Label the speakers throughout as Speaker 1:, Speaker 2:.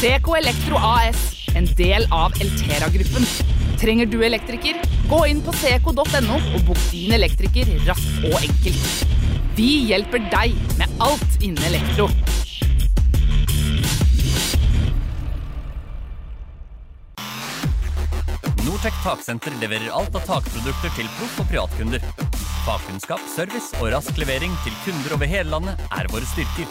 Speaker 1: DK Elektro AS, en del av Eltera-gruppen. Trenger du elektriker? Gå inn på seco.no og bok din elektriker raskt og enkelt. Vi hjelper deg med alt innen elektro.
Speaker 2: Nortec Taksenter leverer alt av takprodukter til proff- og privatkunder. Fagkunnskap, service og rask levering til kunder over hele landet er våre styrker.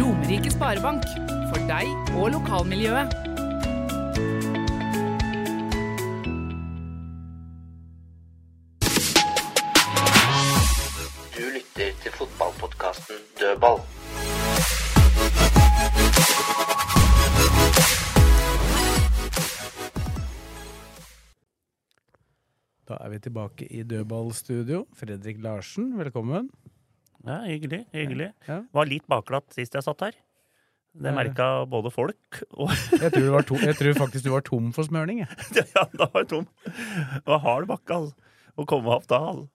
Speaker 1: Romerike Sparebank. For deg og lokalmiljøet.
Speaker 3: Du lytter til fotballpodkasten Dødball.
Speaker 4: Da er vi tilbake i dødballstudio. Fredrik Larsen, velkommen.
Speaker 5: Ja, hyggelig. hyggelig.
Speaker 4: Ja.
Speaker 5: Var litt bakglatt sist jeg satt her. Det
Speaker 4: Ja, ja.
Speaker 5: merka både folk og
Speaker 4: Jeg tror, du var tom, jeg tror faktisk du var tom for smørning. Jeg.
Speaker 5: Ja, da var jeg tom. Det var hard bakke, altså. Å komme opp da, altså.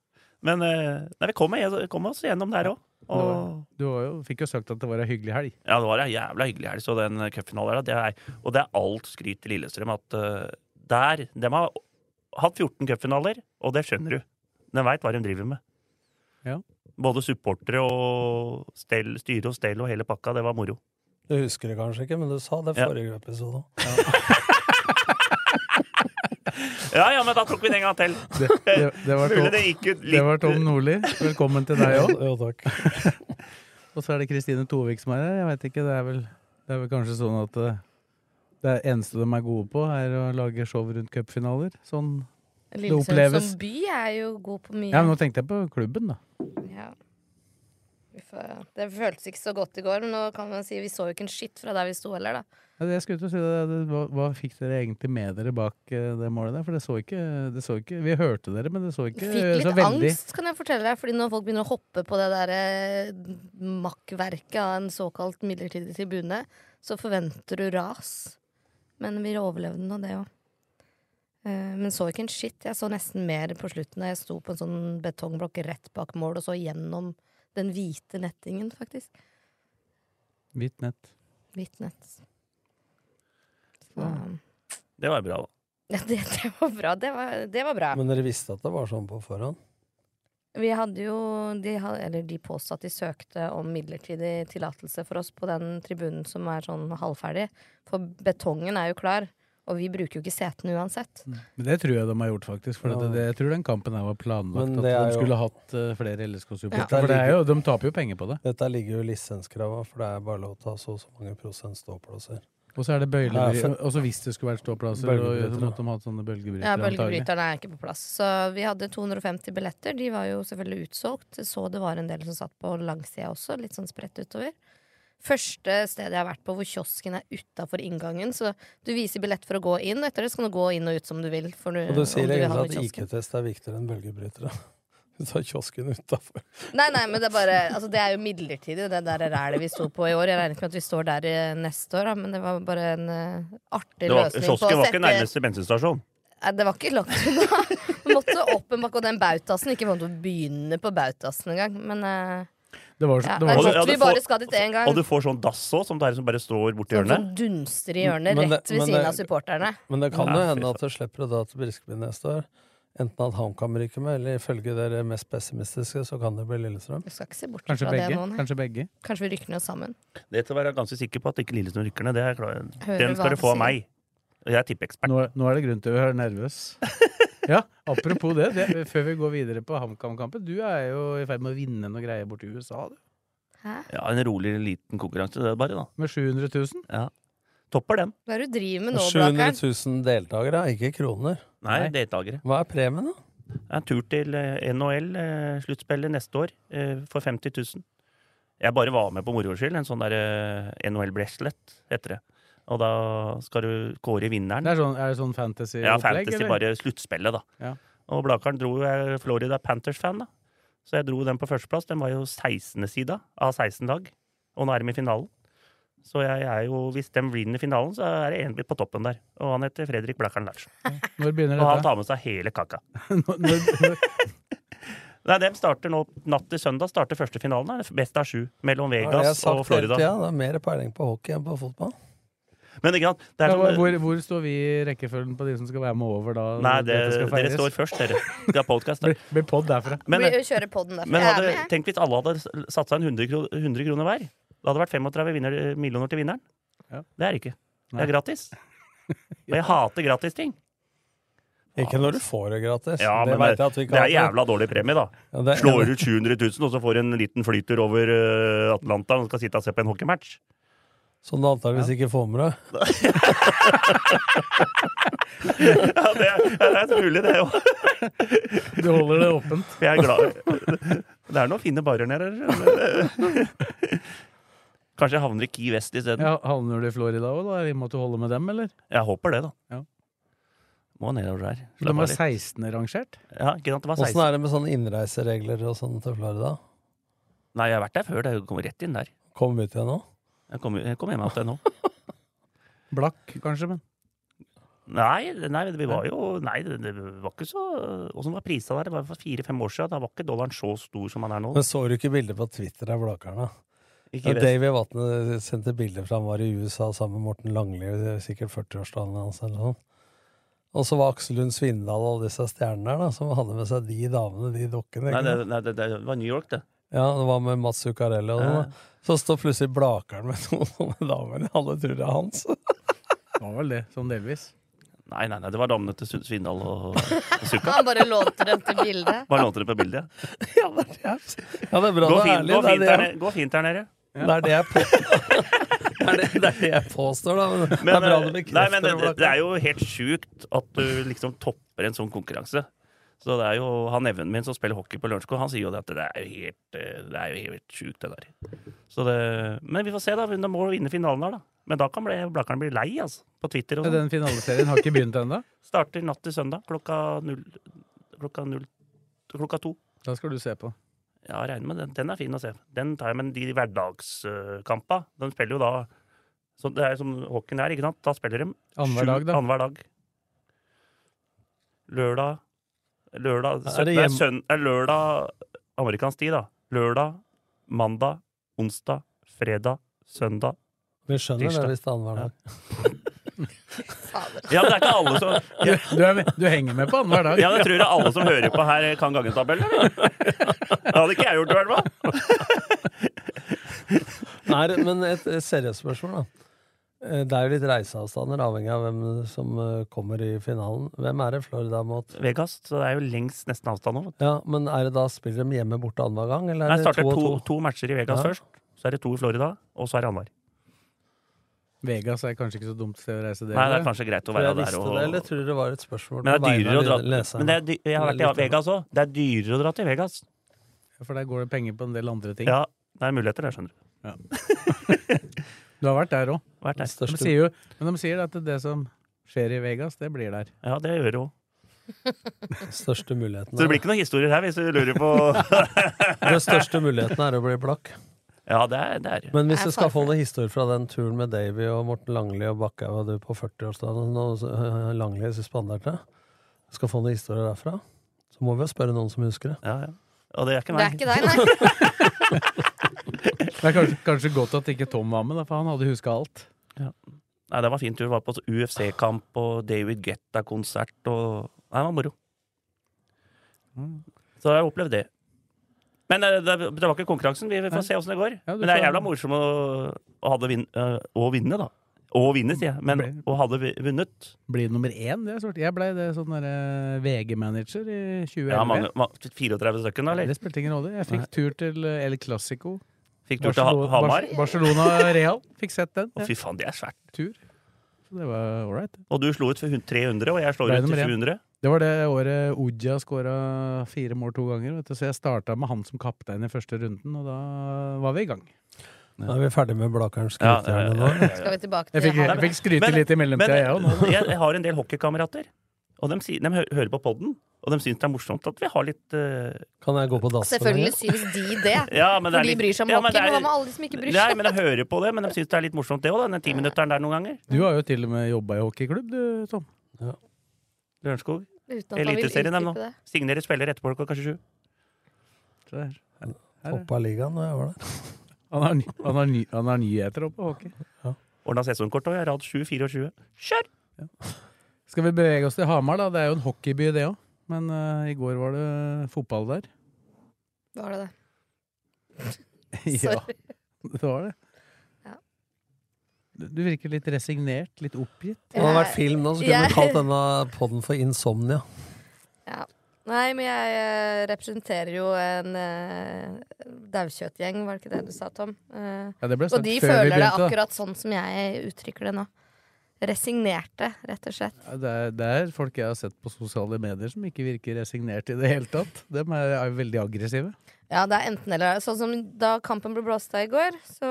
Speaker 5: Men eh, nei, vi kom, jeg kom oss gjennom der òg. Og
Speaker 4: Du var jo, fikk jo sagt at det var ei hyggelig helg.
Speaker 5: ja, det var ei jævla hyggelig helg, så den cupfinalen der, det er Og det er alt skryt til Lillestrøm at eh, der De har hatt 14 cupfinaler, og det skjønner du. De veit hva de driver med.
Speaker 4: Ja.
Speaker 5: Både supportere og stell, styre og stell og hele pakka. Det var moro.
Speaker 6: Du husker det kanskje ikke, men du sa det
Speaker 5: Ja.
Speaker 6: forrige episode.
Speaker 5: Ja, ja, men da tok vi den en gang til.
Speaker 4: Det, det, det, var,
Speaker 5: Mulig det
Speaker 4: tom,
Speaker 5: gikk ut litt
Speaker 4: det var Tom Nordli. Velkommen til deg òg.
Speaker 6: Jo, takk.
Speaker 4: Og så er det Kristine Tovik som er her. Jeg vet ikke, det er vel, det er vel kanskje sånn at eh, det eneste de er gode på, er å lage show rundt cupfinaler. Sånn.
Speaker 7: Lillesand
Speaker 4: oppleves.
Speaker 7: som by er jo god på mye.
Speaker 4: Ja, men nå tenkte jeg på klubben, da.
Speaker 7: Ja. Uff, ja. Det føltes ikke så godt i går, men nå kan man si vi så jo ikke en skitt fra der vi sto heller, da.
Speaker 4: Ja, det Jeg skulle til å si det, det, hva, hva fikk dere egentlig med dere bak eh, det målet der? For det så ikke, det så ikke Vi hørte dere, men det så ikke
Speaker 7: Fikk
Speaker 4: eh, så
Speaker 7: litt
Speaker 4: veldig
Speaker 7: angst, kan jeg fortelle deg, fordi når folk begynner å hoppe på det der eh, makkverket av en såkalt midlertidig tribune, så forventer du ras. Men vi overlevde nå det òg. Eh, Men så ikke en skitt. Jeg så nesten mer på slutten da jeg sto på en sånn betongblokk rett bak mål og så gjennom den hvite nettingen, faktisk.
Speaker 4: hvitt nett.
Speaker 7: Hvitt nett. Så,
Speaker 4: Ja.
Speaker 5: Det var bra, da.
Speaker 7: ja, det, det var bra. Det var, det var bra.
Speaker 6: Men dere visste at det var sånn på forhånd?
Speaker 7: Vi hadde jo de, ha- eller de påstod at de søkte om midlertidig tillatelse for oss på den tribunen som er sånn halvferdig. For betongen er jo klar, og vi bruker jo ikke setene uansett.
Speaker 4: Men det tror jeg de har gjort, faktisk. For
Speaker 6: Ja.
Speaker 4: det, det, jeg tror den kampen her var planlagt.
Speaker 6: Men
Speaker 4: At
Speaker 6: det er
Speaker 4: de
Speaker 6: jo-
Speaker 4: skulle hatt eh, flere LSK-supportere.
Speaker 6: Ja.
Speaker 4: For det er jo, de taper jo penger på det.
Speaker 6: Dette ligger jo i lisenskrava, for det er bare lov til å ha så og så mange prosent ståplasser.
Speaker 4: Og så er det bøyler,
Speaker 6: Ja, for-
Speaker 4: og så hvis det skulle vært ståplasser,
Speaker 6: Bølgebrytere.
Speaker 4: så måtte de hatt sånne bølgebrytere.
Speaker 7: Ja,
Speaker 4: antagelig.
Speaker 7: Bølgebryterne er ikke på plass. Så vi hadde 250 billetter. De var jo selvfølgelig utsolgt. Så det var en del som satt på langsida også, litt sånn spredt utover. Første stedet jeg har vært på hvor kiosken er utafor inngangen. Så du viser billett for å gå inn, og etter det så kan du gå inn og ut som du vil. For du,
Speaker 6: Og du sier
Speaker 7: om du vil ha
Speaker 6: egentlig at
Speaker 7: den kiosken.
Speaker 6: IQ-test er viktigere enn bølgebrytere. Du tar kiosken utafor.
Speaker 7: Nei, nei, men det er bare Altså, det er jo midlertidig, det der rælet vi sto på i år. Jeg regner ikke med at vi står der eh, neste år, da, men det var bare en eh, artig
Speaker 5: Det var,
Speaker 7: løsning på
Speaker 5: kiosken
Speaker 7: å
Speaker 5: var ikke
Speaker 7: sette
Speaker 5: nærmeste bensinstasjon.
Speaker 7: Nei, det var ikke langt unna. Vi Måtte opp en bakke, og den bautasen Ikke vant å begynne på bautasen engang. Men eh,
Speaker 4: Det var, det
Speaker 7: ja, det er
Speaker 4: var,
Speaker 5: Og du- Altså, ja,
Speaker 7: godt
Speaker 5: du
Speaker 7: vi bare
Speaker 5: får-
Speaker 7: skal dit én gang.
Speaker 5: Og du får sånn dass òg, som dere som bare står borti
Speaker 7: Sånn
Speaker 5: hjørnet.
Speaker 7: som dunster i hjørnet
Speaker 6: Men det-
Speaker 7: rett ved
Speaker 6: men
Speaker 7: siden
Speaker 6: det-
Speaker 7: av supporterne.
Speaker 6: Men det kan
Speaker 5: Ja,
Speaker 6: jo
Speaker 5: fy
Speaker 6: hende at du slipper det da til Briskeby neste år. Enten at HamKam ryker med, eller ifølge dere mest pessimistiske, så kan det bli Lillestrøm.
Speaker 7: Jeg skal ikke se bort
Speaker 4: kanskje
Speaker 7: fra det
Speaker 4: begge.
Speaker 7: nå. Nei.
Speaker 4: Kanskje begge.
Speaker 7: Kanskje vi rykker ned sammen.
Speaker 5: Det til å være ganske sikker på at ikke Lillestrøm rykker ned. Det er klar.
Speaker 7: Hører
Speaker 5: Den
Speaker 7: hva
Speaker 5: skal du
Speaker 7: du
Speaker 5: få
Speaker 7: sier.
Speaker 5: av meg. Og Jeg er tippeekspert.
Speaker 4: Nå, nå er det grunn til å være nervøs. Ja, apropos det, det før vi går videre på HamKam-kampen. Du er jo i ferd med å vinne noe greier borti USA, du.
Speaker 7: Hæ?
Speaker 5: Ja, en rolig liten konkurranse, det er bare, da.
Speaker 4: Med 700 000.
Speaker 5: Ja. Topper den.
Speaker 7: Hva er det du driver med nå, Blaker'n?
Speaker 6: 700 000 deltakere, ikke kroner.
Speaker 5: Nei, deltakere.
Speaker 6: Hva er premien, da?
Speaker 5: En tur til eh, NHL, eh, sluttspillet neste år, eh, for 50 000. Jeg bare var med på moro skyld, en sånn der eh, NHL Bracelet heter det. Og da skal du kåre vinneren.
Speaker 4: Det er, sånn, er det sånn fantasy-opplegg?
Speaker 5: Ja, fantasy,
Speaker 4: eller?
Speaker 5: bare sluttspillet, da.
Speaker 4: Ja.
Speaker 5: Og Blakaren dro jo jeg er Florida Panthers-fan, da. Så jeg dro den på førsteplass. Den var jo 16. sida av 16 lag. Og nå er de i finalen. Så jeg er jo, hvis de vinner finalen, så er det egentlig på toppen der. Og han heter Fredrik Blakaren Larsen.
Speaker 4: Når begynner
Speaker 5: Og han
Speaker 4: dette?
Speaker 5: tar med seg hele kaka. Nei, de starter nå, Natt til søndag starter første finalen. da. Best av sju. Mellom
Speaker 6: Har jeg
Speaker 5: Vegas og
Speaker 6: sagt hele
Speaker 5: Florida.
Speaker 6: tida? Det er mer peiling på hockey enn på fotball.
Speaker 5: Men ikke sant? Det er
Speaker 4: Ja,
Speaker 5: sånn-
Speaker 4: hvor, hvor står vi i rekkefølgen på de som skal være med over da?
Speaker 5: Nei,
Speaker 4: når
Speaker 5: det,
Speaker 4: dette skal
Speaker 5: dere
Speaker 4: feires?
Speaker 5: står først, dere. Det er podcast, da.
Speaker 4: Blir, blir podd derfra.
Speaker 5: Men-
Speaker 7: Blir- kjører podden derfra.
Speaker 5: Men
Speaker 7: Jeg er
Speaker 5: hadde,
Speaker 7: med.
Speaker 5: tenk hvis alle hadde s- satsa en 100 kroner, 100 kroner hver. Da hadde det vært 35 vinner, millioner til vinneren. Det er det ikke. Det
Speaker 4: Nei.
Speaker 5: er gratis. Og jeg hater gratis ting.
Speaker 6: Ikke når du får det gratis.
Speaker 5: Ja,
Speaker 6: det
Speaker 5: men
Speaker 6: vet
Speaker 5: det,
Speaker 6: jeg at du ikke
Speaker 5: det er
Speaker 6: har.
Speaker 5: jævla dårlig premie, da.
Speaker 6: Ja, det er-
Speaker 5: Slår ut 700 000, og så får du en liten flytur over eh, Atlanta og skal sitte og se på en hockeymatch.
Speaker 6: Som du antakeligvis ikke får med deg.
Speaker 5: Ja, det er, det er mulig, det òg.
Speaker 4: Du holder det åpent.
Speaker 5: Jeg er glad. Det er noen fine barer nede her. skjønner du. Kanskje jeg havner i Key West isteden.
Speaker 4: Ja, havner du i Florida òg, da? I og med at du holder med dem, eller?
Speaker 5: Jeg håper det, da.
Speaker 4: Ja.
Speaker 5: Må nedover der.
Speaker 4: De
Speaker 5: Slapp av
Speaker 4: var
Speaker 5: litt.
Speaker 4: 16. rangert?
Speaker 5: Ja, ikke sant, det var
Speaker 6: Åssen
Speaker 5: 16.
Speaker 6: er det med sånne innreiseregler og sånn til Florida?
Speaker 5: Nei, jeg har vært der før. Det kom rett inn der.
Speaker 6: Kom ut igjen nå?
Speaker 5: Jeg kom, jeg kom hjem igjen nå.
Speaker 4: Blakk, kanskje, men.
Speaker 5: Nei, nei, vi var jo Nei, det det var ikke så Åssen var prisa der? Det var for fire-fem år siden. Da var ikke dollaren så stor som han er nå.
Speaker 6: Men så du ikke bilder på Twitter av Blaker'n, da?
Speaker 5: Ikke
Speaker 6: Ja,
Speaker 5: det.
Speaker 6: Davy Vatne sendte bilder fra han var i USA sammen med Morten Langli, sikkert 40-årsdagen hans eller noe sånt. Og så var Aksel Lund Svindal og alle disse stjernene der, da, som hadde med seg de damene, de dokkene.
Speaker 5: Nei,
Speaker 6: ikke
Speaker 5: det,
Speaker 6: sant?
Speaker 5: nei det, det var New York, det.
Speaker 6: Ja, det var med Mats Zuccarello og sånn. da. Så står plutselig Blakeren med noen sånne damer, alle tror det er hans.
Speaker 4: Det var vel det, sånn delvis.
Speaker 5: Nei, nei, nei, det var damene til Sund- Svindal og og Sukka.
Speaker 7: Han bare lånte dem til bildet.
Speaker 5: Bare lånte det på bildet.
Speaker 6: Ja, det er bra du er
Speaker 5: Gå fint,
Speaker 6: ærlig.
Speaker 5: gå
Speaker 6: Det er det
Speaker 5: fint, der,
Speaker 6: jeg,
Speaker 5: nede- gå fint der nede.
Speaker 6: det er det jeg, på, det er det, det er det jeg påstår, da. Men, det er bra du
Speaker 5: eh,
Speaker 6: bekrefter
Speaker 5: nei, men det,
Speaker 6: Blakkaren.
Speaker 5: det er jo helt sjukt at du liksom topper en sånn konkurranse. Så det er jo han neven min som spiller hockey på Lørenskog, han sier jo det at det er jo helt, eh, det er jo helt sjukt, det der. Så det, men vi får se, da. De må jo vinne finalen her, da. Men da kan bli, Blakkaren bli lei, altså. På Twitter og
Speaker 4: Ja,
Speaker 5: sånn.
Speaker 4: Den finaleserien har ikke begynt ennå.
Speaker 5: Starter natt til søndag klokka null Klokka null Klokka to.
Speaker 4: Da skal du se på.
Speaker 5: Ja, regner med den. Den er fin å se. Den tar jeg, men de hverdagskampa, de spiller jo da så Det er som hockeyen her, ikke sant? Da spiller de
Speaker 4: Annenhver
Speaker 5: sju-
Speaker 4: dag, da.
Speaker 5: annenhver dag. Lørdag Lørdag
Speaker 6: Er
Speaker 5: sø,
Speaker 6: det
Speaker 5: nei,
Speaker 6: hjem-
Speaker 5: søn, nei, Lørdag amerikansk tid, da. Lørdag, mandag, onsdag, fredag, søndag.
Speaker 6: Vi skjønner det
Speaker 5: tirsdag.
Speaker 6: hvis det er annenhver dag.
Speaker 5: Ja, men det er ikke alle som
Speaker 4: Du, du, er, du henger med på annenhver dag.
Speaker 5: Ja, det tror jeg alle som hører på her, kan gangetabellen, eller? Det hadde ikke jeg gjort, i hvert fall.
Speaker 6: Nei, men et et seriøst spørsmål, da. Eh, Det er jo litt reiseavstander, avhengig av hvem som eh, kommer i finalen. Hvem er det Florida mot?
Speaker 5: Vegas, så det er jo lengst nesten avstand nå. vet du.
Speaker 6: Ja, men er det da spiller de hjemme borte annenhver gang, eller
Speaker 5: Nei,
Speaker 6: er det
Speaker 5: starter
Speaker 6: to og
Speaker 5: to,
Speaker 6: to?
Speaker 5: to matcher i Vegas
Speaker 6: Ja.
Speaker 5: først, så er det to i Florida, og så er det annenhver.
Speaker 4: Vegas er kanskje ikke så dumt sted å reise det.
Speaker 5: Nei, det
Speaker 4: eller?
Speaker 5: er kanskje greit å
Speaker 6: Tror
Speaker 5: være
Speaker 6: jeg
Speaker 5: der
Speaker 6: visste
Speaker 5: og
Speaker 6: det, eller tror du det var et spørsmål
Speaker 5: Men det er
Speaker 6: på vegne
Speaker 5: dyrere å
Speaker 6: av
Speaker 5: dra
Speaker 6: leserne?
Speaker 5: Men det er, dy- jeg har vært i
Speaker 6: Lytterne.
Speaker 5: Vegas òg. Det er dyrere å dra til Vegas.
Speaker 4: For der går det penger på en del andre ting.
Speaker 5: Ja, det er muligheter der, skjønner du.
Speaker 4: Du har vært der òg.
Speaker 5: Vært
Speaker 4: De
Speaker 5: der.
Speaker 6: Største-
Speaker 4: sier jo, men de sier at det som skjer i Vegas, det blir der.
Speaker 5: Ja, det gjør det òg.
Speaker 6: største muligheten
Speaker 5: Så det
Speaker 6: er,
Speaker 5: blir ikke noen historier her, hvis du lurer på
Speaker 6: Den største muligheten er å bli blakk.
Speaker 5: Ja, det er det. Er.
Speaker 6: Men hvis
Speaker 7: Jeg
Speaker 6: du
Speaker 7: er
Speaker 6: skal
Speaker 7: far for
Speaker 6: få noen historier fra den turen med Davy og Morten Langli og Bakkhaug og du på 40-årsdagen og så- eh, Langli suspenderte Skal få noen historier derfra, så må vi jo spørre noen som husker det.
Speaker 5: Ja, ja. Og det er ikke
Speaker 7: Det er
Speaker 5: meg.
Speaker 7: ikke deg, nei.
Speaker 4: Det er kanskje, kanskje godt at ikke Tom var med, da, for han hadde huska alt.
Speaker 5: Nei, det var fin tur. Var på UFC-kamp og David Getta-konsert og Nei, det var moro. Mm. Så jeg har opplevd det. Men eh, det, det var ikke konkurransen. Vi får se åssen det går.
Speaker 4: Ja, du
Speaker 5: Men det er
Speaker 4: får-
Speaker 5: jævla morsomt å, å, hadde vin, eh, å vinne, da. Å vinne, sier jeg. Men
Speaker 4: Ble-
Speaker 5: å hadde vi- vunnet
Speaker 4: Bli nummer én, det er sort. Jeg blei det sånn derre VG-manager i 2011.
Speaker 5: ja, mange, ma- 34 stykker, da? Eller?
Speaker 4: det spilte ingen rolle. Jeg fikk tur til eh, El Clásico.
Speaker 5: Fikk tur til Ha-
Speaker 4: Barcelona-
Speaker 5: Hamar?
Speaker 4: Barcelona Real. Fikk sett den.
Speaker 5: Å, fy faen, det er svært.
Speaker 4: Tur. Så det var ålreit.
Speaker 5: Og du slo ut for hun- 300, og jeg slår
Speaker 4: Ble
Speaker 5: ut
Speaker 4: nummer
Speaker 5: til
Speaker 4: én.
Speaker 5: 700.
Speaker 4: Det var det året Oja skåra fire mål to ganger. Vet du. Så jeg starta med han som kaptein i første runden, og da var vi i gang.
Speaker 6: Da er vi ferdig med Blakerens
Speaker 5: Ja,
Speaker 6: skrytehjerne
Speaker 5: ja, ja, ja,
Speaker 6: nå.
Speaker 5: ja.
Speaker 7: Skal vi tilbake
Speaker 4: Jeg
Speaker 7: til
Speaker 4: fikk- jeg
Speaker 7: Harald?
Speaker 4: fikk skryte
Speaker 5: Men-
Speaker 4: litt i mellomtida,
Speaker 5: men-
Speaker 4: jeg også, nå.
Speaker 5: jeg, jeg har en del hockeykamerater, og de, sier, de hø- hører på podden, og de syns det er morsomt at vi har litt eh,
Speaker 6: Kan jeg gå på dass?
Speaker 7: Selvfølgelig syns de det.
Speaker 5: Ja, men det
Speaker 7: for
Speaker 5: er
Speaker 7: de
Speaker 5: litt-
Speaker 7: bryr seg om
Speaker 5: Ja, men det
Speaker 7: hockey.
Speaker 5: er-
Speaker 7: Men hva med alle de som ikke bryr
Speaker 5: Nei,
Speaker 7: seg?
Speaker 5: men de hører på det, men de syns det er litt morsomt det òg, den timinutteren der noen ganger.
Speaker 4: Du har jo til og med jobba i hockeyklubb, du, Tom.
Speaker 5: Lørenskog.
Speaker 7: Uten at han vil
Speaker 5: Eliteserien er nå.
Speaker 7: utdype det.
Speaker 5: Signerer spiller etterpå klokka kanskje sju.
Speaker 6: Toppa ligaen da jeg var der.
Speaker 4: Han har, ny- han har, ny, han har nyheter oppe på hockey.
Speaker 5: Ordna sesongkort òg, rad 7-24. Kjør!
Speaker 4: Skal vi bevege oss til Hamar, da? Det er jo en hockeyby, det òg. Men eh, i går var det fotball der.
Speaker 7: Var det det?
Speaker 4: ja, det var det.
Speaker 7: Ja.
Speaker 4: Du, du virker litt resignert, litt oppgitt.
Speaker 6: Det hadde vært film nå, så kunne
Speaker 7: Jeg-
Speaker 6: vi kalt denne podden for Insomnia.
Speaker 7: Ja. Nei, men jeg eh, representerer jo en uh, daukjøttgjeng, var det ikke det du sa, Tom? Eh,
Speaker 4: Ja, det ble
Speaker 7: og
Speaker 4: sagt
Speaker 7: de
Speaker 4: før vi
Speaker 7: føler det
Speaker 4: begynte, da.
Speaker 7: akkurat sånn som jeg uttrykker det nå. Resignerte, rett og slett.
Speaker 4: Ja, Det er, det er folk jeg har sett på sosiale medier som ikke virker resignert i det hele tatt. De er, er veldig aggressive.
Speaker 7: Ja, det er enten eller. Sånn som da kampen ble blåst av i går, så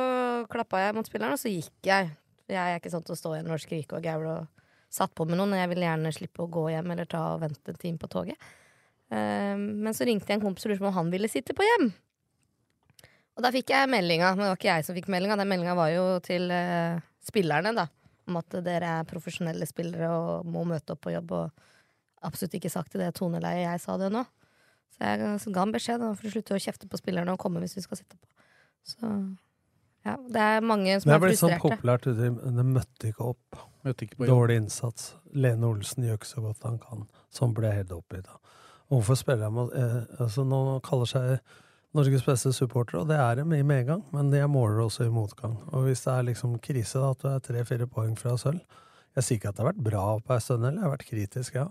Speaker 7: klappa jeg mot spilleren, og så gikk jeg. Jeg er ikke sånn til å stå igjen og skrike og gaule og satt på med noen. og Jeg ville gjerne slippe å gå hjem eller ta og vente en time på toget. Eh, men så ringte jeg en kompis og lurte på om han ville sitte på hjem. Og da fikk jeg meldinga, men det var ikke jeg som fikk meldinga. Den meldinga var jo til eh, spillerne, da. Om at dere er profesjonelle spillere og må møte opp på jobb. Og absolutt ikke sagt i det toneleiet jeg sa det nå. Så jeg så ga han beskjed om å slutte å kjefte på spillerne og komme hvis vi skal sitte på. Så ja, det er mange som
Speaker 6: Det
Speaker 7: er
Speaker 6: ble sånn
Speaker 7: frustrerte.
Speaker 6: populært ute i men Det møtte ikke opp.
Speaker 4: Møtte ikke på jobb.
Speaker 6: Dårlig innsats. Lene Olsen gjør ikke så godt han kan. Sånn ble jeg helt oppgitt av. Hvorfor spiller jeg mot eh, altså Nå kaller seg Norges beste supportere, og det er dem i medgang, men jeg måler også i motgang. Og hvis det er liksom krise, da, at du er tre-fire poeng fra sølv Jeg sier ikke at det har vært bra på ei stund, eller jeg har vært kritisk, ja.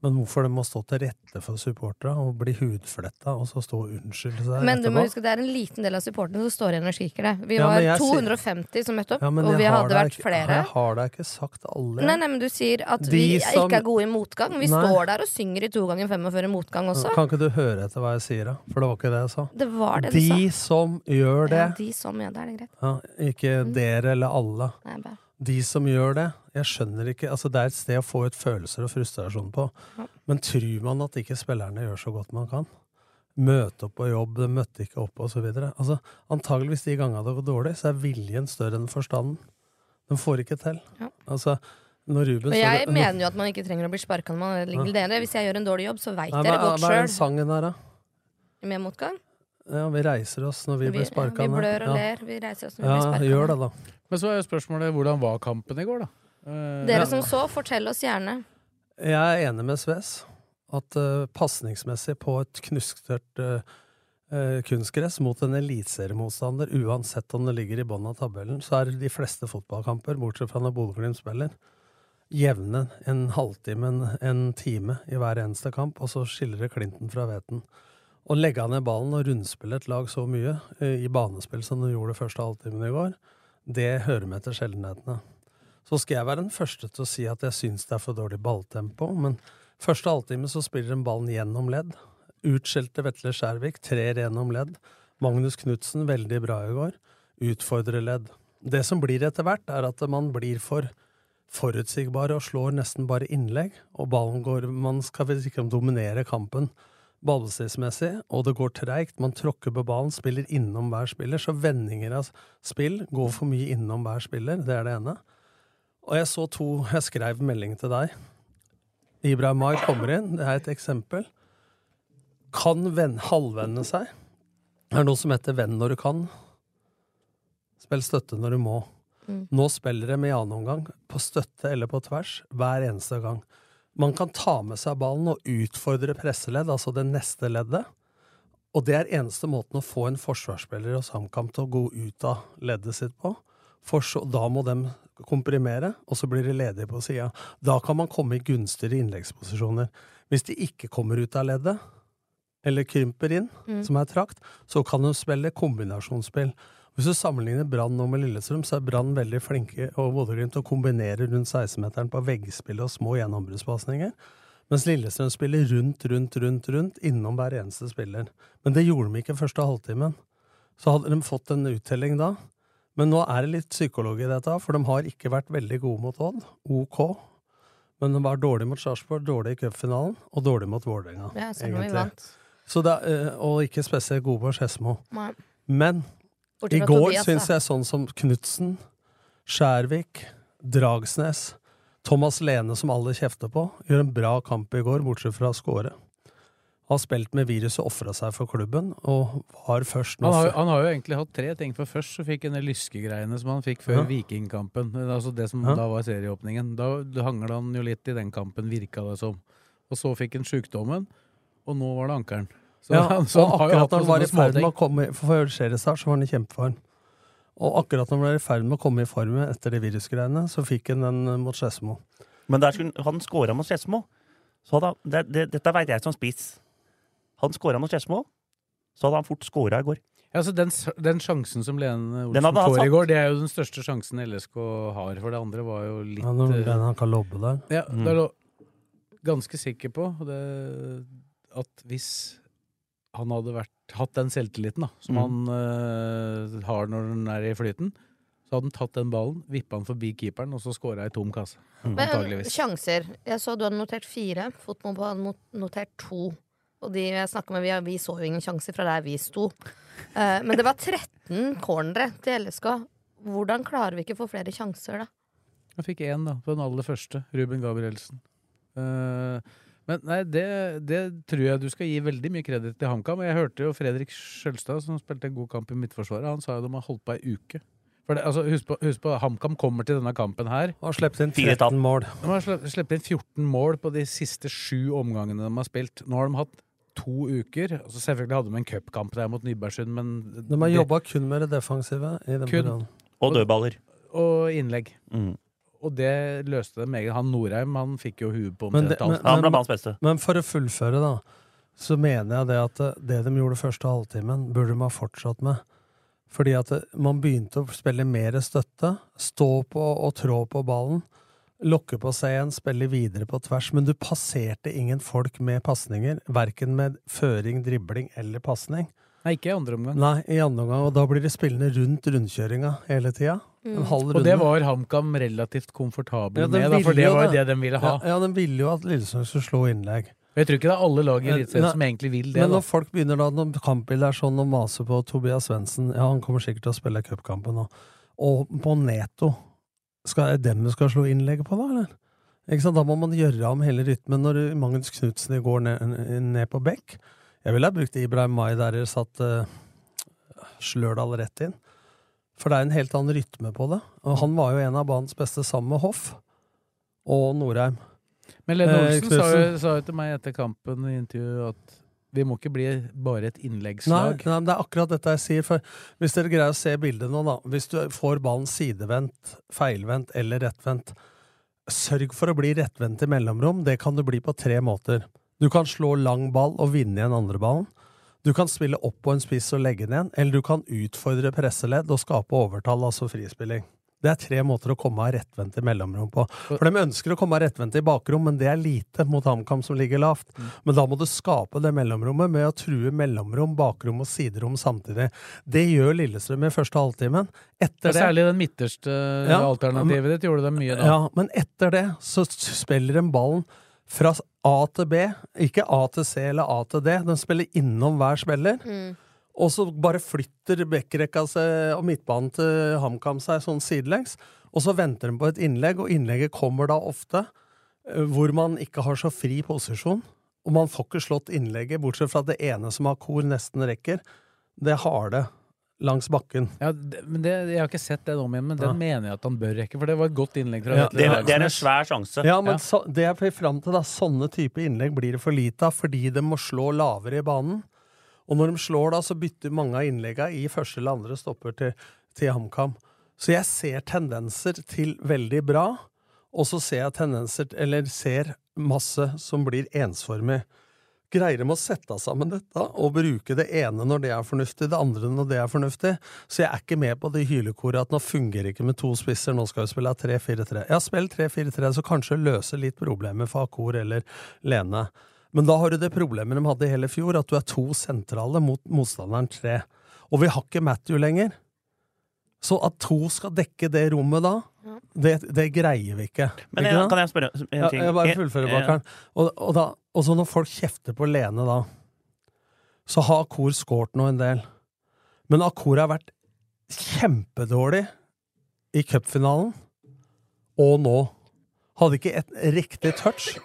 Speaker 6: Men hvorfor det må stå til rette for supportere og bli hudfletta og så stå og unnskylde seg
Speaker 7: Men du
Speaker 6: etterpå?
Speaker 7: må huske det er en liten del av supporterne som står igjen og skriker det. Vi
Speaker 6: Ja,
Speaker 7: var
Speaker 6: men jeg sier-
Speaker 7: 250 som møtte opp,
Speaker 6: Ja, men
Speaker 7: og
Speaker 6: jeg
Speaker 7: vi
Speaker 6: har
Speaker 7: hadde
Speaker 6: da
Speaker 7: vært
Speaker 6: ikke-
Speaker 7: flere.
Speaker 6: Jeg har da ikke sagt alle.
Speaker 7: Nei, nei, men Du sier at
Speaker 6: De
Speaker 7: vi
Speaker 6: som-
Speaker 7: ikke er gode i motgang. Vi
Speaker 6: Nei.
Speaker 7: står der og synger i to ganger 45 motgang også.
Speaker 6: Kan ikke du høre etter hva jeg sier, da? For det var ikke det jeg sa.
Speaker 7: Det var det du
Speaker 6: de
Speaker 7: sa.
Speaker 6: som gjør det,
Speaker 7: Ja, de Mm. som gjør det, er det greit.
Speaker 6: ja, ikke dere eller alle.
Speaker 7: Nei, bare.
Speaker 6: De som gjør det, jeg skjønner ikke altså Det er et sted å få ut følelser og frustrasjon på.
Speaker 7: Ja.
Speaker 6: Men tror man at ikke spillerne gjør så godt man kan? Møte opp på jobb, de møtte ikke opp, osv. Altså, antageligvis de gangene det går dårlig, så er viljen større enn forstanden. De får ikke til.
Speaker 7: Ja.
Speaker 6: Altså, når Ruben står-
Speaker 7: Og jeg
Speaker 6: når-
Speaker 7: mener jo at man ikke trenger å bli sparka når man ligger
Speaker 6: Ja.
Speaker 7: nede. Hvis jeg gjør en dårlig jobb, så veit
Speaker 6: Nei,
Speaker 7: dere
Speaker 6: hva-
Speaker 7: godt
Speaker 6: Hva er den
Speaker 7: sjøl.
Speaker 6: sangen her, da?
Speaker 7: Med motgang.
Speaker 6: Ja, vi reiser oss når vi,
Speaker 7: Vi-
Speaker 6: blir sparka
Speaker 7: ja, vi
Speaker 6: ned.
Speaker 7: blør og
Speaker 6: Ja.
Speaker 7: ler, vi reiser oss når vi
Speaker 6: ja,
Speaker 7: blir sparka
Speaker 6: gjør
Speaker 7: ned.
Speaker 6: det, da.
Speaker 4: Men så er jo spørsmålet hvordan var kampen i går, da? Eh,
Speaker 7: Dere som så, fortell oss gjerne.
Speaker 6: Jeg er enig med Sves at uh, pasningsmessig på et knusktørt eh, eh, kunstgress mot en eliteseriemotstander, uansett om det ligger i bånn av tabellen, så er de fleste fotballkamper, bortsett fra når Bodø-Glimt spiller, jevne en halvtime, en, en time i hver eneste kamp, og så skiller det Clinton fra Veten. Å legge ned ballen og rundspille et lag så mye eh, i banespill som du gjorde første halvtimen i går, det hører med til sjeldenhetene. Så skal jeg være den første til å si at jeg syns det er for dårlig balltempo, men første halvtime så spiller de ballen gjennom ledd. Utskjelte Vetle Skjærvik trer gjennom ledd. Magnus Knutsen, veldig bra i går, utfordrer ledd. Det som blir etter hvert, er at man blir for forutsigbar og slår nesten bare innlegg, og ballen går Man skal vel ikke dominere kampen ballbestillingsmessig, og det går treigt. Man tråkker på ballen, spiller innom hver spiller, så vendinger av spill går for mye innom hver spiller, det er det ene. Og jeg så to Jeg skrev melding til deg. Ibrahim Mai kommer inn, det er et eksempel. Kan ven, halvvende seg. Det er noe som heter 'venn når du kan'. Spill støtte når du må.
Speaker 8: Mm.
Speaker 6: Nå spiller de i annen omgang, på støtte eller på tvers, hver eneste gang. Man kan ta med seg ballen og utfordre presseledd, altså det neste leddet. Og det er eneste måten å få en forsvarsspiller og samkamp til å gå ut av leddet sitt på. For så, da må de komprimere, og så blir de ledige på sida. Da kan man komme i gunstigere innleggsposisjoner. Hvis de ikke kommer ut av leddet, eller krymper inn,
Speaker 8: Mm.
Speaker 6: som er trakt, så kan de spille kombinasjonsspill. Hvis du sammenligner Brann nå med Lillestrøm, så er Brann veldig flinke og Bodø-Glimt til å kombinere rundt 16-meteren på veggspill og små gjennombruddspasninger. Mens Lillestrøm spiller rundt, rundt, rundt, rundt innom hver eneste spiller. Men det gjorde de ikke første halvtimen. Så hadde de fått en uttelling da. Men nå er det litt psykologi i dette, for de har ikke vært veldig gode mot Odd. OK. Men de var dårlige mot Sarpsborg, dårlige i cupfinalen og dårlige mot Vålerenga.
Speaker 7: Ja, selv om vi
Speaker 6: egentlig.
Speaker 7: vant.
Speaker 6: Så det, er- eh, og ikke spesielt gode på Skedsmo.
Speaker 7: Nei.
Speaker 6: Men
Speaker 7: Bortsett
Speaker 6: i
Speaker 7: fra
Speaker 6: går
Speaker 7: Tobias,
Speaker 6: syns
Speaker 7: da.
Speaker 6: jeg sånn som Knutsen, Skjærvik, Dragsnes, Thomas Lene, som alle kjefter på, gjør en bra kamp i går, bortsett fra å score. Har spilt med viruset, ofra seg for klubben, og var først nå
Speaker 4: Han har, jo- han har jo egentlig hatt tre ting. For først så fikk han de lyskegreiene som han fikk før
Speaker 6: Ja.
Speaker 4: Vikingkampen. Altså det som
Speaker 6: Ja.
Speaker 4: da var serieåpningen. Da hangla han jo litt i den kampen, virka det som. Og så fikk han sjukdommen, og nå var det ankelen. Så,
Speaker 6: ja,
Speaker 4: han- så han
Speaker 6: og
Speaker 4: har jo
Speaker 6: akkurat
Speaker 4: hatt
Speaker 6: når han var
Speaker 4: noen
Speaker 6: i ferd med
Speaker 4: småting.
Speaker 6: å komme i- for seriestart, så var han i kjempeform. Og akkurat når han var i ferd med å komme i form etter de virusgreiene, så fikk han den eh, mot Skedsmo.
Speaker 5: Men der skulle, han scora mot Skedsmo. Så hadde han- det- det- Dette veit jeg som spiss. Han scora mot Skedsmo, så hadde han fort scora i går.
Speaker 4: Ja, så den, s- den sjansen som Lene
Speaker 5: Den
Speaker 4: Olsen
Speaker 5: hadde han
Speaker 4: får i
Speaker 5: satt.
Speaker 4: går, det er jo den største sjansen LSK har. For det andre var jo litt
Speaker 6: Ja, når
Speaker 4: eh,
Speaker 6: den han kan lobbe der.
Speaker 4: Ja,
Speaker 6: Mm.
Speaker 4: det er lo- ganske sikker på det, at hvis han hadde vært, hatt den selvtilliten da, som
Speaker 5: Mm.
Speaker 4: han eh, har når han er i flyten, så hadde han tatt den ballen, vippa han forbi keeperen, og så scora ei tom kasse.
Speaker 7: Men
Speaker 4: Antageligvis.
Speaker 7: sjanser. Jeg så du hadde notert fire. Fotmobb hadde not- notert to. Og de jeg snakket med, vi, vi så jo ingen sjanser fra der vi sto. Eh, men det var 13 cornere til LSK. Hvordan klarer vi ikke å få flere sjanser, da?
Speaker 4: Han fikk én da, på den aller første. Ruben Gabrielsen. Eh, men nei, det, det tror jeg du skal gi veldig mye kreditt til HamKam. Jeg hørte jo Fredrik Skjølstad, som spilte en god kamp i Midtforsvaret, han sa jo de har holdt på ei uke. For det, altså, husk på, husk på HamKam kommer til denne kampen her.
Speaker 6: Og sluppet inn
Speaker 5: Fire tap.
Speaker 6: 13 mål.
Speaker 4: De har sl- sluppet inn 14 mål på de siste sju omgangene de har spilt. Nå har de hatt to uker. Altså, selvfølgelig hadde de en cupkamp der mot Nybergsund, men
Speaker 6: De har jobba kun med det defensive. I den
Speaker 4: Kun.
Speaker 6: perioden.
Speaker 5: Og dødballer.
Speaker 4: Og innlegg.
Speaker 5: Mm.
Speaker 4: Og det løste dem meget. Han Norheim han fikk jo huet på
Speaker 6: Men, det,
Speaker 4: omtrent alt.
Speaker 5: Han ble banens beste.
Speaker 6: men for å fullføre, da, så mener jeg det at eh, det de gjorde første halvtimen, burde de ha fortsatt med. Fordi at eh, man begynte å spille mer støtte, stå på og trå på ballen, lokke på seg igjen, spille videre på tvers, men du passerte ingen folk med pasninger, verken med føring, dribling eller pasning.
Speaker 4: Nei, ikke i andre omgang.
Speaker 6: Nei, i andre omgang, og da blir det spillende rundt rundkjøringa hele tida. En halv runde.
Speaker 4: Og det var HamKam relativt komfortabel
Speaker 6: Ja, de
Speaker 4: med, da, for
Speaker 6: ville
Speaker 4: det
Speaker 6: jo
Speaker 4: var jo det de ville ha.
Speaker 6: Ja, ja, de ville jo at Lillesand skulle slå innlegg.
Speaker 4: Jeg tror ikke det er alle lag i Eliteserien
Speaker 6: Nei.
Speaker 4: som egentlig vil det.
Speaker 6: Men
Speaker 4: Da.
Speaker 6: når folk begynner da, når kampbildet er sånn og maser på Tobias Svendsen Ja, han kommer sikkert til å spille cupkampen nå. Og på Neto skal, Er det dem du skal slå innlegget på, da? eller? Ikke sant? Da må man gjøre om hele rytmen. Når Magnus Knutsen går ned, ned på bekk Jeg ville ha brukt Ibrahim Mai der jeg satt eh, Slørdal rett inn. For det er en helt annen rytme på det. Og han var jo en av banens beste sammen med Hoff og Norheim.
Speaker 4: Men Lene
Speaker 6: Eh,
Speaker 4: Olsen sa jo,
Speaker 6: Knudsen.
Speaker 4: sa jo til meg etter kampen i intervjuet at vi må ikke bli bare et
Speaker 6: Nei,
Speaker 4: innleggslag.
Speaker 6: nei, men det er akkurat dette jeg sier. For hvis dere greier å se bildet nå, da. Hvis du får ballen sidevendt, feilvendt eller rettvendt, sørg for å bli rettvendt i mellomrom. Det kan du bli på tre måter. Du kan slå lang ball og vinne igjen andre ballen. Du kan spille opp på en spiss og legge den igjen, eller du kan utfordre presseledd og skape overtall, altså frispilling. Det er tre måter å komme av rettvendt i mellomrom på. For de ønsker å komme av rettvendt i bakrom, men det er lite mot HamKam som ligger lavt. Men da må du skape det mellomrommet med å true mellomrom, bakrom og siderom samtidig. Det gjør Lillestrøm i første halvtimen. Etter det
Speaker 4: Særlig den midterste eh,
Speaker 6: Ja,
Speaker 4: alternativet ditt gjorde dem mye da.
Speaker 6: ja, men etter det så spiller de ballen fra A til B, ikke A til C eller A til D. De spiller innom hver spiller. Og så bare flytter backrekka seg og midtbanen til HamKam seg sånn sidelengs. Og så venter de på et innlegg, og innlegget kommer da ofte eh, hvor man ikke har så fri posisjon. Og man får ikke slått innlegget, bortsett fra at det ene som har kor nesten rekker, det harde langs bakken.
Speaker 4: Ja, det, men det, jeg har ikke sett den om igjen, men den mener jeg at han bør rekke, for det var et godt innlegg fra
Speaker 6: Ja,
Speaker 4: Vetle
Speaker 5: Det, det er en
Speaker 4: Larsnes.
Speaker 5: svær sjanse.
Speaker 6: Ja, men Så, det jeg vil fram til, da, sånne type innlegg blir det for lite av fordi de må slå lavere i banen. Og når de slår da, så bytter mange av innleggene i første eller andre stopper til, til HamKam. Så jeg ser tendenser til veldig bra, og så ser jeg tendenser, eller ser masse som blir ensformig. greier de å sette sammen dette og bruke det ene når det er fornuftig, det andre når det er fornuftig. Så jeg er ikke med på det hylekoret at nå fungerer ikke med to spisser, nå skal vi spille 3-4-3. Ja, spill 3-4-3, så kanskje løser litt problemet for Akor eller Lene. Men da har du det problemet de hadde i hele fjor, at du er to sentrale mot motstanderen tre. Og vi har ikke Matthew lenger. Så at to skal dekke det rommet da, det, det greier vi ikke.
Speaker 5: Men
Speaker 6: Ikke
Speaker 5: jeg-
Speaker 6: sant?
Speaker 5: kan jeg spørre en
Speaker 6: Ja,
Speaker 5: ting?
Speaker 6: jeg bare
Speaker 5: Jeg-
Speaker 6: fullfører,
Speaker 5: jeg-
Speaker 6: Bakkeren. Og, og, da- og så når folk kjefter på Lene da, så har Akor skåret nå en del. Men Akor har vært kjempedårlig i cupfinalen, og nå. Hadde ikke et riktig touch.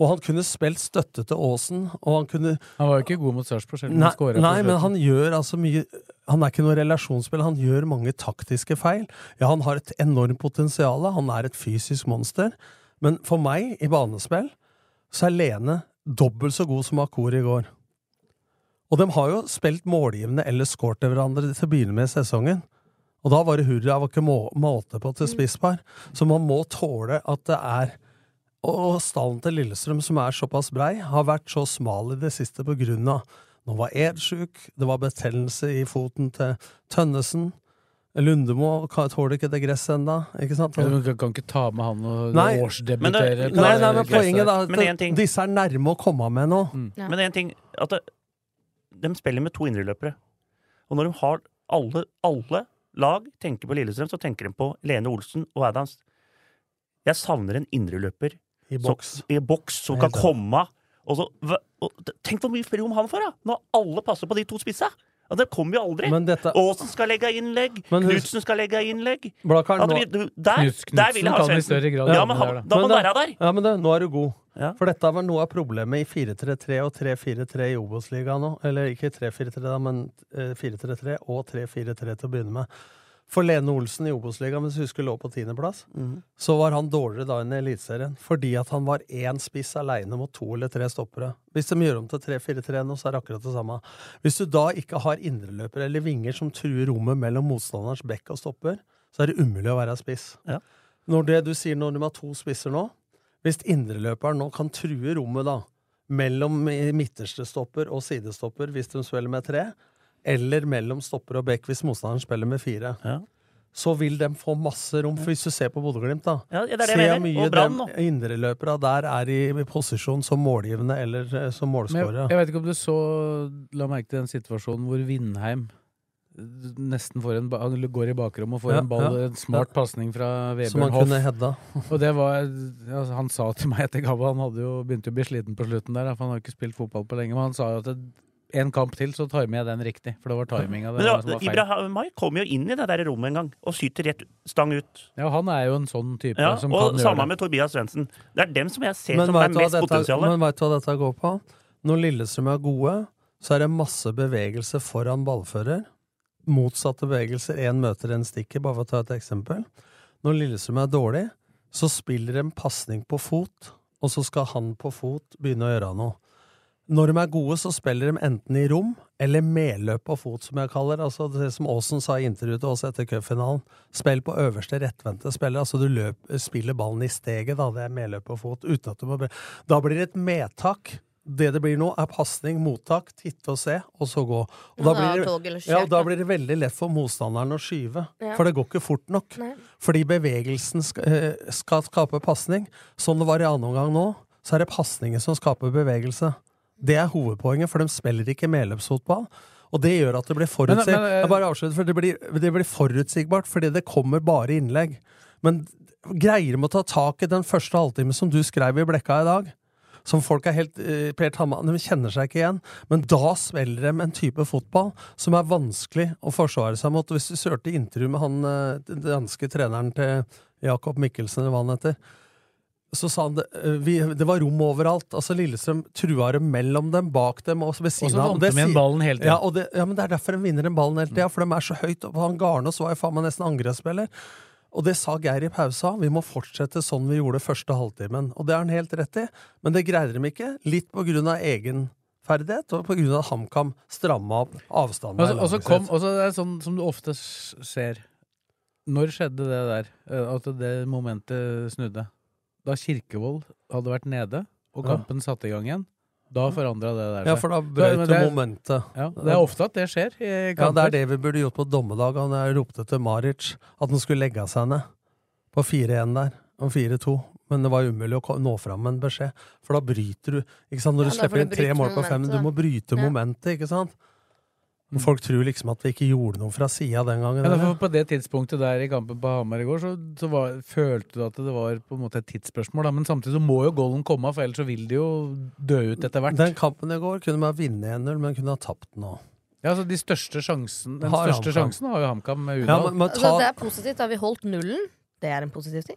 Speaker 6: Og han kunne spilt støtte til Aasen, og han kunne
Speaker 4: Han var jo ikke god mot Sarpsborg selv. om
Speaker 6: Nei,
Speaker 4: han scoret på
Speaker 6: nei men
Speaker 4: slutten.
Speaker 6: han gjør altså mye Han er ikke noe relasjonsspill, han gjør mange taktiske feil. Ja, han har et enormt potensial, han er et fysisk monster. Men for meg, i banespill, så er Lene dobbelt så god som Akor i går. Og de har jo spilt målgivende eller skåret til hverandre til å begynne med i sesongen. Og da var det hurra, var ikke må måte på
Speaker 5: Mm.
Speaker 6: til spisspar. Så man må tåle at det er Og stallen til Lillestrøm, som er såpass brei, har vært så smal i det siste på grunn av Nå var Ed sjuk, det var betennelse i foten til Tønnesen. Lundemo ka- tåler ikke det gresset ennå, ikke sant?
Speaker 4: Ja, men Du kan ikke ta med han og
Speaker 6: Nei.
Speaker 5: Men det-
Speaker 4: årsdebutere. på
Speaker 6: Nei, nei, men
Speaker 4: gresset Mm.
Speaker 6: poenget
Speaker 4: der.
Speaker 6: da
Speaker 5: Men en
Speaker 6: at
Speaker 5: ting.
Speaker 6: Disse er nærme å komme med nå.
Speaker 7: Ja.
Speaker 5: Men én ting at det, De spiller med to indreløpere. Og når de har alle, alle lag tenker på Lillestrøm, så tenker de på Lene Olsen og Adams. Jeg savner en indreløper
Speaker 6: I boks.
Speaker 5: som, i boks, som
Speaker 6: Jeg er
Speaker 5: kan
Speaker 6: helt enig.
Speaker 5: komme og så, hva- og, Tenk hvor mye from han får, da! Når alle passer på de to spissa! Ja, det kommer jo aldri!
Speaker 6: Men dette-
Speaker 5: Aasen skal legge innlegg,
Speaker 6: Men hus-
Speaker 5: Knutsen skal legge innlegg
Speaker 6: Blakkaren,
Speaker 5: At
Speaker 6: nå-
Speaker 5: vi- du- Der, der vil jeg ha sjansen! Ja, men han- da må han
Speaker 6: Men
Speaker 5: være der!
Speaker 6: Ja, men det, nå er du god. For dette var noe av problemet i 4-3-3 og 3-4-3 i Obos-ligaen nå. Eller ikke 3-4-3, da, men eh, 4-3-3 og 3-4-3 til å begynne med. For Lene Olsen i Obos-ligaen, hvis du husker lå på tiendeplass, så var han dårligere da enn i Eliteserien. Fordi at han var én spiss aleine mot to eller tre stoppere. Hvis de gjør om til 3-4-3 nå, så er det akkurat det samme. Hvis du da ikke har indreløpere eller vinger som truer rommet mellom motstanderens bekk og stopper, så er det umulig å være spiss. Når det du sier når de har to spisser nå, hvis indreløperen nå kan true rommet da, mellom midterste stopper og sidestopper hvis de spiller med tre, eller mellom stopper og bekk hvis motstanderen spiller med fire, så vil de få masse rom. For hvis du ser på Bodø-Glimt, da
Speaker 5: Ja, det er det jeg
Speaker 6: Se
Speaker 5: mener.
Speaker 6: hvor mye
Speaker 5: Og Brann
Speaker 6: de
Speaker 5: nå.
Speaker 6: indreløperne der er i, i posisjon som målgivende eller eh, som
Speaker 4: Men jeg,
Speaker 6: målskårere.
Speaker 4: jeg vet ikke om du så La merke til den situasjonen hvor Vindheim eh, nesten får en ba han går i bakrom og får
Speaker 6: Ja,
Speaker 4: en ball,
Speaker 6: ja,
Speaker 4: en smart
Speaker 6: ja.
Speaker 4: pasning fra
Speaker 6: Som han
Speaker 4: Vebjørn
Speaker 6: kunne
Speaker 4: Hoff.
Speaker 6: hedda.
Speaker 4: Og det var ja, Han sa til meg etter kampen Han hadde jo begynte å bli sliten på slutten der, da, for han har ikke spilt fotball på lenge, men han sa jo at det- en kamp til, så timer jeg den riktig. For det var timinga.
Speaker 5: Men da, Ibrahim Mai kommer jo inn i det der rommet en gang og skyter rett stang ut.
Speaker 4: Ja, han er jo en sånn type
Speaker 5: Ja,
Speaker 4: som kan
Speaker 5: og
Speaker 4: gjøre
Speaker 5: samme
Speaker 4: det.
Speaker 5: med Tobias Svendsen. Det er dem som jeg ser
Speaker 6: Men
Speaker 5: som er
Speaker 6: vet du hva
Speaker 5: mest
Speaker 6: dette-
Speaker 5: potensial.
Speaker 6: Men veit du hva dette går på? Når Lillestrøm er gode, så er det masse bevegelse foran ballfører. Motsatte bevegelser. Én møter, én stikker, bare for å ta et eksempel. Når Lillestrøm er dårlig, så spiller de en pasning på fot, og så skal han på fot begynne å gjøre noe. Når de er gode, så spiller de enten i rom eller medløp på fot, som jeg kaller det. Altså det som Aasen sa i intervjuet til oss etter cupfinalen. Spill på øverste rettvendte spiller. Altså du løp, spiller ballen i steget, da. Det er medløp på fot. Uten at du må bre- Da blir det et medtak. Det det blir nå, er pasning, mottak, titte og se, og så gå. Og da
Speaker 7: Ja, da er
Speaker 6: blir,
Speaker 7: tog eller
Speaker 6: det,
Speaker 7: skjørt,
Speaker 6: ja, og da blir det veldig lett for motstanderen å skyve.
Speaker 7: Ja.
Speaker 6: For det går ikke fort nok.
Speaker 7: Nei.
Speaker 6: Fordi bevegelsen skal, eh, skal skape pasning. Sånn det var i annen omgang nå, så er det pasningen som skaper bevegelse. Det er hovedpoenget, for de spiller ikke medløpsfotball. Og det gjør at det blir forutsig-
Speaker 4: Men- men, eh,
Speaker 6: Jeg bare avslutter, for det blir, det blir forutsigbart, fordi det kommer bare innlegg. Men greier de å ta tak i den første halvtimen som du skrev i Blekka i dag? Som folk er helt eh, Per Tamma, De kjenner seg ikke igjen. Men da svelger de en type fotball som er vanskelig å forsvare seg mot. Hvis du sørte intervju med han eh, den danske treneren til Jakob Mikkelsen, eller hva han heter, så sa han det, eh, vi, det var rom overalt. Altså Lillestrøm trua dem mellom dem, bak dem og ved siden
Speaker 4: så
Speaker 6: av.
Speaker 4: vant
Speaker 6: Det
Speaker 4: de igjen
Speaker 6: sier-
Speaker 4: ballen hele tiden. Mm.
Speaker 6: Ja, og det, ja, men det er derfor de vinner den ballen hele tida, for de er så høyt oppe. Han Garnås var jo faen meg nesten angrepsspiller. Og det sa Geir i pausa. Vi må fortsette sånn vi gjorde første halvtimen. Og det har han helt rett i, men det greide de ikke. Litt på grunn av egenferdighet, og på grunn av at HamKam stramma opp avstanden.
Speaker 4: Og så- Og så kom, og så det er sånn som du ofte s- ser Når skjedde det der? eh, At det momentet snudde? Da Kirkevold hadde vært nede, og
Speaker 6: Ja.
Speaker 4: kampen satte i gang igjen, Da forandra det der seg.
Speaker 6: Ja, for da brøt
Speaker 4: men
Speaker 6: det
Speaker 4: er-
Speaker 6: momentet.
Speaker 4: Ja, det er ofte at det skjer. i
Speaker 6: Ja, det
Speaker 4: kamper.
Speaker 6: er det vi burde gjort på dommedag. Han jeg ropte til Maric at han skulle legge seg ned på 4-1 der, og 4-2. Men det var jo umulig å ko- nå fram med en beskjed, for da bryter du ikke sant? Når du
Speaker 4: Ja, da får
Speaker 6: slipper
Speaker 4: du
Speaker 6: inn tre
Speaker 4: bryte
Speaker 6: mål på fem,
Speaker 4: momentet,
Speaker 6: du må
Speaker 4: da.
Speaker 6: bryte
Speaker 4: Ja.
Speaker 6: momentet, ikke sant? Men folk tror liksom at vi ikke gjorde noe fra sida den gangen.
Speaker 4: Ja,
Speaker 6: eller?
Speaker 4: for på det tidspunktet der i kampen på Hamar i går, så, så var, følte du at det var på en måte et tidsspørsmål. Da. Men samtidig så må jo goalen komme, for ellers så vil de jo dø ut etter hvert.
Speaker 6: Den kampen i går kunne man vinne 1-0, men kunne ha tapt den òg.
Speaker 4: Ja, altså de største sjansen, Den
Speaker 6: Har
Speaker 4: største
Speaker 6: HamKam.
Speaker 4: sjansen har jo HamKam med
Speaker 6: Ja,
Speaker 4: Udal.
Speaker 6: men- men
Speaker 7: Altså, det er positivt. Har vi holdt nullen? Det er en positiv ting.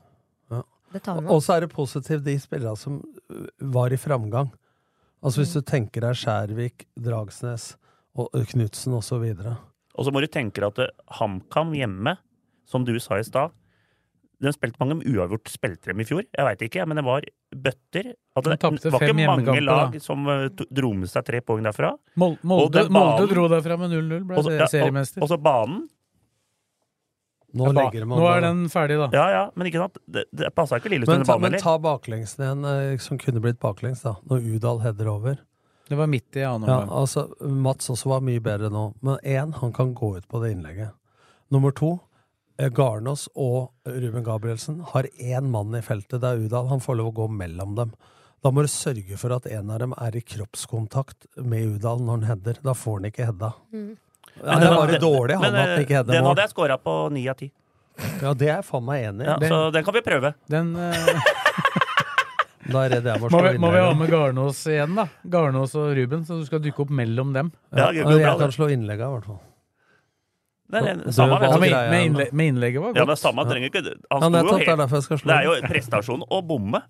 Speaker 6: Ja.
Speaker 7: Det tar vi med.
Speaker 6: Og så er det positivt de spillerne som ø, var i framgang. Altså Hvis du tenker deg Skjærvik, Dragsnes, og Knutsen osv.
Speaker 5: Og så må du tenke deg at eh, HamKam hjemme, som du sa i stad Den spilte mange uavgjort spilte dem i fjor, jeg veit ikke, men det var bøtter. At
Speaker 4: De
Speaker 5: det,
Speaker 4: tapte
Speaker 5: var
Speaker 4: fem
Speaker 5: ikke mange
Speaker 4: hjemmekamper,
Speaker 5: lag
Speaker 4: da.
Speaker 5: som eh, to- dro med seg tre poeng derfra.
Speaker 4: Mol-
Speaker 5: Og
Speaker 4: Molde,
Speaker 5: den
Speaker 4: Molde
Speaker 5: banen-
Speaker 4: dro derfra med 0-0, ble
Speaker 5: Og så-
Speaker 4: det
Speaker 5: ja, og-
Speaker 4: seriemester.
Speaker 5: Og så banen.
Speaker 6: Nå
Speaker 5: Ja,
Speaker 6: legger
Speaker 5: ba-
Speaker 6: man
Speaker 4: Nå
Speaker 6: da-
Speaker 4: er den ferdig, da.
Speaker 5: Ja, ja, men ikke sant? Det, det passa ikke Lillestrøm
Speaker 6: Men
Speaker 5: i
Speaker 6: ta,
Speaker 5: banen
Speaker 6: men
Speaker 5: heller.
Speaker 6: ta baklengsen igjen, eh, som kunne blitt baklengs, da. Når Udal header over.
Speaker 4: Det var midt i annen
Speaker 6: Ja,
Speaker 4: omgang.
Speaker 6: altså, Mats også var mye bedre nå. Men én, han kan gå ut på det innlegget. Nummer to, eh, Garnås og Ruben Gabrielsen har én mann i feltet. Det er Udal. Han får lov å gå mellom dem. Da må du sørge for at en av dem er i kroppskontakt med Udal når han header. Da får han ikke heada.
Speaker 7: Mm.
Speaker 6: Ja, det
Speaker 5: eh,
Speaker 6: var jo dårlig han at han ikke header
Speaker 5: Den
Speaker 6: mål.
Speaker 5: hadde jeg scora på ni av ti.
Speaker 6: Ja, det er jeg faen meg enig i.
Speaker 5: Ja, så den kan vi prøve.
Speaker 4: Den, eh,
Speaker 6: Da er jeg redd jeg må
Speaker 4: må,
Speaker 6: slå
Speaker 4: vi, må vi ha
Speaker 6: innlegget.
Speaker 4: med Garnås igjen, da? Garnås og Ruben, så du skal dukke opp mellom dem.
Speaker 6: Ja, jeg kan slå innlegget, i hvert fall.
Speaker 5: Det er det
Speaker 6: Det
Speaker 5: samme,
Speaker 6: var
Speaker 5: vet du.
Speaker 6: greia,
Speaker 4: Med innle- med innlegget var
Speaker 5: Ja,
Speaker 4: godt.
Speaker 5: men samme trenger ikke Han
Speaker 6: Ja,
Speaker 5: sto jo
Speaker 6: nettopp, det er
Speaker 5: helt-
Speaker 6: derfor jeg skal slå
Speaker 5: Det er jo
Speaker 6: den.
Speaker 5: prestasjon å bomme.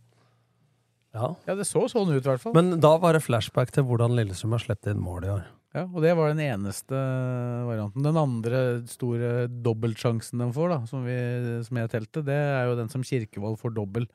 Speaker 6: Ja.
Speaker 4: Ja, det så sånn ut, i hvert fall.
Speaker 6: Men da var det flashback til hvordan Lillestrøm har sluppet inn mål i år.
Speaker 4: Ja, og det var den eneste varianten. Den andre store dobbeltsjansen de får, da, som, vi, som jeg telte, det er jo den som Kirkevold får dobbel.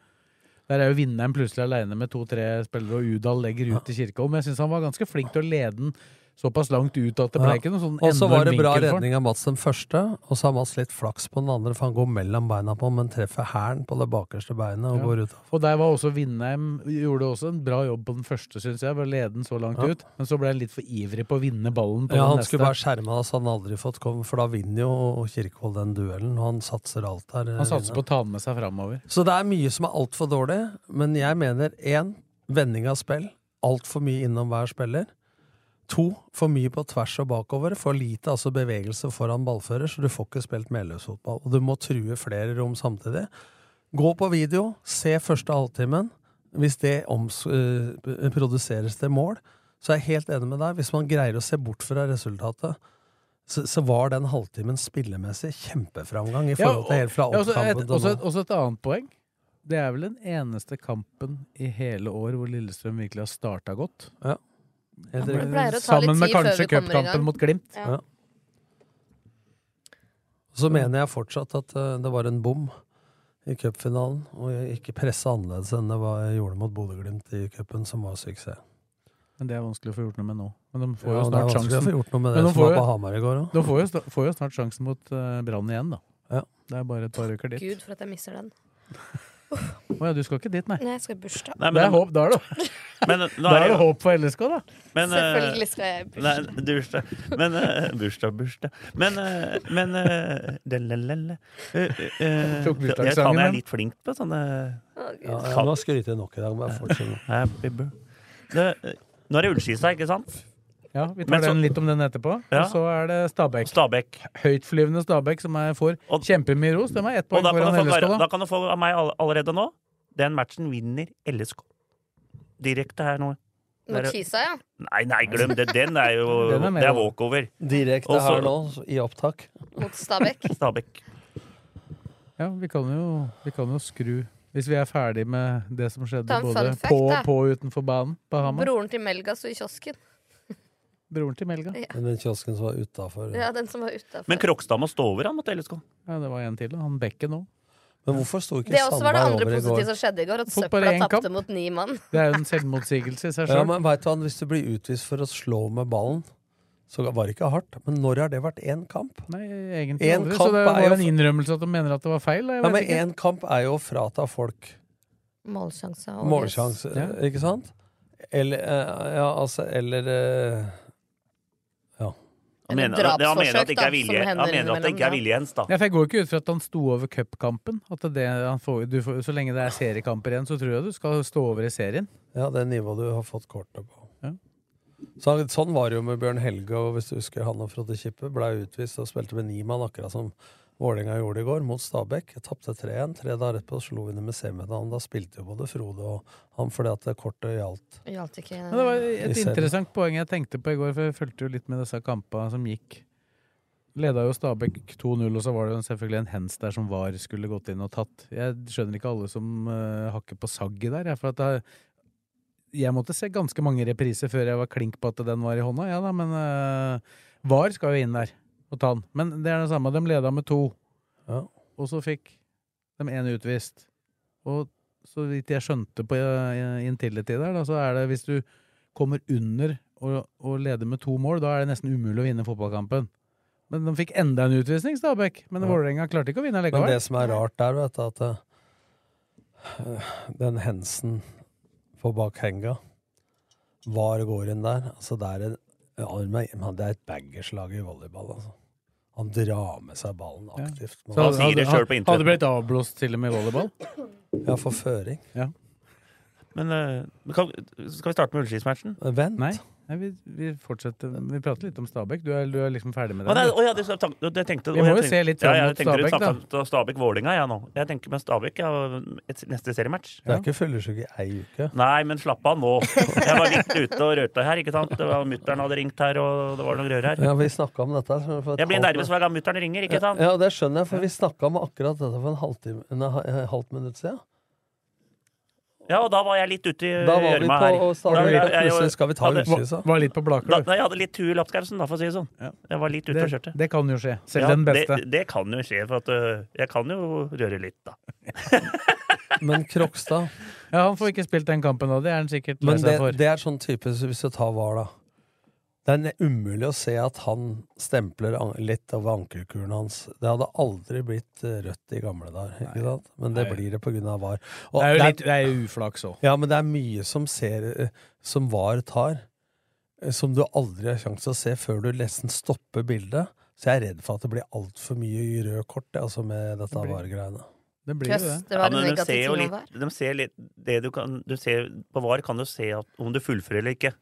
Speaker 4: Der er jo vinneren plutselig aleine med to-tre spillere, og Udal legger ut til Kirkevold. Men jeg syns han var ganske flink til å lede den såpass langt ut at det ble ikke noen sånn
Speaker 6: Og så
Speaker 4: enorm
Speaker 6: var det bra
Speaker 4: vinkel for den.
Speaker 6: redning av Mats den første, og så har Mats litt flaks på den andre, for han går mellom beina på ham, men treffer hælen på det bakerste beinet og
Speaker 4: Ja.
Speaker 6: går ut.
Speaker 4: Og der var også Vindheim gjorde også en bra jobb på den første, syns jeg. Ved å lede den så langt
Speaker 6: Ja.
Speaker 4: ut. Men så ble han litt for ivrig på å vinne ballen på
Speaker 6: Ja, han
Speaker 4: den neste.
Speaker 6: skulle bare skjerme det, så han aldri fått komme, for da vinner jo Kirkevold den duellen, og han satser alt der.
Speaker 4: Han satser på å ta den med seg framover.
Speaker 6: Så det er mye som er altfor dårlig, men jeg mener én vending av spill. Altfor mye innom hver spiller. To for mye på tvers og bakover. For lite altså bevegelse foran ballfører, så du får ikke spilt medløpsfotball. Og du må true flere rom samtidig. Gå på video, se første halvtimen. Hvis det oms eh, produseres til mål, så er jeg helt enig med deg. Hvis man greier å se bort fra resultatet, så, så var den halvtimen spillemessig kjempeframgang i forhold til helt fra
Speaker 4: ja, altså, også et,
Speaker 6: oppkampen til
Speaker 4: også,
Speaker 6: nå.
Speaker 4: et, også et annet poeng. Det er vel den eneste kampen i hele år hvor Lillestrøm virkelig har starta godt.
Speaker 6: Ja. Helt
Speaker 7: riktig. Det pleier å ta litt
Speaker 4: Sammen med
Speaker 7: tid før
Speaker 4: kanskje
Speaker 7: vi kommer i gang.
Speaker 4: cupkampen mot Glimt.
Speaker 7: Ja. Ja.
Speaker 6: Så mener jeg fortsatt at eh, det var en bom i cupfinalen, og jeg ikke pressa annerledes enn det var jeg gjorde mot Bodø-Glimt i cupen, som var suksess.
Speaker 4: Men det er vanskelig å få gjort noe med nå. Men de får
Speaker 6: Ja,
Speaker 4: jo
Speaker 6: det er
Speaker 4: snart
Speaker 6: vanskelig å få
Speaker 4: sjansen.
Speaker 6: gjort noe med
Speaker 4: Men
Speaker 6: det
Speaker 4: de
Speaker 6: som
Speaker 4: får
Speaker 6: var
Speaker 4: jo-
Speaker 6: på Hamar i går også.
Speaker 4: De får jo, sta- får jo snart sjansen mot eh, Brann igjen, da.
Speaker 6: Ja.
Speaker 4: Det er bare et par uker dit.
Speaker 7: Gud, for at jeg misser den.
Speaker 4: Å ja, du skal ikke dit, nei.
Speaker 7: Nei, jeg skal i bursdag.
Speaker 5: Nei, men-
Speaker 4: det er håp, da er det,
Speaker 5: Men, nå
Speaker 4: da
Speaker 5: er
Speaker 4: er
Speaker 5: det-
Speaker 4: det håp for LSK, da.
Speaker 5: Men, eh,
Speaker 7: Selvfølgelig skal jeg i bursdag.
Speaker 5: Nei, bursdag. Men eh, Bursdag, bursdag Men, eh, men eh, delelele. Eh, eh,
Speaker 4: Tok
Speaker 5: Jeg
Speaker 4: bursdagssangen,
Speaker 5: jeg faen, jeg er
Speaker 4: men.
Speaker 5: litt flink på sånne
Speaker 6: Ja, jeg må skryte nok i dag, bare fortsett nå.
Speaker 5: Happy birth- Det, eh, Nå er det Ullskisa, ikke sant?
Speaker 4: Ja, Vi tar
Speaker 5: Men så-
Speaker 4: den litt om den etterpå.
Speaker 5: Ja.
Speaker 4: Og så er det Stabæk.
Speaker 5: Stabæk.
Speaker 4: Høytflyvende Stabæk, som er får kjempemye ros. De er ett
Speaker 5: Og
Speaker 4: poeng
Speaker 5: da kan, du
Speaker 4: foran
Speaker 5: få,
Speaker 4: LSK,
Speaker 5: bare-
Speaker 4: da.
Speaker 5: da kan du få av meg all- allerede nå. Den matchen vinner LSK. Direkte her nå. Der-
Speaker 7: Mot Kisa, ja.
Speaker 5: Nei, nei, glem det. Den er jo
Speaker 6: Den er mer
Speaker 5: Det er
Speaker 6: over.
Speaker 5: walkover.
Speaker 6: Direkte
Speaker 5: Og så-
Speaker 6: her nå, i opptak.
Speaker 7: Mot Stabæk.
Speaker 5: Stabæk.
Speaker 4: Ja, vi kan, jo, vi kan jo skru Hvis vi er ferdig med det som skjedde
Speaker 7: Ta en
Speaker 4: både
Speaker 7: fun fact,
Speaker 4: på,
Speaker 7: da.
Speaker 4: på og utenfor banen på Hamar.
Speaker 7: Broren til Melga sto i kiosken.
Speaker 4: Broren til Melga.
Speaker 7: Ja.
Speaker 6: Den kiosken som var utafor.
Speaker 7: Ja, den som var utafor.
Speaker 5: Men Krokstad må stå over han mot LSK.
Speaker 4: Ja, det var en til. da. Han Bekken òg.
Speaker 6: Men hvorfor sto ikke
Speaker 7: Det også var det
Speaker 6: Sandberg
Speaker 7: andre
Speaker 6: over i
Speaker 7: positive
Speaker 6: går?
Speaker 7: som skjedde i går, at
Speaker 4: Tok bare
Speaker 7: søpla
Speaker 4: én
Speaker 7: tapte
Speaker 4: kamp.
Speaker 7: mot ni mann.
Speaker 4: Det er jo en selvmotsigelse i seg
Speaker 6: Ja,
Speaker 4: sjøl.
Speaker 6: men vet du, hva, Hvis du blir utvist for å slå med ballen, så var det ikke hardt. Men når har det vært én kamp?
Speaker 4: Nei, egentlig
Speaker 6: En
Speaker 4: aldri. Så
Speaker 6: kamp
Speaker 4: det
Speaker 6: er
Speaker 4: var
Speaker 6: jo-
Speaker 4: en innrømmelse at de mener at det var feil. da. Jeg
Speaker 6: Ja,
Speaker 4: vet
Speaker 6: men
Speaker 4: ikke.
Speaker 6: én kamp er jo å frata folk
Speaker 7: Målsjanser. og-
Speaker 6: målsjanse,
Speaker 4: Ja.
Speaker 6: ikke sant? Eller eh, Ja, altså, eller eh, Ja.
Speaker 5: Han mener, ja, han mener at det ikke er vilje, han mener at det ikke er vilje hens, da.
Speaker 4: Ja, for jeg går jo ikke ut fra at han sto over cupkampen. At det han får, du får, så lenge det er seriekamper igjen, så tror jeg du skal stå over i serien.
Speaker 6: Ja, det nivået du har fått kortene på. Så, sånn var det jo med Bjørn Helge, og hvis du husker han og Frode Kippe ble utvist og spilte med ni mann, akkurat som Vålerenga gjorde i går, mot Stabæk. Jeg Tapte 3-1. Tre dager etterpå slo vi dem i semifinalen. Da spilte jo både Frode og ham fordi at det kortet gjaldt.
Speaker 7: Gjaldt ikke
Speaker 4: Men det var
Speaker 6: I
Speaker 4: et
Speaker 6: serien.
Speaker 4: interessant poeng jeg tenkte på i går, for jeg fulgte jo litt med disse kampene som gikk. Leda jo Stabæk 2-0, og så var det jo selvfølgelig en hands der som VAR skulle gått inn og tatt. Jeg skjønner ikke alle som eh, hakker på sagget der. jeg, For at jeg, jeg måtte se ganske mange repriser før jeg var klink på at den var i hånda. Ja da, men eh, VAR skal jo inn der og ta den. Men det er det samme. De leda med to, og så fikk de én utvist. Og så vidt jeg skjønte på eh, Intility der, da, så er det hvis du kommer under og, og leder med to mål, da er det nesten umulig å vinne fotballkampen. Men de fikk enda en utvisning, Stabæk. Men
Speaker 6: Ja.
Speaker 4: Vålerenga klarte ikke å vinne
Speaker 6: Men
Speaker 4: likevel.
Speaker 6: det som er rart der, vet du, at eh, den hensen på bak henga Var går inn der? Altså, det er, en, ja, men det er et baggerslag i volleyball, altså. Han drar med seg ballen aktivt.
Speaker 4: Så hadde, hadde, hadde, hadde blitt avblåst til og med i volleyball.
Speaker 6: Ja, for føring.
Speaker 4: Ja.
Speaker 5: Men eh, kan, skal vi starte med Ullskis-matchen?
Speaker 6: Vent.
Speaker 4: Nei, nei vi, vi fortsetter. Vi prater litt om Stabæk. Du er, du er liksom ferdig med
Speaker 5: Å,
Speaker 4: det.
Speaker 5: nei, å ja, det, jeg tenkte, jeg tenkte,
Speaker 4: Vi må
Speaker 5: jeg
Speaker 4: jo
Speaker 5: tenkte-
Speaker 4: se litt
Speaker 5: ja,
Speaker 4: frem
Speaker 5: jeg
Speaker 4: mot
Speaker 5: tenkte du
Speaker 4: Stabæk, da.
Speaker 5: snakket om Stabæk-Vålinga, jeg nå. Jeg tenker med Stabæk ja, et, neste seriematch.
Speaker 6: Det er ikke fyllesyke i ei uke.
Speaker 5: Nei, men slapp av nå. Jeg var litt ute og rørte her, ikke sant. Det var Mutter'n hadde ringt her, og det var noe rør her.
Speaker 6: Ja, vi snakka om dette. her for et
Speaker 5: Jeg blir
Speaker 6: halvt-
Speaker 5: nervøs hver gang mutter'n ringer, ikke sant?
Speaker 6: Ja, ja, det skjønner jeg, for vi snakka om akkurat dette for en halvtime, nei, et halvt minutt siden.
Speaker 5: Ja, og da var jeg litt ute i
Speaker 6: Da var vi
Speaker 5: gjørma
Speaker 6: på
Speaker 5: her.
Speaker 6: og sa
Speaker 5: Eh, Da-
Speaker 6: vi
Speaker 5: jeg- jeg-
Speaker 6: plutselig skal vi ta
Speaker 5: hadde-
Speaker 6: Ullskisa.
Speaker 4: Var litt på
Speaker 5: Da,
Speaker 4: Blaker, du.
Speaker 5: nei, jeg hadde litt tue i lapskausen, da, for å si det sånn. Jeg var litt ute
Speaker 4: Det,
Speaker 5: og kjørte.
Speaker 4: det kan jo skje. Selv
Speaker 5: Ja,
Speaker 4: den beste.
Speaker 5: Det, det kan jo skje, for at øh, jeg kan jo røre litt, da.
Speaker 6: Men Krokstad
Speaker 4: Ja, Han får ikke spilt den kampen, da. Det er han sikkert lei
Speaker 6: Men det,
Speaker 4: seg for.
Speaker 6: det er sånn type, så hvis du tar VAR, da. Det er ne- umulig å se at han stempler an- litt over ankelkuren hans. Det hadde aldri blitt eh, rødt i gamle dager, ikke sant? Men det
Speaker 4: Nei.
Speaker 6: blir det på grunn av VAR. Og
Speaker 4: Det er jo litt, det er jo uflaks òg.
Speaker 6: Ja, men det er mye som, ser, eh, som VAR tar, eh, som du aldri har sjanse til å se før du nesten stopper bildet. Så jeg er redd for at det blir altfor mye røde kort jeg, altså med dette
Speaker 4: blir-
Speaker 6: VAR-greiene.
Speaker 4: Det blir jo det.
Speaker 7: Trøst, det var
Speaker 5: men de
Speaker 7: en
Speaker 5: ser
Speaker 7: negativ
Speaker 5: jo
Speaker 7: ting om
Speaker 5: litt,
Speaker 7: vær.
Speaker 5: de ser litt det du kan, du ser, På VAR kan du se at, om du fullfører eller ikke.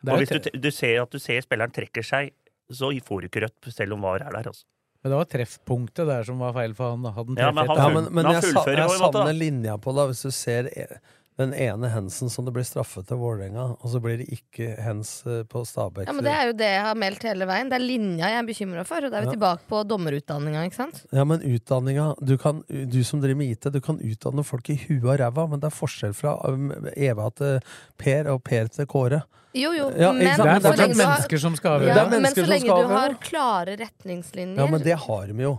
Speaker 4: Det er
Speaker 5: Og
Speaker 4: jo
Speaker 5: hvis du, te- du ser at du ser spilleren trekker seg, så får du ikke rødt, selv om VAR er der. Altså.
Speaker 4: Men det var treffpunktet der som var feil for han. da. Hadde han
Speaker 5: Ja, men
Speaker 4: treffet-
Speaker 5: han
Speaker 6: Ja, men, men
Speaker 5: Men han
Speaker 6: jeg, sa,
Speaker 5: fullfører
Speaker 6: jeg
Speaker 5: på en måte, da.
Speaker 6: savner linja på det. Hvis du ser e- den ene hensen som det blir straffet til Vålerenga, og så blir det ikke hens eh, på Stabæk.
Speaker 7: Ja, men Det er jo det jeg har meldt hele veien. Det er linja jeg er bekymra for. Og da er vi
Speaker 6: Ja.
Speaker 7: tilbake på dommerutdanninga, ikke sant?
Speaker 6: Ja, men utdanninga du, kan, du som driver med IT, du kan utdanne folk i huet og ræva, men det er forskjell fra um, Eva til Per og Per til Kåre.
Speaker 7: Jo, jo,
Speaker 6: Ja,
Speaker 7: men
Speaker 6: ikke sant? Det er
Speaker 7: så lenge
Speaker 6: fortsatt
Speaker 7: du har-
Speaker 6: mennesker som skal avgjøre.
Speaker 7: ja,
Speaker 6: Det er
Speaker 7: Men
Speaker 6: mennesker
Speaker 7: så
Speaker 6: som
Speaker 7: lenge
Speaker 6: skal
Speaker 7: du har
Speaker 6: avgjøre.
Speaker 7: klare retningslinjer
Speaker 6: Ja, men det har de jo.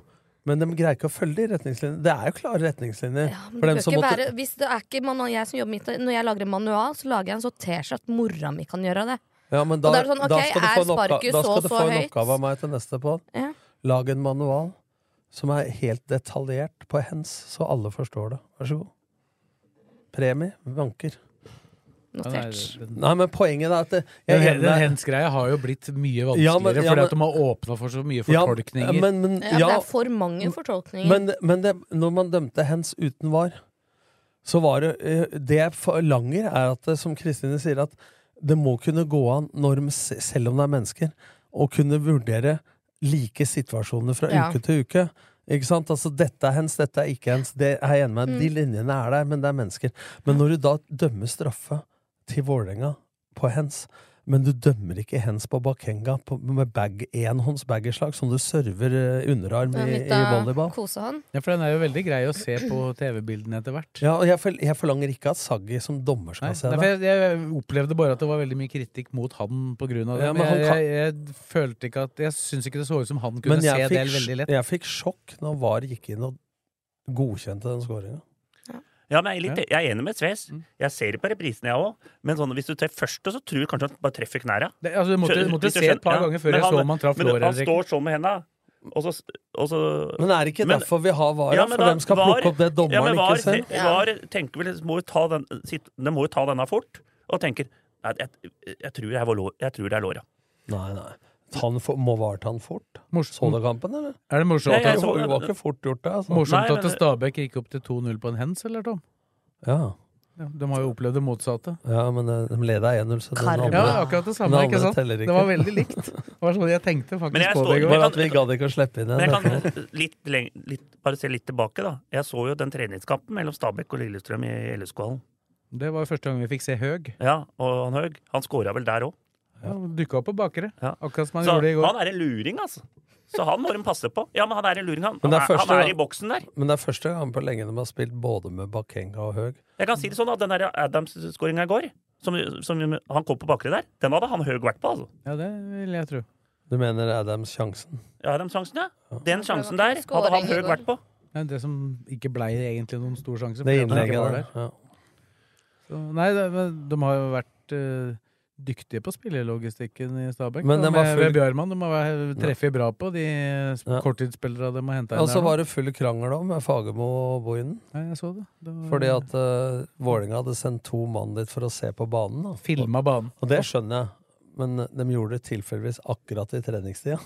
Speaker 6: Men de greier ikke å følge de retningslinjene. Det er jo klare retningslinjer.
Speaker 7: Men
Speaker 6: for
Speaker 7: det
Speaker 6: dem
Speaker 7: bør
Speaker 6: som
Speaker 7: ikke
Speaker 6: måtte-
Speaker 7: være, hvis det er ikke man og jeg som jobber midt, Når jeg lager en manual, så lager jeg en så teskje at mora mi kan gjøre det.
Speaker 6: Ja, men da,
Speaker 7: Og da er det sånn,
Speaker 6: da
Speaker 7: ok,
Speaker 6: skal du
Speaker 7: er
Speaker 6: få en, oppga
Speaker 7: sparket
Speaker 6: da skal
Speaker 7: så og
Speaker 6: du
Speaker 7: så
Speaker 6: få en
Speaker 7: høyt?
Speaker 6: oppgave av meg til neste på.
Speaker 7: Ja.
Speaker 6: Lag en manual som er helt detaljert på hens, så alle forstår det. Vær så god. Premie vanker.
Speaker 4: Notert. Ja, nei, det-
Speaker 6: Nei, men poenget er at det- jeg er
Speaker 4: Den, hen-
Speaker 6: enig
Speaker 4: den
Speaker 6: med-
Speaker 4: hens-greia har jo blitt mye vanskeligere,
Speaker 6: Ja, men- ja,
Speaker 4: fordi
Speaker 6: men-
Speaker 4: at de har åpna for så mye
Speaker 6: Ja,
Speaker 4: fortolkninger.
Speaker 6: men- men-
Speaker 7: Ja, Det er for mange fortolkninger.
Speaker 6: Men, men det, når man dømte hens uten var, så var det eh, Det jeg forlanger, er at det, som Kristine sier, at det må kunne gå an, når, de se- selv om det er mennesker, å kunne vurdere like situasjoner fra
Speaker 8: Ja.
Speaker 6: uke til uke. Ikke sant? Altså, dette er hens, dette er ikke hens. Det er jeg enig med. De
Speaker 8: Mm.
Speaker 6: linjene er der, men det er mennesker. Men når du da dømmer straffe til Vålerenga på hens, men du dømmer ikke hens på bakenga på, med bag, enhåndsbaggerslag som du server eh, underarm i, i volleyball.
Speaker 7: Kosehånd.
Speaker 4: Ja, for den er jo veldig grei å se på TV-bildene etter hvert.
Speaker 6: Ja, og jeg, forl- jeg forlanger ikke at Saggi som dommer skal se
Speaker 4: Nei, for
Speaker 6: det.
Speaker 4: jeg, jeg opplevde bare at det var veldig mye kritikk mot han på grunn av det.
Speaker 6: Ja, men
Speaker 4: men
Speaker 6: han
Speaker 4: jeg,
Speaker 6: kan-
Speaker 4: jeg, jeg følte ikke at Jeg syns ikke det så ut som han kunne
Speaker 6: Men
Speaker 4: se
Speaker 6: jeg
Speaker 4: det
Speaker 6: fikk,
Speaker 4: veldig
Speaker 6: sj-
Speaker 4: lett.
Speaker 6: jeg fikk sjokk når VAR gikk inn og godkjente den scoringa.
Speaker 5: Ja, men jeg, er litt, jeg er enig med Sves.
Speaker 4: Mm.
Speaker 5: Jeg ser det på reprisene, jeg òg. Men sånn, hvis du treffer første, så tror jeg kanskje han bare treffer knæra.
Speaker 4: Det- altså, du måtte-
Speaker 5: Skjø-
Speaker 4: du måtte
Speaker 5: hvis
Speaker 4: se et
Speaker 5: skjønner-
Speaker 4: par ganger før jeg
Speaker 5: men
Speaker 4: så om han traff
Speaker 5: Men
Speaker 4: låret
Speaker 5: han
Speaker 4: eller
Speaker 5: står sånn med henda, og så, og så
Speaker 6: Men er det ikke
Speaker 5: Men-
Speaker 6: derfor vi har VAR?
Speaker 5: Ja, men
Speaker 6: for
Speaker 5: da-
Speaker 6: dem skal
Speaker 5: var-
Speaker 6: plukke opp det dommeren
Speaker 5: ja, men var,
Speaker 6: ikke ser?
Speaker 5: var tenker vel, må jo ta den, sitt, De må jo ta denne fort, og tenker Nei, jeg, jeg, tror det her var lår, jeg tror det er låra.
Speaker 6: Nei, nei. Tann for, må være tann fort. Så du kampen, eller?
Speaker 4: Er det morsomt
Speaker 6: Nei, jeg
Speaker 4: at-
Speaker 6: så- Det var ikke fort gjort, det. Altså.
Speaker 4: Morsomt
Speaker 6: Nei,
Speaker 4: at
Speaker 6: men-
Speaker 4: Stabæk gikk opp til 2-0 på en hens, eller, Tom?
Speaker 6: Ja.
Speaker 4: Ja, De har jo opplevd det motsatte.
Speaker 6: Ja, men eh, de leda 1-0, så den andre-
Speaker 4: Ja, akkurat det samme,
Speaker 6: den
Speaker 4: ikke
Speaker 6: andre
Speaker 4: sant?
Speaker 6: teller
Speaker 4: Det var veldig likt. Det var sånn jeg tenkte
Speaker 5: Men jeg
Speaker 4: faktisk på
Speaker 5: står-
Speaker 4: det i går.
Speaker 5: Bare at vi
Speaker 6: gadd ikke å slippe inn
Speaker 5: Men jeg kan litt, leng- litt, bare se litt tilbake, da. Jeg så jo den treningskampen mellom Stabæk og Lillestrøm i LSK-hallen.
Speaker 4: Det var jo første gang vi fikk se Høg.
Speaker 5: Ja, og han Høeg, han scora vel der òg.
Speaker 4: Dukka opp på bakere, akkurat som han
Speaker 5: Så
Speaker 4: gjorde i går.
Speaker 5: han er en luring, altså. Så han må de passe på. Ja, men han er en luring, han.
Speaker 6: Men det er
Speaker 5: han, er,
Speaker 6: første
Speaker 5: han
Speaker 6: gang-
Speaker 5: er i boksen der.
Speaker 6: Men det er første gang på lenge de har spilt både med Bakenga og Høg.
Speaker 5: Jeg kan si det sånn at den der Adams-skåringa i går, som, som han kom på bakre der, den hadde han Høeg vært på, altså.
Speaker 4: Ja, det vil jeg tro.
Speaker 6: Du mener Adams sjansen?
Speaker 5: Ja, den sjansen, ja. Den sjansen der hadde han Høeg vært på.
Speaker 4: Men det som ikke blei egentlig noen stor sjanse.
Speaker 6: Det
Speaker 4: fordi at han ikke
Speaker 6: innlegget
Speaker 4: var
Speaker 6: der.
Speaker 4: der.
Speaker 6: Ja.
Speaker 4: Så, nei, det, men de har jo vært eh, dyktige på spillerlogistikken i Stabæk.
Speaker 6: Men
Speaker 4: da,
Speaker 6: de var
Speaker 4: med,
Speaker 6: full-
Speaker 4: med Bjørman. De har treffet bra på de
Speaker 6: Ja.
Speaker 4: ja. korttidsspillerne de har henta inn.
Speaker 6: Og så
Speaker 4: der nå.
Speaker 6: var det full krangel om med Fagermo og Bohinen.
Speaker 4: Ja, jeg så det. det var...
Speaker 5: Mm.
Speaker 6: Fordi at uh, Vålerenga hadde sendt to mann dit for å se på banen. Da.
Speaker 4: Filma banen.
Speaker 6: Og det skjønner jeg, men de gjorde det tilfeldigvis akkurat i treningstida.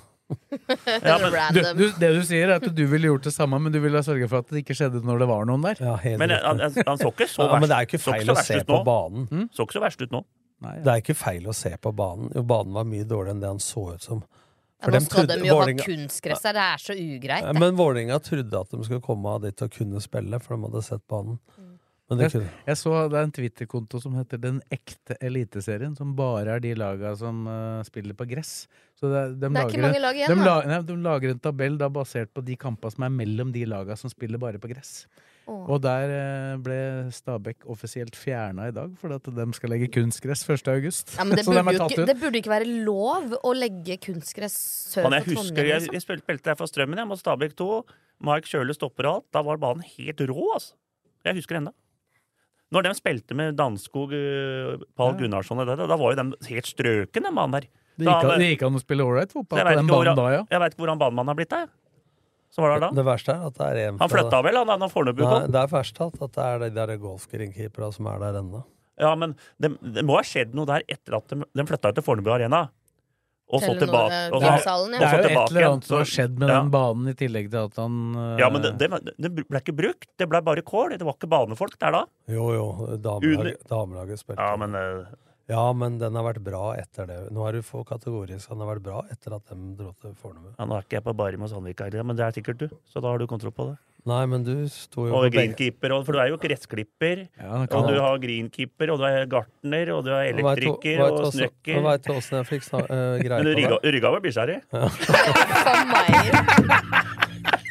Speaker 4: Ja, men, du, du, det du sier, er at du ville gjort det samme, men du ville ha sørga for at det ikke skjedde når det var noen der.
Speaker 6: Ja, helt
Speaker 5: Men eh,
Speaker 6: riktig.
Speaker 5: han, han, han så ikke så
Speaker 6: Ja,
Speaker 5: verst
Speaker 6: men det er jo ikke
Speaker 5: så
Speaker 6: feil
Speaker 5: så
Speaker 6: å
Speaker 5: verst
Speaker 6: se
Speaker 5: ut
Speaker 6: på
Speaker 5: nå.
Speaker 6: banen.
Speaker 5: Så ikke så verst ut nå.
Speaker 6: Det er ikke feil å se på banen. Jo, banen var mye dårligere enn det han så ut som.
Speaker 7: Ja, nå
Speaker 6: dem
Speaker 7: skal de
Speaker 6: trodde-
Speaker 7: jo ha
Speaker 6: Vålerenga-
Speaker 7: kunstgress her, det er så ugreit.
Speaker 6: Ja,
Speaker 7: det.
Speaker 6: Men Vålerenga trodde at de skulle komme av dit og kunne spille, for de hadde sett banen.
Speaker 7: Mm.
Speaker 6: Men det
Speaker 4: jeg,
Speaker 6: kunne
Speaker 4: jeg så det er en Twitter-konto som heter Den ekte eliteserien, som bare er de laga som eh, spiller på gress. Så det, er- de
Speaker 7: Det er ikke
Speaker 4: lager,
Speaker 7: mange lag igjen,
Speaker 4: de,
Speaker 7: da.
Speaker 4: la- nei, de lager en tabell da, basert på de kampa som er mellom de laga som spiller bare på gress.
Speaker 7: Åh.
Speaker 4: Og der eh, ble Stabæk offisielt fjerna i dag, fordi at de skal legge kunstgress 1. august.
Speaker 7: Ja, men det,
Speaker 4: Så dem
Speaker 7: burde
Speaker 4: er
Speaker 7: jo
Speaker 4: tatt
Speaker 7: ikke,
Speaker 4: ut.
Speaker 7: det burde ikke være lov å legge kunstgress sør
Speaker 5: Han,
Speaker 7: for
Speaker 5: jeg husker
Speaker 7: Trondheim.
Speaker 5: jeg,
Speaker 7: Liksom.
Speaker 5: jeg spilte spilte der for Strømmen, jeg, mot Stabæk 2. Mike Kjøle stopper og alt. Da var banen helt rå, altså. Jeg husker ennå. Når de spilte med Danskog, eh, Pall Gunnarsson og det der, da var jo de helt strøken, den banen der.
Speaker 4: Det
Speaker 5: Da
Speaker 4: gikk,
Speaker 5: han-
Speaker 4: an, det gikk an å spille ålreit
Speaker 5: Så
Speaker 4: fotball
Speaker 5: jeg
Speaker 4: på
Speaker 5: vet
Speaker 4: den
Speaker 5: ikke hvor
Speaker 4: banen
Speaker 5: han-
Speaker 4: da, ja.
Speaker 5: Jeg veit ikke hvordan banemannen har blitt der. Så var det da.
Speaker 6: Det verste er at det er en
Speaker 5: Han flytta vel, han, han Fornebu
Speaker 6: Nei,
Speaker 5: kom.
Speaker 6: det er verst at at det er de der golfgreenkeeperne som er der ennå.
Speaker 5: Ja, men det, det må ha skjedd noe der etter at de, de flytta ut til Fornebu Arena. Og så
Speaker 7: Telenor,
Speaker 5: tilbake.
Speaker 7: eh,
Speaker 5: Og
Speaker 4: Det
Speaker 5: så,
Speaker 4: er,
Speaker 7: Salen, ja.
Speaker 4: det
Speaker 5: og
Speaker 4: er
Speaker 5: så
Speaker 4: jo
Speaker 5: tilbake
Speaker 4: et eller
Speaker 5: igjen,
Speaker 4: annet som har
Speaker 5: så-
Speaker 4: skjedd med
Speaker 5: ja.
Speaker 4: den banen, i tillegg til at han eh,
Speaker 5: Ja, men det, det, det ble ikke brukt. Det ble bare kål. Det var ikke banefolk der da.
Speaker 6: Jo, jo,
Speaker 5: Under-
Speaker 6: damelaget, damelaget spilte.
Speaker 5: Ja, men eh,
Speaker 6: Ja, men den har vært bra etter det. Nå er du for kategorisk. Han har vært bra etter at de dro til Fornebu.
Speaker 5: Ja, nå er ikke jeg på Barim og Sandvika heller, men det er sikkert du. Så da har du kontroll på det.
Speaker 6: Nei, men du sto jo
Speaker 5: Og
Speaker 6: på benken.
Speaker 5: greenkeeper, og, for du er jo kretsklipper.
Speaker 4: han kan
Speaker 5: og du
Speaker 4: alt.
Speaker 5: har greenkeeper, og du er gartner, og du er elektriker
Speaker 6: Vet du- vet du
Speaker 5: og
Speaker 6: også-
Speaker 5: snekker.
Speaker 6: Vet du åssen jeg fikk snak- eh,
Speaker 5: Men du
Speaker 6: greie på
Speaker 5: rygga
Speaker 6: det?
Speaker 5: rygga var bikkja di.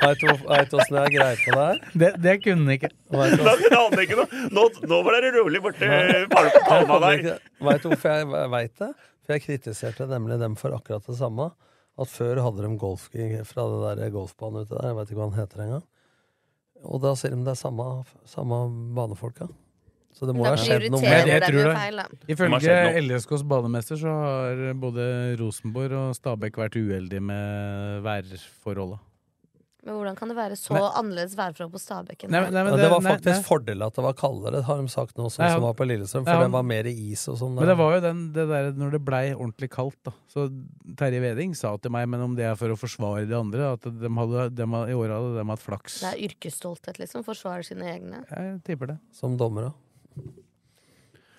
Speaker 6: Vet du hvor- vet du åssen jeg greie på det her?
Speaker 4: det, det kunne ikke
Speaker 6: Vet du
Speaker 5: Da kunne han ikke noe. Nå, nå var det rolig borti eh, pal-
Speaker 6: Jeg
Speaker 5: palma
Speaker 6: kommer
Speaker 5: der.
Speaker 6: ikke- Vet du hvorfor jeg veit det? For jeg kritiserte nemlig dem for akkurat det samme. At før hadde de golf fra det der golfbanen ute der, jeg veit ikke hva han heter engang. Og da sier de det er samme, samme banefolka. Så det må ha
Speaker 7: Da
Speaker 6: skjedd noe med
Speaker 7: prioriterer de
Speaker 6: det.
Speaker 7: det er jo feil, da.
Speaker 5: Det må ha
Speaker 4: Ifølge
Speaker 5: skjedd noe.
Speaker 4: LSKs banemester så har både Rosenborg og Stabæk vært uheldige med værforholda.
Speaker 7: Men hvordan kan det være så
Speaker 4: Men-
Speaker 7: annerledes værforhold på Stabekk? enn
Speaker 4: Nei,
Speaker 7: her?
Speaker 4: men- nei,
Speaker 6: Ja, det var
Speaker 4: nei,
Speaker 6: faktisk
Speaker 4: nei.
Speaker 6: fordel at det var kaldere, har de sagt nå, sånn
Speaker 4: Nei,
Speaker 6: som
Speaker 4: han-
Speaker 6: var på Lillestrøm.
Speaker 4: Ja,
Speaker 6: For
Speaker 4: han-
Speaker 6: det var mer is og sånn.
Speaker 4: Men det var jo den, det der når det blei ordentlig kaldt, da. Så Terje Veding sa til meg, men om det er for å forsvare de andre, at de hadde, de hadde, i år hadde de hatt flaks.
Speaker 7: Det er yrkesstolthet, liksom. Forsvarer sine egne.
Speaker 4: Jeg tipper det.
Speaker 6: Som dommere.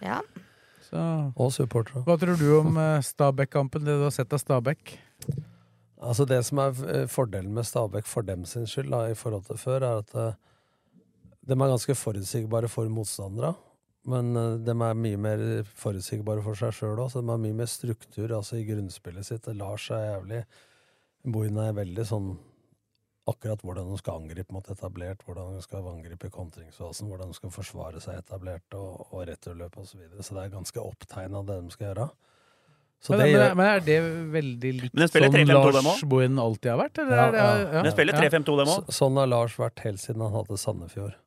Speaker 7: Ja.
Speaker 4: Så
Speaker 6: Og supportere.
Speaker 4: hva tror du om eh, Stabæk-kampen, det du har sett av Stabæk?
Speaker 6: Altså Det som er eh, fordelen med Stabæk for dem sin skyld da, i forhold til før, er at eh, de er ganske forutsigbare for motstandere. Men eh, de er mye mer forutsigbare for seg sjøl òg. De har mye mer struktur altså i grunnspillet sitt. Det lar seg jævlig Boine er veldig sånn akkurat hvordan de skal angripe mot etablert, hvordan de skal angripe i kontringsfasen, hvordan de skal forsvare seg etablert og, og returløp osv. Så, videre. så det er ganske opptegna det de skal gjøre. Så
Speaker 4: Men,
Speaker 6: det
Speaker 4: men,
Speaker 6: gjør-
Speaker 4: men er det veldig likt
Speaker 5: Men de spiller
Speaker 4: sånn
Speaker 5: 3-5-2 dem
Speaker 4: Lars
Speaker 5: også?
Speaker 4: Bohin alltid har vært? Eller?
Speaker 6: Ja,
Speaker 4: er det,
Speaker 6: ja.
Speaker 4: ja.
Speaker 5: Men de spiller
Speaker 4: ja.
Speaker 5: 3-5-2, dem òg.
Speaker 6: Så- Sånn har Lars vært helt siden han hadde Sandefjord.
Speaker 4: Ja.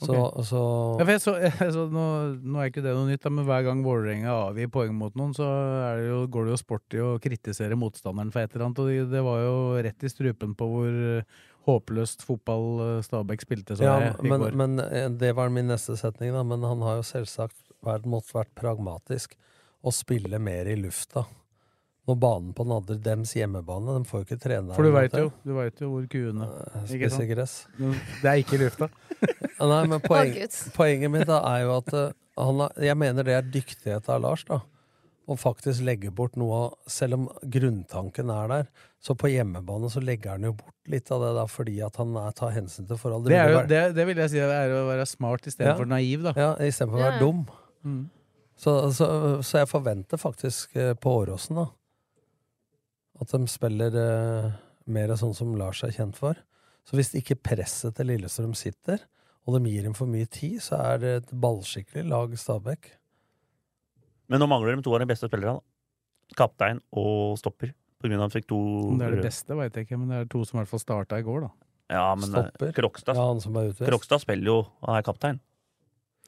Speaker 6: Så, så
Speaker 4: Ja, for jeg så, jeg så, nå, nå er ikke det noe nytt, da, men hver gang Vålerenga avgir poeng mot noen, så er det jo, går det jo sport i å kritisere motstanderen for et eller annet. Og det, det var jo rett i strupen på hvor eh, håpløst fotball eh, Stabæk spilte, så
Speaker 6: ja,
Speaker 4: jeg i
Speaker 6: men,
Speaker 4: går.
Speaker 6: men eh, det var min neste setning, da. Men han har jo selvsagt verden måtte vært pragmatisk og spille mer i lufta. Når banen på den andre dems hjemmebane, de får jo ikke trene der.
Speaker 4: For du
Speaker 6: vet
Speaker 4: veit jo, du vet jo hvor kuene
Speaker 6: spiser
Speaker 4: Ikke sant?
Speaker 6: gress.
Speaker 4: Det er ikke i lufta.
Speaker 6: Ja, Nei, men poeng,
Speaker 4: Å, Gud.
Speaker 6: poenget mitt da er jo at eh, han er, jeg mener det er dyktighet av Lars, da. Å faktisk legge bort noe av Selv om grunntanken er der, så på hjemmebane så legger han jo bort litt av det da, fordi at han er, tar hensyn til forhold.
Speaker 4: Det, er jo,
Speaker 6: ville vært-
Speaker 4: det, det vil jeg si er å være smart istedenfor
Speaker 6: Ja.
Speaker 4: naiv, da.
Speaker 6: Ja, istedenfor å være
Speaker 4: Ja, ja.
Speaker 6: dum.
Speaker 4: Mm.
Speaker 6: Så, så, så jeg forventer faktisk eh, på Åråsen, da, at de spiller eh, mer sånn som Lars er kjent for. Så hvis ikke presset til Lillestrøm sitter, og de gir dem for mye tid, så er det et ballskikkelig lag Stabæk.
Speaker 5: Men nå mangler de to av de beste spillerne. da. Kaptein og stopper. På grunn av at han fikk to
Speaker 4: Om det er det
Speaker 5: røde.
Speaker 4: beste, veit jeg ikke, men det er to som i hvert fall starta i går, da.
Speaker 5: Ja, men eh,
Speaker 4: Stopper.
Speaker 5: Krokstad,
Speaker 6: Ja, han som er utvist.
Speaker 5: Krokstad spiller jo Han er kaptein.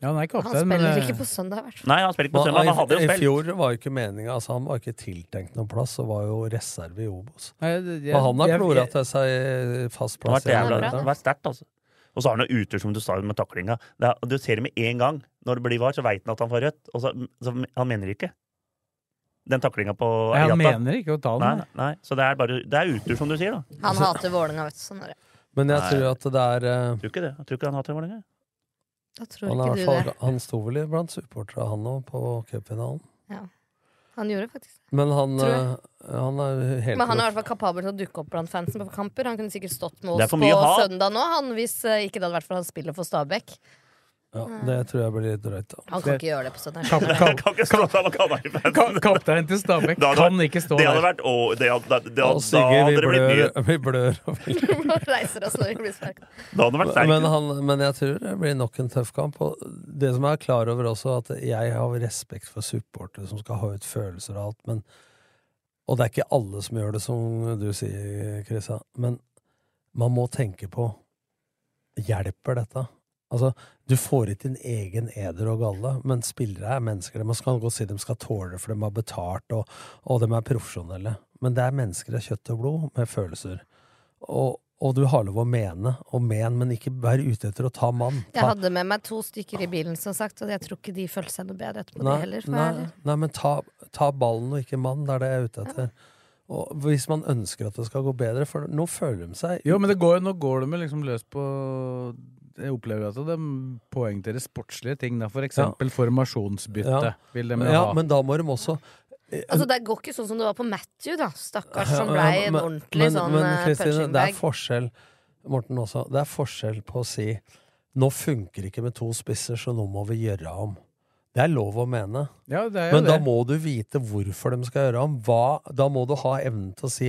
Speaker 4: Ja, han er ikke
Speaker 7: Han spiller
Speaker 6: eh,
Speaker 7: ikke
Speaker 4: eh,
Speaker 7: på søndag, i hvert fall.
Speaker 5: Nei, han spiller ikke på
Speaker 6: Men
Speaker 5: søndag, men
Speaker 6: i-
Speaker 5: han hadde jo
Speaker 6: I
Speaker 5: spilt.
Speaker 6: fjor var jo ikke meninga altså, Han var ikke tiltenkt noen plass, og var jo reserve i Obos.
Speaker 4: Nei, det- jeg-
Speaker 6: Men han har
Speaker 4: jeg-
Speaker 6: klora
Speaker 4: jeg-
Speaker 6: til seg eh, fast
Speaker 5: Han
Speaker 6: plass.
Speaker 5: har vært jævla-
Speaker 6: Eliteserien.
Speaker 5: han har vært sterkt, altså. Og så har han noen uter, som du sa, med taklinga. Det er, du ser det med en gang. Når det blir var, så veit han at han får rødt. Og så, så han mener ikke. Den taklinga på
Speaker 4: Nei, han
Speaker 5: Ayata.
Speaker 4: mener ikke å ta den.
Speaker 5: Nei, nei. Så det er bare Det er utur, som du sier, da.
Speaker 7: Han hater Vålerenga, vet du. Sånn er det.
Speaker 6: Men jeg
Speaker 5: Nei.
Speaker 6: tror at det er eh,
Speaker 5: Tror ikke det. Jeg tror ikke han hater Vålerenga.
Speaker 7: Da tror
Speaker 6: han, er,
Speaker 7: ikke
Speaker 6: i
Speaker 7: du
Speaker 6: hvert
Speaker 7: det.
Speaker 6: fall- han sto vel i blant supportere, han òg, på cupfinalen.
Speaker 7: Ja. Han gjorde faktisk det.
Speaker 6: Men han,
Speaker 7: Tror jeg.
Speaker 6: eh, han er helt
Speaker 7: Men han er i
Speaker 6: proff.
Speaker 7: hvert fall kapabel til å dukke opp blant fansen på kamper. Han kunne sikkert stått med
Speaker 6: Det er
Speaker 7: oss
Speaker 6: for
Speaker 7: på
Speaker 6: mye å ha.
Speaker 7: søndag nå, han, hvis eh, ikke det hadde vært for han spiller for Stabæk.
Speaker 6: Ja, det tror jeg blir litt drøyt. da.
Speaker 7: Han kan ikke gjøre det på søndag.
Speaker 4: Kap- kap-
Speaker 5: Kan ikke stå der med Kanari-fansen.
Speaker 4: Kapteinen til Stabæk
Speaker 5: Det hadde
Speaker 4: kan
Speaker 5: vært-
Speaker 4: ikke stå
Speaker 5: Det hadde
Speaker 4: der.
Speaker 5: vært å, det hadde, det,
Speaker 6: Og
Speaker 5: hadde, da
Speaker 6: Sigurd,
Speaker 5: hadde det
Speaker 6: vi
Speaker 5: blitt mye.
Speaker 6: blør, vi blør og vi
Speaker 7: Bare reiser oss når vi blir sparket.
Speaker 5: Da hadde det vært sterkt.
Speaker 6: Men, han, men jeg tror det blir nok en tøff kamp. Og det som jeg er klar over også, at jeg har respekt for supportere som skal ha ut følelser og alt, men Og det er ikke alle som gjør det, som du sier, Krisa, men man må tenke på Hjelper dette? Altså, du får ikke din egen eder og galle, men spillere er mennesker. De skal godt si de skal tåle det, for de har betalt, og, og de er profesjonelle. Men det er mennesker av kjøtt og blod, med følelser. Og, og du har lov å mene, og men, men ikke vær ute etter å ta mann.
Speaker 7: Jeg
Speaker 6: Ta,
Speaker 7: hadde med meg to stykker i bilen, som sagt, og jeg tror ikke de følte seg noe bedre etterpå,
Speaker 6: nei,
Speaker 7: de heller. for å
Speaker 6: nei,
Speaker 7: være ærlig.
Speaker 6: nei, men ta, ta ballen og ikke mann, det er det jeg er ute etter. Og hvis man ønsker at det skal gå bedre, for nå føler de seg
Speaker 4: Jo, men det går, jo- nå går de jo liksom løs på Jeg opplever at de poengterer sportslige ting, da. For eksempel formasjonsbytte.
Speaker 6: Ja.
Speaker 4: Vil de
Speaker 6: ja,
Speaker 4: ha.
Speaker 6: men da må de også
Speaker 7: Altså, det går ikke sånn som det var på Matthew, da. Stakkars, som
Speaker 6: Ja,
Speaker 7: blei
Speaker 6: ja,
Speaker 7: en
Speaker 6: men-
Speaker 7: ordentlig sånn
Speaker 6: Men
Speaker 7: eh,
Speaker 6: Kristine,
Speaker 7: punching
Speaker 6: det er
Speaker 7: bag.
Speaker 6: forskjell Morten også, det er forskjell på å si nå funker ikke med to spisser, så nå må vi gjøre om. Det er lov å mene.
Speaker 4: Ja, det er jo
Speaker 6: Men da
Speaker 4: det.
Speaker 6: må du vite hvorfor de skal gjøre om. Hva, da må du ha evnen til å si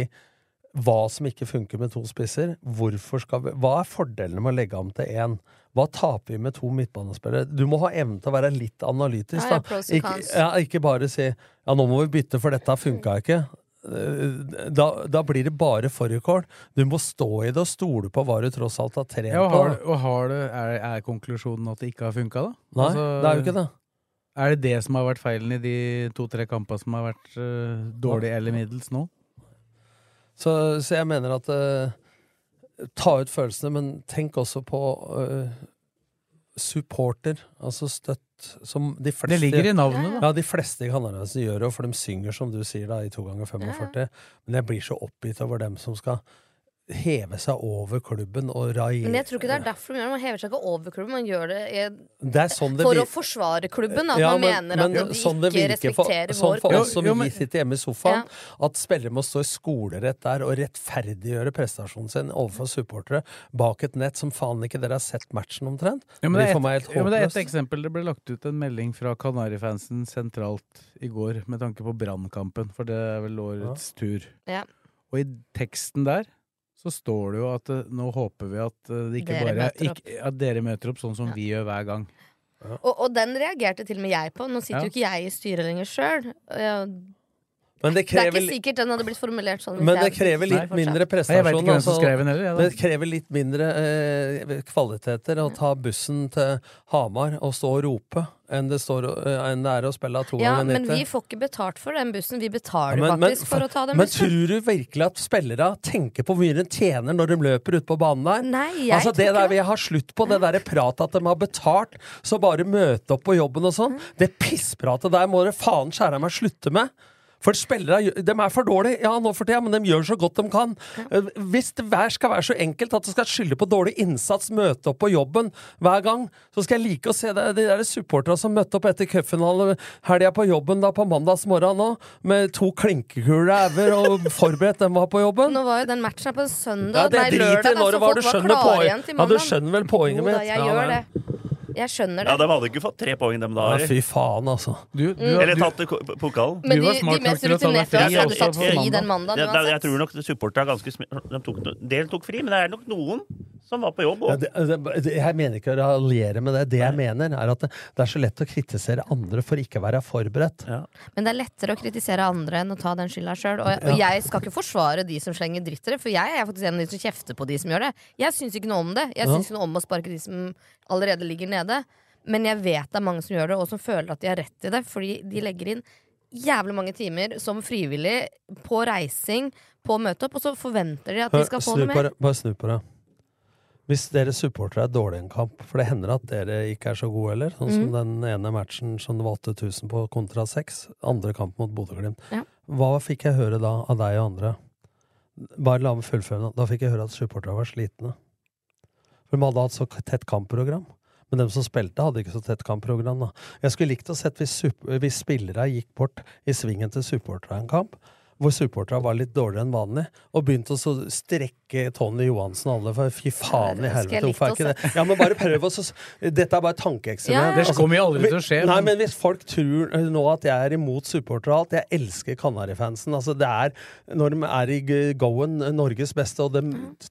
Speaker 6: hva som ikke funker med to spisser. Hvorfor skal vi, hva er fordelene med å legge om til én? Hva taper vi med to midtbanespillere? Du må ha evnen til å være litt analytisk.
Speaker 8: Ja,
Speaker 6: Da.
Speaker 8: ja, pros og
Speaker 6: Ikke,
Speaker 8: cons.
Speaker 6: ja, ikke bare si ja, nå må vi bytte, for dette funka ikke. Eh, Da, da blir det bare fårikål. Du må stå i det og stole på hva du tross alt har trent
Speaker 4: ja, og
Speaker 6: på.
Speaker 4: har, og har det, er, er konklusjonen at det ikke har funka, da? Altså,
Speaker 6: Nei, det er jo ikke det.
Speaker 4: Er det det som har vært feilen i de to-tre kampene som har vært uh, dårlige eller middels nå?
Speaker 6: Så, så jeg mener at eh, Ta ut følelsene, men tenk også på eh, supporter, altså støtt, som de fleste
Speaker 4: Det ligger i
Speaker 6: Ja,
Speaker 4: navnet, da.
Speaker 6: ja. de fleste i Kanariøyene gjør det, for de synger, som du sier, da, i to ganger 45. Men jeg blir så oppgitt over dem som skal heve seg over klubben og raie
Speaker 7: Men jeg tror ikke det er derfor de gjør det. Man hever seg ikke over klubben, man gjør det i
Speaker 6: Det er sånn det
Speaker 7: for
Speaker 6: vir-
Speaker 7: å forsvare klubben. At
Speaker 6: Ja,
Speaker 7: man mener at de
Speaker 6: sånn det
Speaker 7: ikke
Speaker 6: virker for-
Speaker 7: respekterer
Speaker 6: sånn
Speaker 7: vår
Speaker 6: for
Speaker 7: klubb.
Speaker 6: oss som vi sitter hjemme i sofaen, at spillere må stå i skolerett der og rettferdiggjøre prestasjonen sin overfor supportere bak et nett som faen ikke dere har sett matchen omtrent.
Speaker 4: Ja, men
Speaker 6: blir
Speaker 4: det, er
Speaker 6: for meg
Speaker 4: et,
Speaker 6: helt
Speaker 4: ja, men det er et
Speaker 6: håpløst.
Speaker 4: eksempel. Det ble lagt ut en melding fra Kanarifansen sentralt i går med tanke på Brannkampen, for det er vel årets tur.
Speaker 7: Ja.
Speaker 4: Og i teksten der så står det jo at eh, nå håper vi at eh, det ikke
Speaker 7: Dere
Speaker 4: bare
Speaker 7: møter opp.
Speaker 4: ikke, at dere møter opp sånn som vi gjør hver gang.
Speaker 7: Og, og den reagerte til og med jeg på. Nå sitter
Speaker 4: Ja.
Speaker 7: jo ikke jeg i styret lenger sjøl.
Speaker 6: Men det
Speaker 7: Det er
Speaker 6: krever
Speaker 7: ikke
Speaker 6: li-
Speaker 7: sikkert den hadde blitt formulert sånn. hvis
Speaker 6: Men det
Speaker 7: jeg hadde-
Speaker 6: krever litt mindre prestasjon.
Speaker 4: Nei, jeg vet ikke hvem
Speaker 5: altså.
Speaker 4: som skrev den heller, jeg, da.
Speaker 6: men det krever litt mindre eh, kvaliteter å ta bussen til Hamar og stå og rope enn det, står, eh, enn det er å spille to
Speaker 7: Ja,
Speaker 6: ganger
Speaker 7: men
Speaker 6: 90.
Speaker 7: vi får ikke betalt for den bussen. Vi betaler
Speaker 6: Ja,
Speaker 7: faktisk for å ta den
Speaker 6: men
Speaker 7: bussen.
Speaker 6: tror du virkelig at spillere tenker på hvor mye de tjener når de løper ute på banen der?
Speaker 7: Nei, jeg
Speaker 6: altså,
Speaker 7: tror
Speaker 6: det
Speaker 7: ikke
Speaker 6: der vi har slutt på, det derre pratet at de har betalt, så bare møte opp på jobben og sånn. Det pisspratet der må dere faen skjære meg slutte med. For spillere gjø- de er for dårlige, ja, nå for tida, men de gjør så godt de kan. Eh, Hvis det vær- skal være så enkelt at du skal skylde på dårlig innsats, møte opp på jobben hver gang, så skal jeg like å se det, de der supporterne som møtte opp etter cupfinalen helga på jobben da på mandagsmorgen nå, med to klinkekuler over og forberedt dem var på jobben.
Speaker 7: Nå var jo den matchen her på en søndag.
Speaker 6: Ja, det
Speaker 7: nei,
Speaker 6: driter jeg
Speaker 7: lørdag,
Speaker 6: i når
Speaker 7: da,
Speaker 6: det
Speaker 7: så
Speaker 6: var.
Speaker 7: folk
Speaker 6: Du
Speaker 7: var
Speaker 6: skjønner,
Speaker 7: klare
Speaker 6: poen-
Speaker 7: igjen
Speaker 6: ja,
Speaker 7: til
Speaker 6: du
Speaker 7: mandag.
Speaker 6: skjønner vel poenget
Speaker 7: Jo da,
Speaker 6: mitt?
Speaker 7: jeg
Speaker 6: Ja,
Speaker 7: gjør
Speaker 6: nei.
Speaker 7: det. Jeg skjønner
Speaker 5: Ja,
Speaker 7: det.
Speaker 5: de hadde ikke fått tre poeng, dem da.
Speaker 6: Ja,
Speaker 5: eller?
Speaker 6: fy faen, altså.
Speaker 7: du-
Speaker 5: Eller tatt ko- p- pokalen.
Speaker 7: Men Du var de- smart de nok mest til å ta deg rutinerte fri altså. hadde også tatt på fri mandag. den mandagen
Speaker 5: Ja, da-
Speaker 7: uansett.
Speaker 5: Jeg tror nok supporterne er ganske smi- de tok, no- En del tok fri, men det er nok noen som var på jobb
Speaker 6: Ja,
Speaker 5: òg.
Speaker 6: det, det, det- jeg mener ikke å raljere med det. Det jeg mener, er at det, det er så lett å kritisere andre for ikke å være forberedt.
Speaker 7: Men det er lettere å kritisere andre enn å ta den skylda sjøl. Og, og
Speaker 6: Ja.
Speaker 7: jeg skal ikke forsvare de som slenger dritt til det, for jeg er faktisk en av de som kjefter på de som gjør det. Jeg syns ikke noe om det. Jeg
Speaker 6: Ja.
Speaker 7: syns ikke noe om å sparke de som allerede ligger nede. Men jeg vet det er mange som gjør det, og som føler at de har rett til det, fordi de legger inn jævlig mange timer som frivillig på reising, på møte opp, og så forventer de at de
Speaker 6: Hør,
Speaker 7: skal få
Speaker 6: snu
Speaker 7: noe
Speaker 6: på
Speaker 7: mer.
Speaker 6: det- Bare snu på det. Hvis dere supportere er dårlige i en kamp, for det hender at dere ikke er så gode heller, sånn som
Speaker 7: Mhm.
Speaker 6: den ene matchen som det var 8000 på kontra 6, andre kamp mot Bodø-Glimt.
Speaker 7: Ja.
Speaker 6: Hva fikk jeg høre da av deg og andre? Bare la meg fullføre nå. Da fikk jeg høre at supporterne var slitne. For de hadde hatt så tett kampprogram. Men dem som spilte, hadde ikke så tett kampprogram. da. Jeg skulle likt å sett hvis, sup- hvis spillere gikk bort i svingen til supportere i en kamp, hvor supportere var litt dårligere enn vanlig, og begynte å så strekke Tony Johansen og alle for fy faen i
Speaker 4: det skulle jeg
Speaker 6: helvete,
Speaker 4: likt
Speaker 6: hvorfor er
Speaker 4: å
Speaker 6: ikke det Ja, men bare prøv å så Dette er bare et tankeeksperiment.
Speaker 4: Ja, ja. Det kommer jo aldri
Speaker 6: vi-
Speaker 4: til å skje,
Speaker 6: Nei,
Speaker 4: men-
Speaker 6: men hvis folk tror nå at jeg er imot supportere og alt Jeg elsker Kanarifansen. Altså, det er når de er i g- goen Norges beste, og de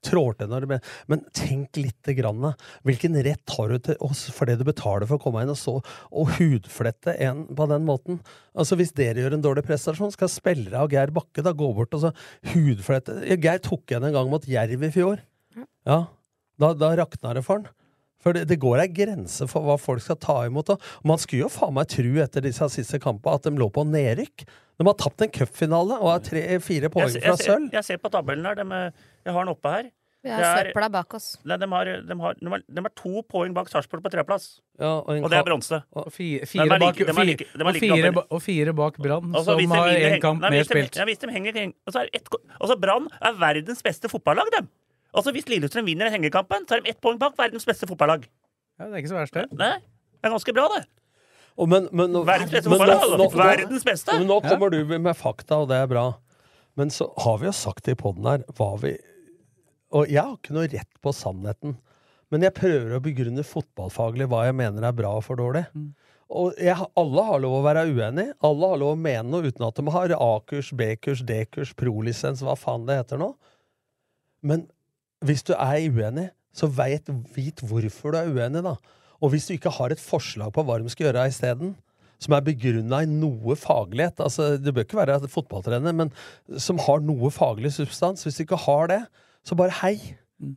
Speaker 6: trår til når de Men tenk lite grann. Hvilken rett har du til oss for det du betaler for å komme inn og så og hudflette en på den måten? Altså, hvis dere gjør en dårlig prestasjon, skal spillere av Geir Bakke da gå bort og så hudflette Ja, Geir tok igjen en gang mot Jerv i fjor. Ja, da, da rakna det for han. For det, det går ei grense for hva folk skal ta imot. Og man skulle jo faen meg tru etter disse siste kampene at de lå på nedrykk. De har tapt en cupfinale og har tre-fire poeng
Speaker 5: Jeg, se-
Speaker 6: fra
Speaker 5: jeg, ser-
Speaker 6: sølv.
Speaker 5: jeg ser på tabellen her. dem, eh, jeg har den oppe her.
Speaker 7: Vi har
Speaker 5: Det er-
Speaker 7: søpla bak oss.
Speaker 5: Nei, de har, dem har, dem har, dem har to poeng bak Sarpsborg på treplass.
Speaker 6: Ja, en
Speaker 5: Og det er
Speaker 6: ka-
Speaker 5: bronse.
Speaker 4: Og fire,
Speaker 5: Dem er
Speaker 4: fire bak,
Speaker 5: like- dem er like-
Speaker 4: fire,
Speaker 5: dem er
Speaker 4: og
Speaker 5: like
Speaker 4: fire,
Speaker 5: gammel.
Speaker 4: ba- og fire bak Brann,
Speaker 5: Altså, hvis
Speaker 4: som
Speaker 5: de
Speaker 4: har
Speaker 5: vinner-
Speaker 4: én kamp
Speaker 5: Nei,
Speaker 4: mer
Speaker 5: hvis de-
Speaker 4: spilt.
Speaker 5: Ja, hvis de henger, henger- altså, er ett, altså Brann er verdens beste fotballag, dem. Altså, hvis Lillestrøm vinner den hengekampen, så er de ett poeng bak verdens beste fotballag.
Speaker 4: Ja, det er ikke så verst, det.
Speaker 5: Nei, det er ganske bra, det.
Speaker 6: Og men, men, nå-
Speaker 5: Verdens beste
Speaker 6: men nå-
Speaker 5: fotballag,
Speaker 6: nå-
Speaker 5: altså. Verdens beste.
Speaker 6: Men nå kommer du med fakta, og det er bra. Men så har vi jo sagt i poden her hva vi Og jeg har ikke noe rett på sannheten. Men jeg prøver å begrunne fotballfaglig hva jeg mener er bra og for dårlig. Og jeg, alle har lov å være uenig. Alle har lov å mene noe uten at de har A-kurs, B-kurs, D-kurs, prolisens, hva faen det heter nå. Men hvis du er uenig, så veit vit hvorfor du er uenig, da. Og hvis du ikke har et forslag på hva de skal gjøre isteden, som er begrunna i noe faglighet altså Du bør ikke være fotballtrener, men som har noe faglig substans. Hvis du ikke har det, så bare hei,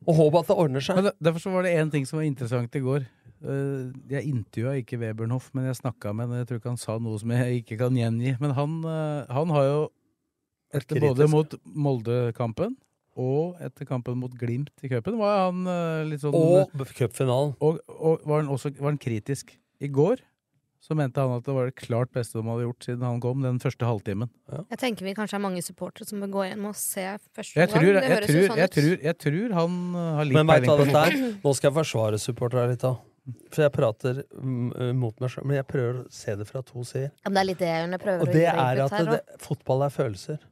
Speaker 6: og håp at det ordner seg.
Speaker 4: Men det- derfor så var det én ting som var interessant i går. Eh, Jeg intervjua ikke Webernhoff, men jeg snakka med han. Jeg tror ikke han sa noe som jeg ikke kan gjengi. Men han, eh, han har jo etter
Speaker 6: Kritisk.
Speaker 4: både mot Molde-kampen og etter kampen mot Glimt i cupen var han eh, litt sånn
Speaker 6: Og cupfinalen.
Speaker 4: Og, og var, han også, var han kritisk. I går så mente han at det var det klart beste de hadde gjort siden han kom, den første halvtimen.
Speaker 7: Jeg tenker vi kanskje er mange supportere som bør gå igjen og se første
Speaker 4: Jeg tror,
Speaker 7: gang. Det
Speaker 4: jeg,
Speaker 7: høres
Speaker 4: tror,
Speaker 7: jo sånn
Speaker 4: jeg,
Speaker 7: ut.
Speaker 4: tror, jeg tror han eh, har litt
Speaker 6: Men veit du hva
Speaker 4: peiling
Speaker 6: dette
Speaker 4: på
Speaker 6: er? Nå skal jeg forsvare supporterne litt, da. For jeg prater mm, mot meg sjøl, men jeg prøver å se det fra to sider.
Speaker 7: Ja, men det er litt det jeg prøver
Speaker 6: Og
Speaker 7: å
Speaker 6: det
Speaker 7: gjøre
Speaker 6: er
Speaker 7: ut
Speaker 6: at
Speaker 7: her
Speaker 6: det,
Speaker 7: også.
Speaker 6: fotball er følelser.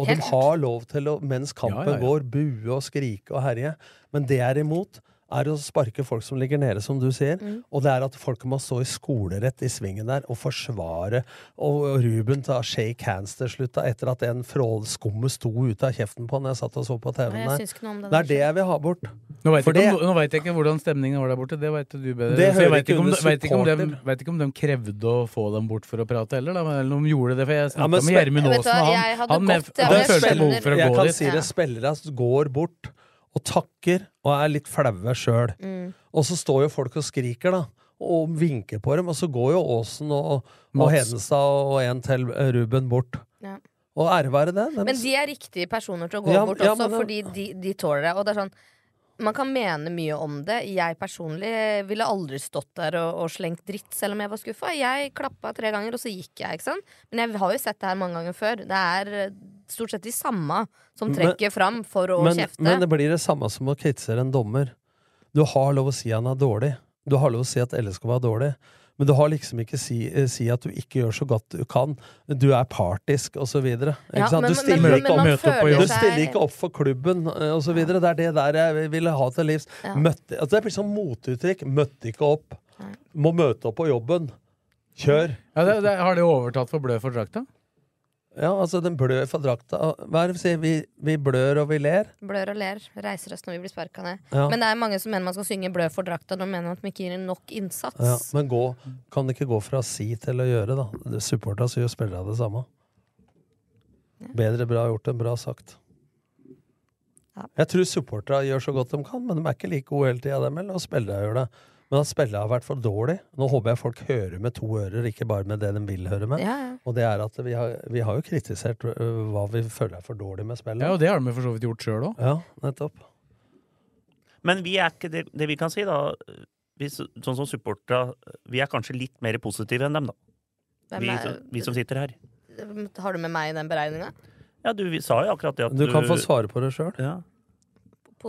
Speaker 6: Og
Speaker 7: Helt
Speaker 6: de
Speaker 7: klart.
Speaker 6: har lov til å, mens kampen
Speaker 4: Ja, ja, ja.
Speaker 6: går, bue og skrike og herje. Men det jeg er imot, er å sparke folk som ligger nede, som du sier.
Speaker 4: Mm.
Speaker 6: Og det er at folk må stå i skolerett i svingen der og forsvare. Og og Ruben tar shake hands til slutt, da, etter at en frålskumme sto ute av kjeften på han når jeg satt og så på
Speaker 7: Nei,
Speaker 6: TV-en
Speaker 7: jeg
Speaker 6: der.
Speaker 7: syns ikke noe om
Speaker 6: Det
Speaker 7: det der
Speaker 6: er det jeg vil ha bort.
Speaker 4: Nå veit
Speaker 6: For
Speaker 4: jeg, ikke
Speaker 6: det-
Speaker 4: om- nå vet jeg ikke hvordan stemningen var der borte. Det veit du
Speaker 6: Det
Speaker 4: bedre. Så jeg
Speaker 6: hører
Speaker 4: vet
Speaker 6: ikke
Speaker 4: ikke, om,
Speaker 6: under
Speaker 4: de- vet, ikke om de,
Speaker 6: supporter.
Speaker 4: vet ikke om de krevde å få dem bort for å prate heller, da. Eller om de gjorde det. For jeg
Speaker 6: Ja,
Speaker 4: snakka
Speaker 6: men
Speaker 4: med
Speaker 6: spe-
Speaker 4: Gjermund
Speaker 6: Vet du
Speaker 4: Aasen,
Speaker 6: hva,
Speaker 4: og
Speaker 6: jeg
Speaker 4: han,
Speaker 6: hadde
Speaker 4: han,
Speaker 6: gått, ja,
Speaker 4: han
Speaker 6: men jeg
Speaker 4: følte
Speaker 6: skjønner.
Speaker 4: behov for å
Speaker 6: Jeg
Speaker 4: gå
Speaker 6: kan
Speaker 4: dit.
Speaker 6: si det. Spillere altså, går bort og takker og er litt flaue sjøl.
Speaker 4: Mm.
Speaker 6: Og så står jo folk og skriker, da. Og vinker på dem. Og så går jo Aasen og, og
Speaker 9: Mats.
Speaker 6: Hedenstad og en til, eh, Ruben, bort.
Speaker 7: Ja.
Speaker 6: Og ære være det. dem-
Speaker 7: Men de er riktige personer til å gå
Speaker 6: Ja,
Speaker 7: bort
Speaker 6: ja,
Speaker 7: også,
Speaker 6: men det-
Speaker 7: fordi de, de tåler det. Og det er sånn man kan mene mye om det. Jeg personlig ville aldri stått der og, og slengt dritt, selv om jeg var skuffa. Jeg klappa tre ganger, og så gikk jeg. ikke sant? Men jeg har jo sett det her mange ganger før. Det er eh, stort sett de samme som
Speaker 6: Men-
Speaker 7: trekker fram for å
Speaker 6: men,
Speaker 7: kjefte.
Speaker 6: men det blir det samme som å kritisere en dommer. Du har lov å si han er dårlig. Du har lov å si at LSK var dårlig. Men du har liksom ikke si, eh, si at du ikke gjør så godt du kan. Du er partisk, osv.
Speaker 7: Ja,
Speaker 6: Ja,
Speaker 7: men-
Speaker 6: du
Speaker 7: men-
Speaker 6: stiller,
Speaker 7: men-
Speaker 6: ikke,
Speaker 7: men man
Speaker 6: opp,
Speaker 7: føler
Speaker 6: du
Speaker 7: seg-
Speaker 6: stiller ikke opp for klubben, osv. videre Det er det der jeg ville ha til livs.
Speaker 7: Ja.
Speaker 6: Møtte, altså det blir sånn motuttrykk. Møtte ikke opp. Må møte opp på jobben. Kjør.
Speaker 4: Ja, det, det, har det overtatt for blø for drakta?
Speaker 6: Ja, altså, den blør for drakta. Hva er det vi sier? Vi, vi blør og vi ler.
Speaker 7: Blør og ler. Reiser oss når vi blir sparka ned.
Speaker 6: Ja.
Speaker 7: Men det er mange som mener man skal synge 'Blø for drakta'. De mener at man ikke gir nok innsats.
Speaker 6: Ja, men gå, kan det ikke gå fra si til å gjøre, da? Supporta så gjør spillerne det samme. Bedre bra gjort enn bra sagt. Jeg tror supporterne gjør så godt de kan, men de er ikke like gode hele tida, dem heller. Og spillerne gjør det. Men at spillerne har vært for dårlig Nå håper jeg folk hører med to ører, ikke bare med det de vil høre med.
Speaker 7: Ja, ja.
Speaker 6: Og det er at vi har, vi har jo kritisert øh, hva vi føler er for dårlig med spillet.
Speaker 4: Ja, og det har de for så vidt gjort sjøl òg.
Speaker 6: Ja, nettopp.
Speaker 5: Men vi er ikke det, det vi kan si, da vi, s- Sånn som supportere, vi er kanskje litt mer positive enn dem, da.
Speaker 7: Hvem
Speaker 5: Vi,
Speaker 7: er-
Speaker 5: som- vi som sitter her.
Speaker 7: Har du med meg i den beregninga?
Speaker 5: Ja, du vi sa jo akkurat det at
Speaker 6: Du kan få svare på det sjøl.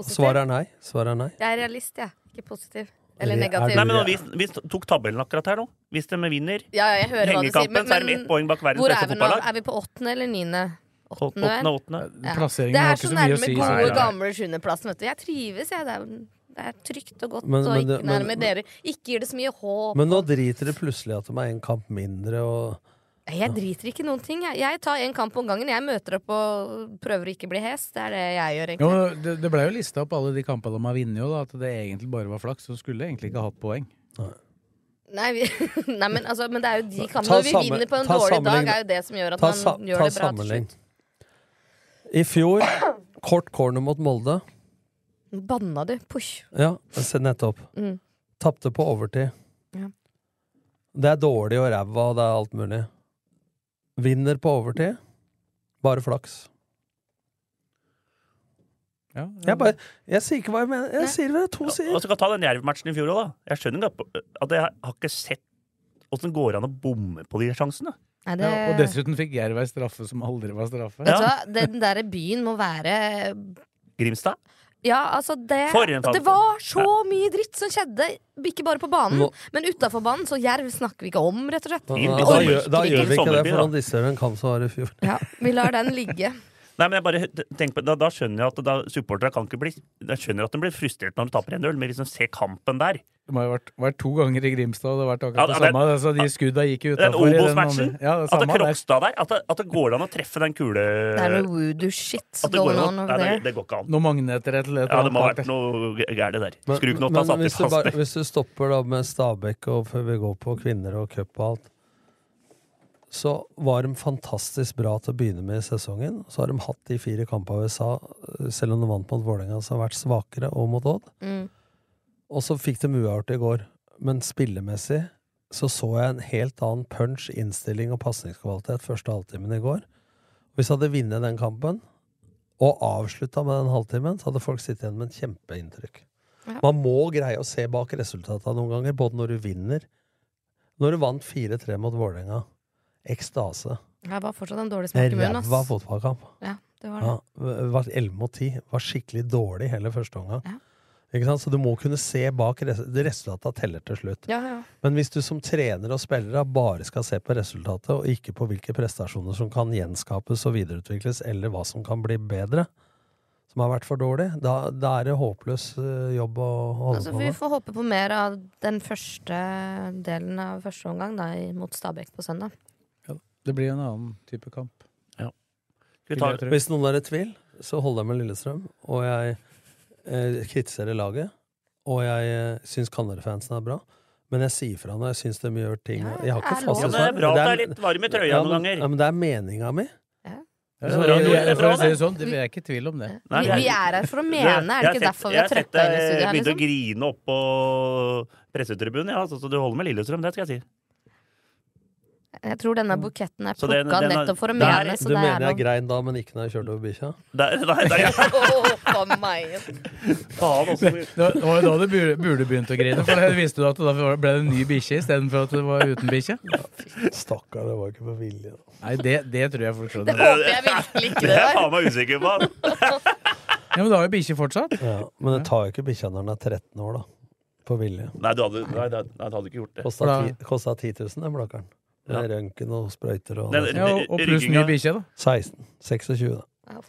Speaker 6: Svaret er nei. Svaret er nei.
Speaker 7: Jeg er realist, jeg. Ikke positiv. Eller
Speaker 5: Eller
Speaker 7: negativ.
Speaker 5: Nei, men nå, vi, vi tok tabellen akkurat her nå. Hvis de vinner
Speaker 7: Ja, ja, jeg hører hva du sier.
Speaker 5: hengekampen, så er de ett poeng bak verdens
Speaker 7: hvor er
Speaker 5: beste
Speaker 7: vi nå?
Speaker 5: fotballag.
Speaker 7: Er vi på åttende eller niende? Åttende.
Speaker 5: Åttende, åttende.
Speaker 7: Ja.
Speaker 4: Plasseringen
Speaker 7: Det
Speaker 4: har
Speaker 7: er
Speaker 4: ikke
Speaker 7: så
Speaker 6: sånn
Speaker 4: så mye å
Speaker 7: nærme
Speaker 4: si.
Speaker 7: gode,
Speaker 4: Nei, nei.
Speaker 7: gamle sjuendeplassen, vet du. Jeg trives, jeg. Det er, det er trygt og godt
Speaker 6: Men-
Speaker 7: og
Speaker 6: men
Speaker 7: ikke
Speaker 6: det- men-
Speaker 7: nærme dere. Ikke gir det så mye håp.
Speaker 6: Men nå driter det plutselig at de er en kamp mindre og
Speaker 7: Nei, Jeg driter ikke i noen ting. Jeg, jeg tar en kamp om gangen. Jeg møter opp og prøver å ikke bli hes. Det er det jeg gjør,
Speaker 4: Jo,
Speaker 7: egentlig.
Speaker 4: det, det ble jo lista opp alle de kampene de har vunnet, og da, at det egentlig bare var flaks. Så skulle jeg egentlig ikke hatt poeng.
Speaker 7: Nei, vi, nei men, altså, men det er jo de kampene
Speaker 6: Ta
Speaker 7: Når vi
Speaker 6: sammen-
Speaker 7: vinner på en
Speaker 6: ta
Speaker 7: dårlig
Speaker 6: sammenlign-
Speaker 7: dag, er jo det som gjør at
Speaker 6: ta
Speaker 7: man
Speaker 6: sa-
Speaker 7: gjør
Speaker 6: ta
Speaker 7: det bra. til
Speaker 6: sammenlign. I fjor, kort corner mot Molde.
Speaker 7: slutt. Banna du. Push.
Speaker 6: Ja, se nettopp.
Speaker 7: Mm.
Speaker 6: Tapte på overtid.
Speaker 7: Ja.
Speaker 6: Det er dårlig og ræva, og det er alt mulig. Vinner på overtid. Bare flaks.
Speaker 7: Mm.
Speaker 6: Jeg, bare, jeg sier ikke hva jeg mener. Jeg sier det er to sider.
Speaker 5: Og så Altså, kan jeg ta den Jerv-matchen i fjor òg, da. Jeg skjønner ikke at- at jeg har ikke sett åssen det går an å bomme på de sjansene.
Speaker 7: Nei, det-
Speaker 4: Ja, og dessuten fikk Jerv ei straffe som aldri var straffe.
Speaker 7: Vet du hva, den derre byen må være
Speaker 5: Grimstad?
Speaker 7: Ja, altså det
Speaker 4: For en fantasi.
Speaker 7: Det var så mye dritt som skjedde, ikke bare på banen,
Speaker 6: Nå-
Speaker 7: men utafor banen. Så Jerv snakker vi ikke om, rett og slett.
Speaker 6: Da,
Speaker 5: Fint i
Speaker 6: da,
Speaker 5: sommer.
Speaker 6: gjør, da gjør vi ikke det,
Speaker 5: Sommerby,
Speaker 6: for
Speaker 5: da.
Speaker 6: han disser en kamp som var i fjor.
Speaker 7: Ja, vi lar den ligge.
Speaker 5: Nei, men jeg bare tenker på, da, da skjønner jeg at da, supportere kan ikke bli Jeg skjønner at de blir frustrert når de taper en øl, men hvis de ser kampen der
Speaker 4: Det må ha vært, vært to ganger i Grimstad, og det har vært
Speaker 5: Ja,
Speaker 4: akkurat det,
Speaker 5: det-
Speaker 4: samme. Altså, de skudda gikk jo
Speaker 5: Den
Speaker 4: utafor.
Speaker 5: Obos-matchen!
Speaker 4: Ja, det
Speaker 5: at det
Speaker 4: samme. det er-
Speaker 5: Krokstad der At det, at det går an å treffe den kule
Speaker 7: Det er noe voodoo-shit
Speaker 5: At det går
Speaker 7: going
Speaker 5: an
Speaker 7: on
Speaker 5: å-
Speaker 7: over
Speaker 5: Nei,
Speaker 7: there.
Speaker 5: det, det går ikke an.
Speaker 4: Noen magneter et eller et
Speaker 5: Ja, det må ha
Speaker 4: annet.
Speaker 5: vært noe gærent der.
Speaker 6: Men-
Speaker 5: Skruknotta
Speaker 6: men
Speaker 5: satt litt
Speaker 6: hvis du,
Speaker 5: fast
Speaker 6: bare,
Speaker 5: der.
Speaker 6: hvis du stopper da med Stabæk og før vi går på kvinner og cup og alt, så var de fantastisk bra til å begynne med i sesongen. Så har de hatt de fire kampene i USA, selv om de vant mot Vålerenga, som har vært svakere, og mot Odd.
Speaker 7: Mm.
Speaker 6: Og så fikk de uavgjort i går. Men spillemessig så så jeg en helt annen punch, innstilling og pasningskvalitet første halvtimen i går. Hvis jeg hadde vunnet den kampen, og avslutta med den halvtimen, så hadde folk sittet igjen med et kjempeinntrykk.
Speaker 7: Ja.
Speaker 6: Man må greie å se bak resultatene noen ganger, både når du vinner Når du vant 4-3 mot Vålerenga. Ekstase.
Speaker 7: Jeg var fortsatt en dårlig smak i munnen, ass.
Speaker 6: Ræva fotballkamp.
Speaker 7: Ja, det var det.
Speaker 6: Ja, var 11 mot 10. Var skikkelig dårlig hele første omgang. Ikke sant? Så du må kunne se bak res det Resultatet teller til slutt.
Speaker 7: Ja, ja.
Speaker 6: Men hvis du som trener og spiller bare skal se på resultatet, og ikke på hvilke prestasjoner som kan gjenskapes og videreutvikles, eller hva som kan bli bedre, som har vært for dårlig, da, da er det håpløs eh, jobb å holde
Speaker 7: Altså,
Speaker 6: på
Speaker 7: vi
Speaker 6: med.
Speaker 7: får håpe på mer av den første delen av første omgang da, mot Stabæk på søndag.
Speaker 4: Det blir jo en annen type kamp.
Speaker 5: Skal vi ta-
Speaker 4: Vil jeg tro.
Speaker 6: Hvis noen er i tvil, så holder jeg med Lillestrøm. Og jeg eh, kritiserer laget, og jeg eh, syns Canare-fansen er bra. Men jeg sier fra når jeg syns de gjør ting Jeg har ikke sånn.
Speaker 5: det
Speaker 6: fasitsvar.
Speaker 5: er lov. Ja, men det er bra at det er litt varm i trøya
Speaker 6: ja,
Speaker 5: noen
Speaker 6: men-
Speaker 5: ganger.
Speaker 6: Ja, men det er meninga mi.
Speaker 4: Ja,
Speaker 6: Så-
Speaker 4: det er bra, det er bra,
Speaker 6: for å si det
Speaker 4: det.
Speaker 6: sånn,
Speaker 4: det er ikke i tvil om det.
Speaker 5: Nei,
Speaker 7: vi,
Speaker 5: jeg-
Speaker 7: vi er her for å mene, er det ikke derfor vi har trøtta inn i studio her?
Speaker 5: Jeg begynte å
Speaker 7: Liksom?
Speaker 5: grine opp på pressetribunen, ja. Altså, Så, så du holder med Lillestrøm, det skal jeg si.
Speaker 7: Jeg tror denne buketten er
Speaker 5: Mm. Så den-
Speaker 7: plukka
Speaker 5: den er-
Speaker 7: nettopp for å
Speaker 5: der-
Speaker 7: mene,
Speaker 6: Du
Speaker 7: så det
Speaker 6: mener
Speaker 7: er
Speaker 6: jeg
Speaker 7: lov.
Speaker 6: grein da, men ikke når jeg kjørte over bikkja?
Speaker 5: nei,
Speaker 7: Å, meg.
Speaker 5: Faen, altså.
Speaker 4: Det var det var jo da du burde, burde begynt å grine, for det visste du at da ble det en ny bikkje istedenfor at det var uten bikkje?
Speaker 6: Stakkar, det var ikke med vilje.
Speaker 4: Nei, det, det tror jeg folk skjønner.
Speaker 5: Det håper jeg virkelig ikke det er. Det er jeg faen meg usikker på.
Speaker 4: Ja, Men du har jo bikkje fortsatt.
Speaker 6: Ja, men det tar jo ikke bikkja når den er 13 år, da. På vilje.
Speaker 5: Nei, du hadde, nei, det- nei, du hadde ikke gjort det.
Speaker 6: Kosta ti- kosta 10 000, den blakkeren. Med røntgen og sprøyter og
Speaker 5: Den- Ja, og- og pluss ny rygginga- bikkje, da.
Speaker 6: 16. 26, da.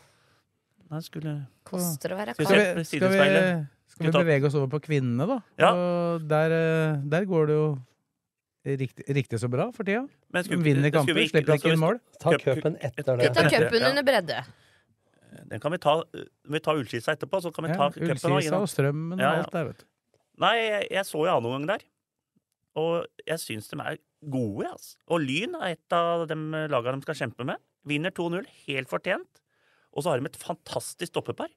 Speaker 5: Nei, skulle
Speaker 7: Koster å være
Speaker 5: Skal
Speaker 4: Skal
Speaker 5: vi
Speaker 4: vi,
Speaker 5: se på
Speaker 4: skal vi,
Speaker 5: sidespeilet?
Speaker 4: skal vi
Speaker 5: ta-
Speaker 4: bevege oss over på kvinnene, da?
Speaker 5: Ja.
Speaker 4: Og der, eh, der går det jo riktig, riktig så bra for tida.
Speaker 5: Men skulle-
Speaker 4: De vinner
Speaker 5: skulle
Speaker 4: kamper,
Speaker 5: vi ikke- altså,
Speaker 4: slipper
Speaker 5: skal
Speaker 4: ikke
Speaker 5: vi-
Speaker 4: inn mål.
Speaker 5: Ta cupen
Speaker 6: etter
Speaker 7: Vi tar cupen under bredde.
Speaker 5: Den kan vi ta, vi tar Ullskisa etterpå, så kan vi
Speaker 4: Ja,
Speaker 5: ta cupen.
Speaker 4: Ullskisa
Speaker 5: ikke sant?
Speaker 4: og Strømmen og alt der, vet du.
Speaker 5: Nei, jeg, jeg så jo annen omgang der. Og jeg syns de er gode, altså. Og Lyn er et av de lagene de skal kjempe med. Vinner 2-0, helt fortjent. Og så har de et fantastisk stoppepar.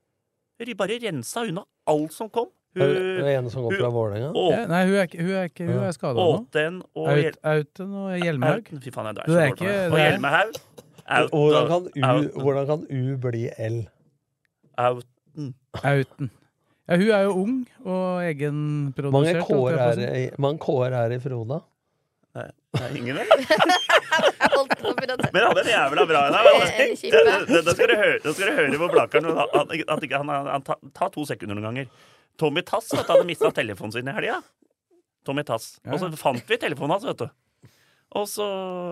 Speaker 5: De bare rensa unna alt som kom.
Speaker 6: Er det- er det en som går fra Vålerenga?
Speaker 4: Ja, Nei, hun er, ikke- hun er, ikke- hun er skada nå.
Speaker 5: Åten og
Speaker 4: Aut- Auten og Hjelmhaug.
Speaker 5: Auten, Fy faen, jeg
Speaker 4: Du,
Speaker 5: så
Speaker 4: det er
Speaker 5: dårlig på
Speaker 4: ikke-
Speaker 5: det. Og
Speaker 4: det er-
Speaker 5: Hjelmehaug. Out-
Speaker 6: Hvordan kan,
Speaker 5: out-
Speaker 6: U, hvordan kan U bli L?
Speaker 5: Outen.
Speaker 4: Auten. Ja, hun er jo ung og egenprodusert.
Speaker 6: Mange
Speaker 4: holdt jeg på sånn- å
Speaker 6: K-er er,
Speaker 4: si.
Speaker 6: i- mange K-er er i Froda.
Speaker 5: Ingen, vel? Men han er jævla bra i dag.
Speaker 7: Eh,
Speaker 5: Det, det, det, det skal du høre, det skal du høre på Blakkaren. Han, han, at ikke han, han, han ta, ta to sekunder noen ganger. Tommy Tass vet du, hadde mista telefonen sin i helga. Tommy Tass. Og så fant vi telefonen hans, vet du. Og så,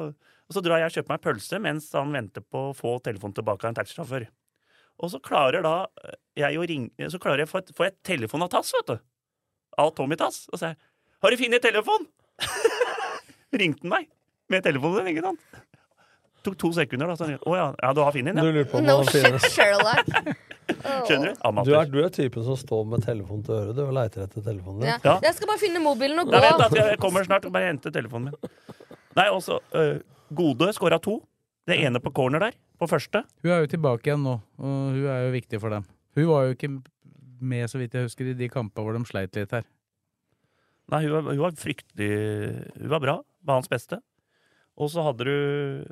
Speaker 5: og så drar jeg og kjøper meg pølse mens han venter på å få telefonen tilbake av en taxisjåfør. Og så klarer da jeg å ringe Så klarer jeg å få et, få et telefon av Tass, vet du. Av Tommy Tass. Og så sier jeg 'Har du funnet telefon?' Ringte han meg med telefonen din, ikke sant? Tok to sekunder, da. Så han, å ja, ja, du har Finn din, ja.
Speaker 6: Du lurer på om No han shit, finnes. Sherlock.
Speaker 5: Skjønner du? Amatør.
Speaker 6: Du er, du er typen som står med telefonen til øret du, og leiter etter telefonen
Speaker 7: Ja.
Speaker 6: din.
Speaker 7: Jeg skal bare finne mobilen og
Speaker 5: Nei, vent, da,
Speaker 7: gå.
Speaker 5: jeg kommer snart. Bare hente telefonen min. Nei, også øh, Gode skåra to. Det ene på corner der, på første.
Speaker 4: Hun er jo tilbake igjen nå, og hun er jo viktig for dem. Hun var jo ikke med, så vidt jeg husker, i de kampene hvor de sleit litt her.
Speaker 5: Nei, hun var, hun var fryktelig Hun var bra. Var hans beste. Og så hadde du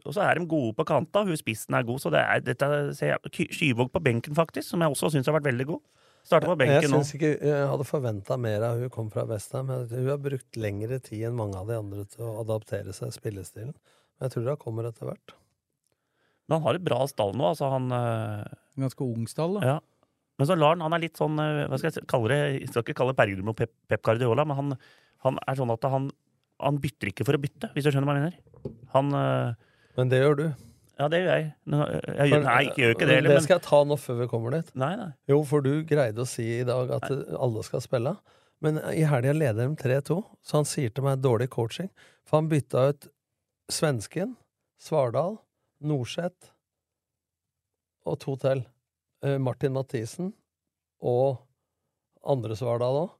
Speaker 5: Og så er de gode på kanta. Hun spissen er god, så det er dette ser jeg, Ky- Skyvåg på benken, faktisk, som jeg også syns har vært veldig god. Starter på
Speaker 6: Jeg
Speaker 5: benken nå.
Speaker 6: syns ikke jeg hadde forventa mer av hun kom fra Vestheim. Jeg- Hun har brukt lengre tid enn mange av de andre til å adaptere seg spillestilen. Men jeg tror det kommer etter hvert.
Speaker 5: Men han har et bra stall nå, altså han øh,
Speaker 4: Ganske ung stall, da.
Speaker 5: Ja. Men så Larn han er litt sånn eh, Hva skal jeg si- kalle det? Jeg skal ikke kalle Bergrum og Pep, Pep Guardiola, men han, han er sånn at han, han bytter ikke for å bytte, hvis du skjønner hva jeg mener. Han eh,
Speaker 6: Men det gjør du.
Speaker 5: Ja, det gjør jeg. Nå, jeg gjør,
Speaker 6: For-
Speaker 5: nei, jeg gjør ikke det
Speaker 6: men
Speaker 5: heller,
Speaker 6: Det skal
Speaker 5: men
Speaker 6: jeg ta nå før vi kommer dit.
Speaker 5: Nei, nei.
Speaker 6: Jo, for du greide å si i dag at alle skal spille. Men i helga leder de 3-2, så han sier til meg dårlig coaching. For han bytta ut svensken, Svardal, Norseth og to til. Eh, Martin Mathisen og andre Svardal òg.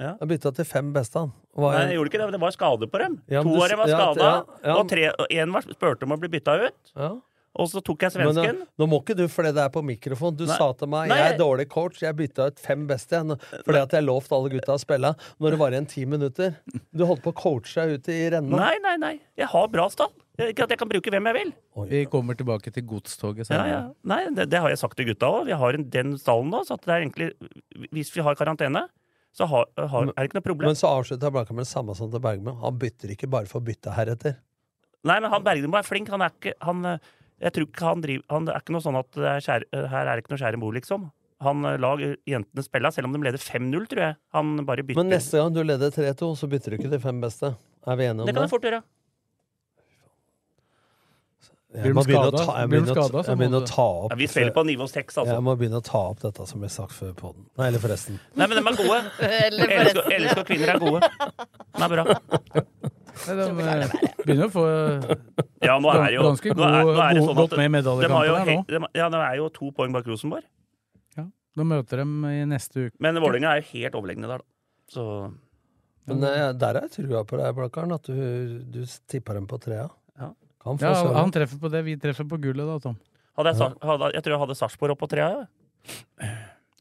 Speaker 5: Ja.
Speaker 6: Han bytta til fem beste, han. Var
Speaker 5: Nei,
Speaker 6: en-
Speaker 5: jeg gjorde ikke det, men det var skade på dem.
Speaker 6: Ja, men
Speaker 5: to
Speaker 6: du
Speaker 5: av dem var
Speaker 6: s- ja,
Speaker 5: skada,
Speaker 6: ja, ja.
Speaker 5: og tre, og én var- spurte om å bli bytta ut. Og så tok jeg
Speaker 6: Men eh, nå,
Speaker 5: svensken.
Speaker 6: nå må ikke du, fordi det er på mikrofon. Du
Speaker 5: Nei.
Speaker 6: sa til meg
Speaker 5: Nei,
Speaker 6: jeg er
Speaker 5: jeg-
Speaker 6: dårlig coach, jeg bytta ut fem beste igjen, fordi at jeg lovte alle gutta å spille når det var igjen ti minutter. Du holdt på å coache deg ut i renna.
Speaker 5: Nei, nei, nei. Jeg har bra stall. Ikke at jeg kan bruke hvem jeg vil.
Speaker 4: Vi kommer tilbake til godstoget
Speaker 5: Ja,
Speaker 4: senere.
Speaker 5: ja. Nei, det, det har jeg sagt til gutta òg. Vi har en, den stallen nå, så at det er egentlig Hvis vi har karantene, så har, har, er det ikke noe problem.
Speaker 6: Men så avslutta Blanka med det samme som til Bergman. Han bytter ikke bare for å bytte heretter.
Speaker 5: Nei, men han Bergdemo er flink. Han er ikke han, eh, Jeg tror ikke han driver Han det er ikke noe sånn at det er skjær, eh, her er det ikke noe skjære mor, liksom. Han eh, lar jentene spille, selv om de leder 5-0, tror jeg. Han bare bytter.
Speaker 6: Men neste gang du leder 3-2, så bytter du ikke de fem beste. Er vi enige om
Speaker 5: det
Speaker 6: det?
Speaker 5: kan jeg fort gjøre.
Speaker 6: Jeg må
Speaker 4: Blir de
Speaker 6: begynne å
Speaker 4: skada?
Speaker 6: ta, jeg
Speaker 4: Blir de
Speaker 6: begynner å ta,
Speaker 4: skada, så
Speaker 6: jeg
Speaker 4: må
Speaker 6: begynner
Speaker 4: du-
Speaker 6: å ta opp
Speaker 5: Ja, vi spiller på nivå seks, altså.
Speaker 6: Jeg må begynne å ta opp dette som vi sagt før på den. Nei, eller forresten.
Speaker 5: Nei, men de er gode.
Speaker 7: Eller
Speaker 5: Elsker,
Speaker 7: forresten.
Speaker 5: elsker kvinner er gode. De er bra.
Speaker 4: Nei, de eh, begynner å få
Speaker 5: Ja, nå er det jo
Speaker 4: ganske
Speaker 5: nå er- nå er det
Speaker 4: god,
Speaker 5: sånn
Speaker 4: godt med
Speaker 5: at
Speaker 4: i
Speaker 5: de har jo
Speaker 4: medaljekampen her nå.
Speaker 5: he- de- Ja, de er jo to poeng bak Rosenborg.
Speaker 4: Da møter dem i neste uke.
Speaker 5: Men Vålerenga er jo helt overlegne der, da. Så
Speaker 6: Men
Speaker 5: Mm.
Speaker 6: eh, der har jeg trua på deg, Blakkaren, at du, du tippa dem på trea.
Speaker 5: Ja.
Speaker 6: Kan få
Speaker 4: Ja,
Speaker 6: søren.
Speaker 4: han treffer på det, vi treffer på gullet da, Tom.
Speaker 5: hadde jeg, Sar- hadde, jeg tror jeg hadde Sarpsborg opp på trea. jeg.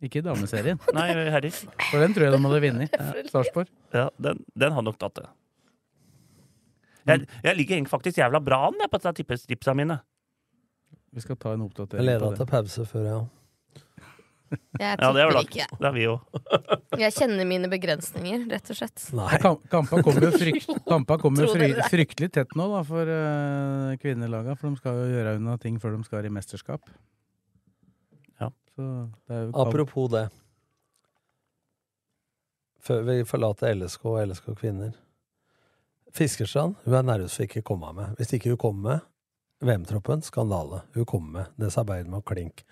Speaker 4: Ikke i dameserien.
Speaker 5: Nei, herrer.
Speaker 4: For den tror jeg de hadde vunnet. Sarpsborg.
Speaker 5: Ja, den, den hadde nok tatt det. Jeg, jeg ligger egentlig faktisk jævla bra an jeg, på disse tippes- tipsa mine.
Speaker 4: Vi skal ta en oppdatering
Speaker 6: Jeg leda
Speaker 4: på det.
Speaker 6: til pause før, ja.
Speaker 7: Jeg
Speaker 5: Ja, det er
Speaker 7: tipper
Speaker 5: vel
Speaker 7: ikke.
Speaker 5: Det er vi òg.
Speaker 7: Jeg kjenner mine begrensninger, rett og slett.
Speaker 4: Ja, kam- Kampa kommer jo, frykt, kampa kommer jo
Speaker 7: Tror
Speaker 4: fry,
Speaker 7: dere det?
Speaker 4: fryktelig tett nå da, for uh, kvinnelaga, for de skal jo gjøre unna ting før de skal i mesterskap.
Speaker 5: Ja.
Speaker 4: Så det er jo kamp-
Speaker 6: Apropos det. Før vi forlater LSK og LSK kvinner. Fiskerstrand hun er nervøs for ikke å komme med. Hvis ikke hun kommer med VM-troppen, skandale. Hun kommer med. Det sa Beidermann klink.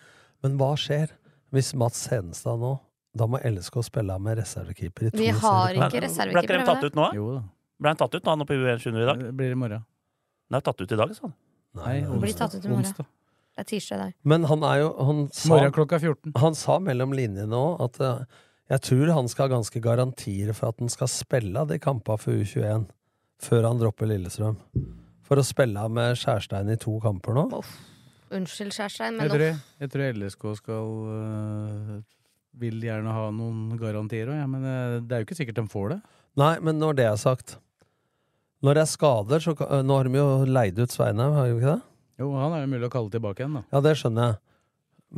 Speaker 6: Men hva skjer hvis Mats Hedenstad nå Da må LSK spille av med reservekeeper i to
Speaker 7: Vi har
Speaker 6: seriekamper.
Speaker 7: ikke
Speaker 5: Ble ikke
Speaker 7: reservekeeper.
Speaker 5: de
Speaker 7: har
Speaker 5: tatt
Speaker 7: vi det?
Speaker 5: ut nå?
Speaker 4: Jo da.
Speaker 5: Ble han tatt ut nå, han oppe i U21 i dag?
Speaker 4: Det blir i morgen.
Speaker 5: Den er tatt ut i dag, sa han.
Speaker 4: Nei,
Speaker 6: Nei,
Speaker 7: Blir tatt ut i morgen.
Speaker 4: onsdag.
Speaker 7: Det er tirsdag i dag.
Speaker 6: Men han er jo han sa,
Speaker 4: Morgen klokka 14.
Speaker 6: han sa mellom linjene òg at eh, jeg tror han skal ha ganske garantier for at han skal spille av de kampene for U21 før han dropper Lillestrøm. For å spille av med Skjærstein i to kamper nå.
Speaker 7: Unnskyld, Skjærstein, men
Speaker 4: Jeg tror,
Speaker 7: nå
Speaker 4: jeg, jeg tror LSK skal øh, Vil gjerne ha noen garantier òg, ja, men øh, det er jo ikke sikkert de får det.
Speaker 6: Nei, men når det er sagt Når det er skader, så ka- Nå har de jo leid ut Sveinheim, har de ikke det?
Speaker 4: Jo, han er jo mulig å kalle tilbake igjen, da.
Speaker 6: Ja, det skjønner jeg.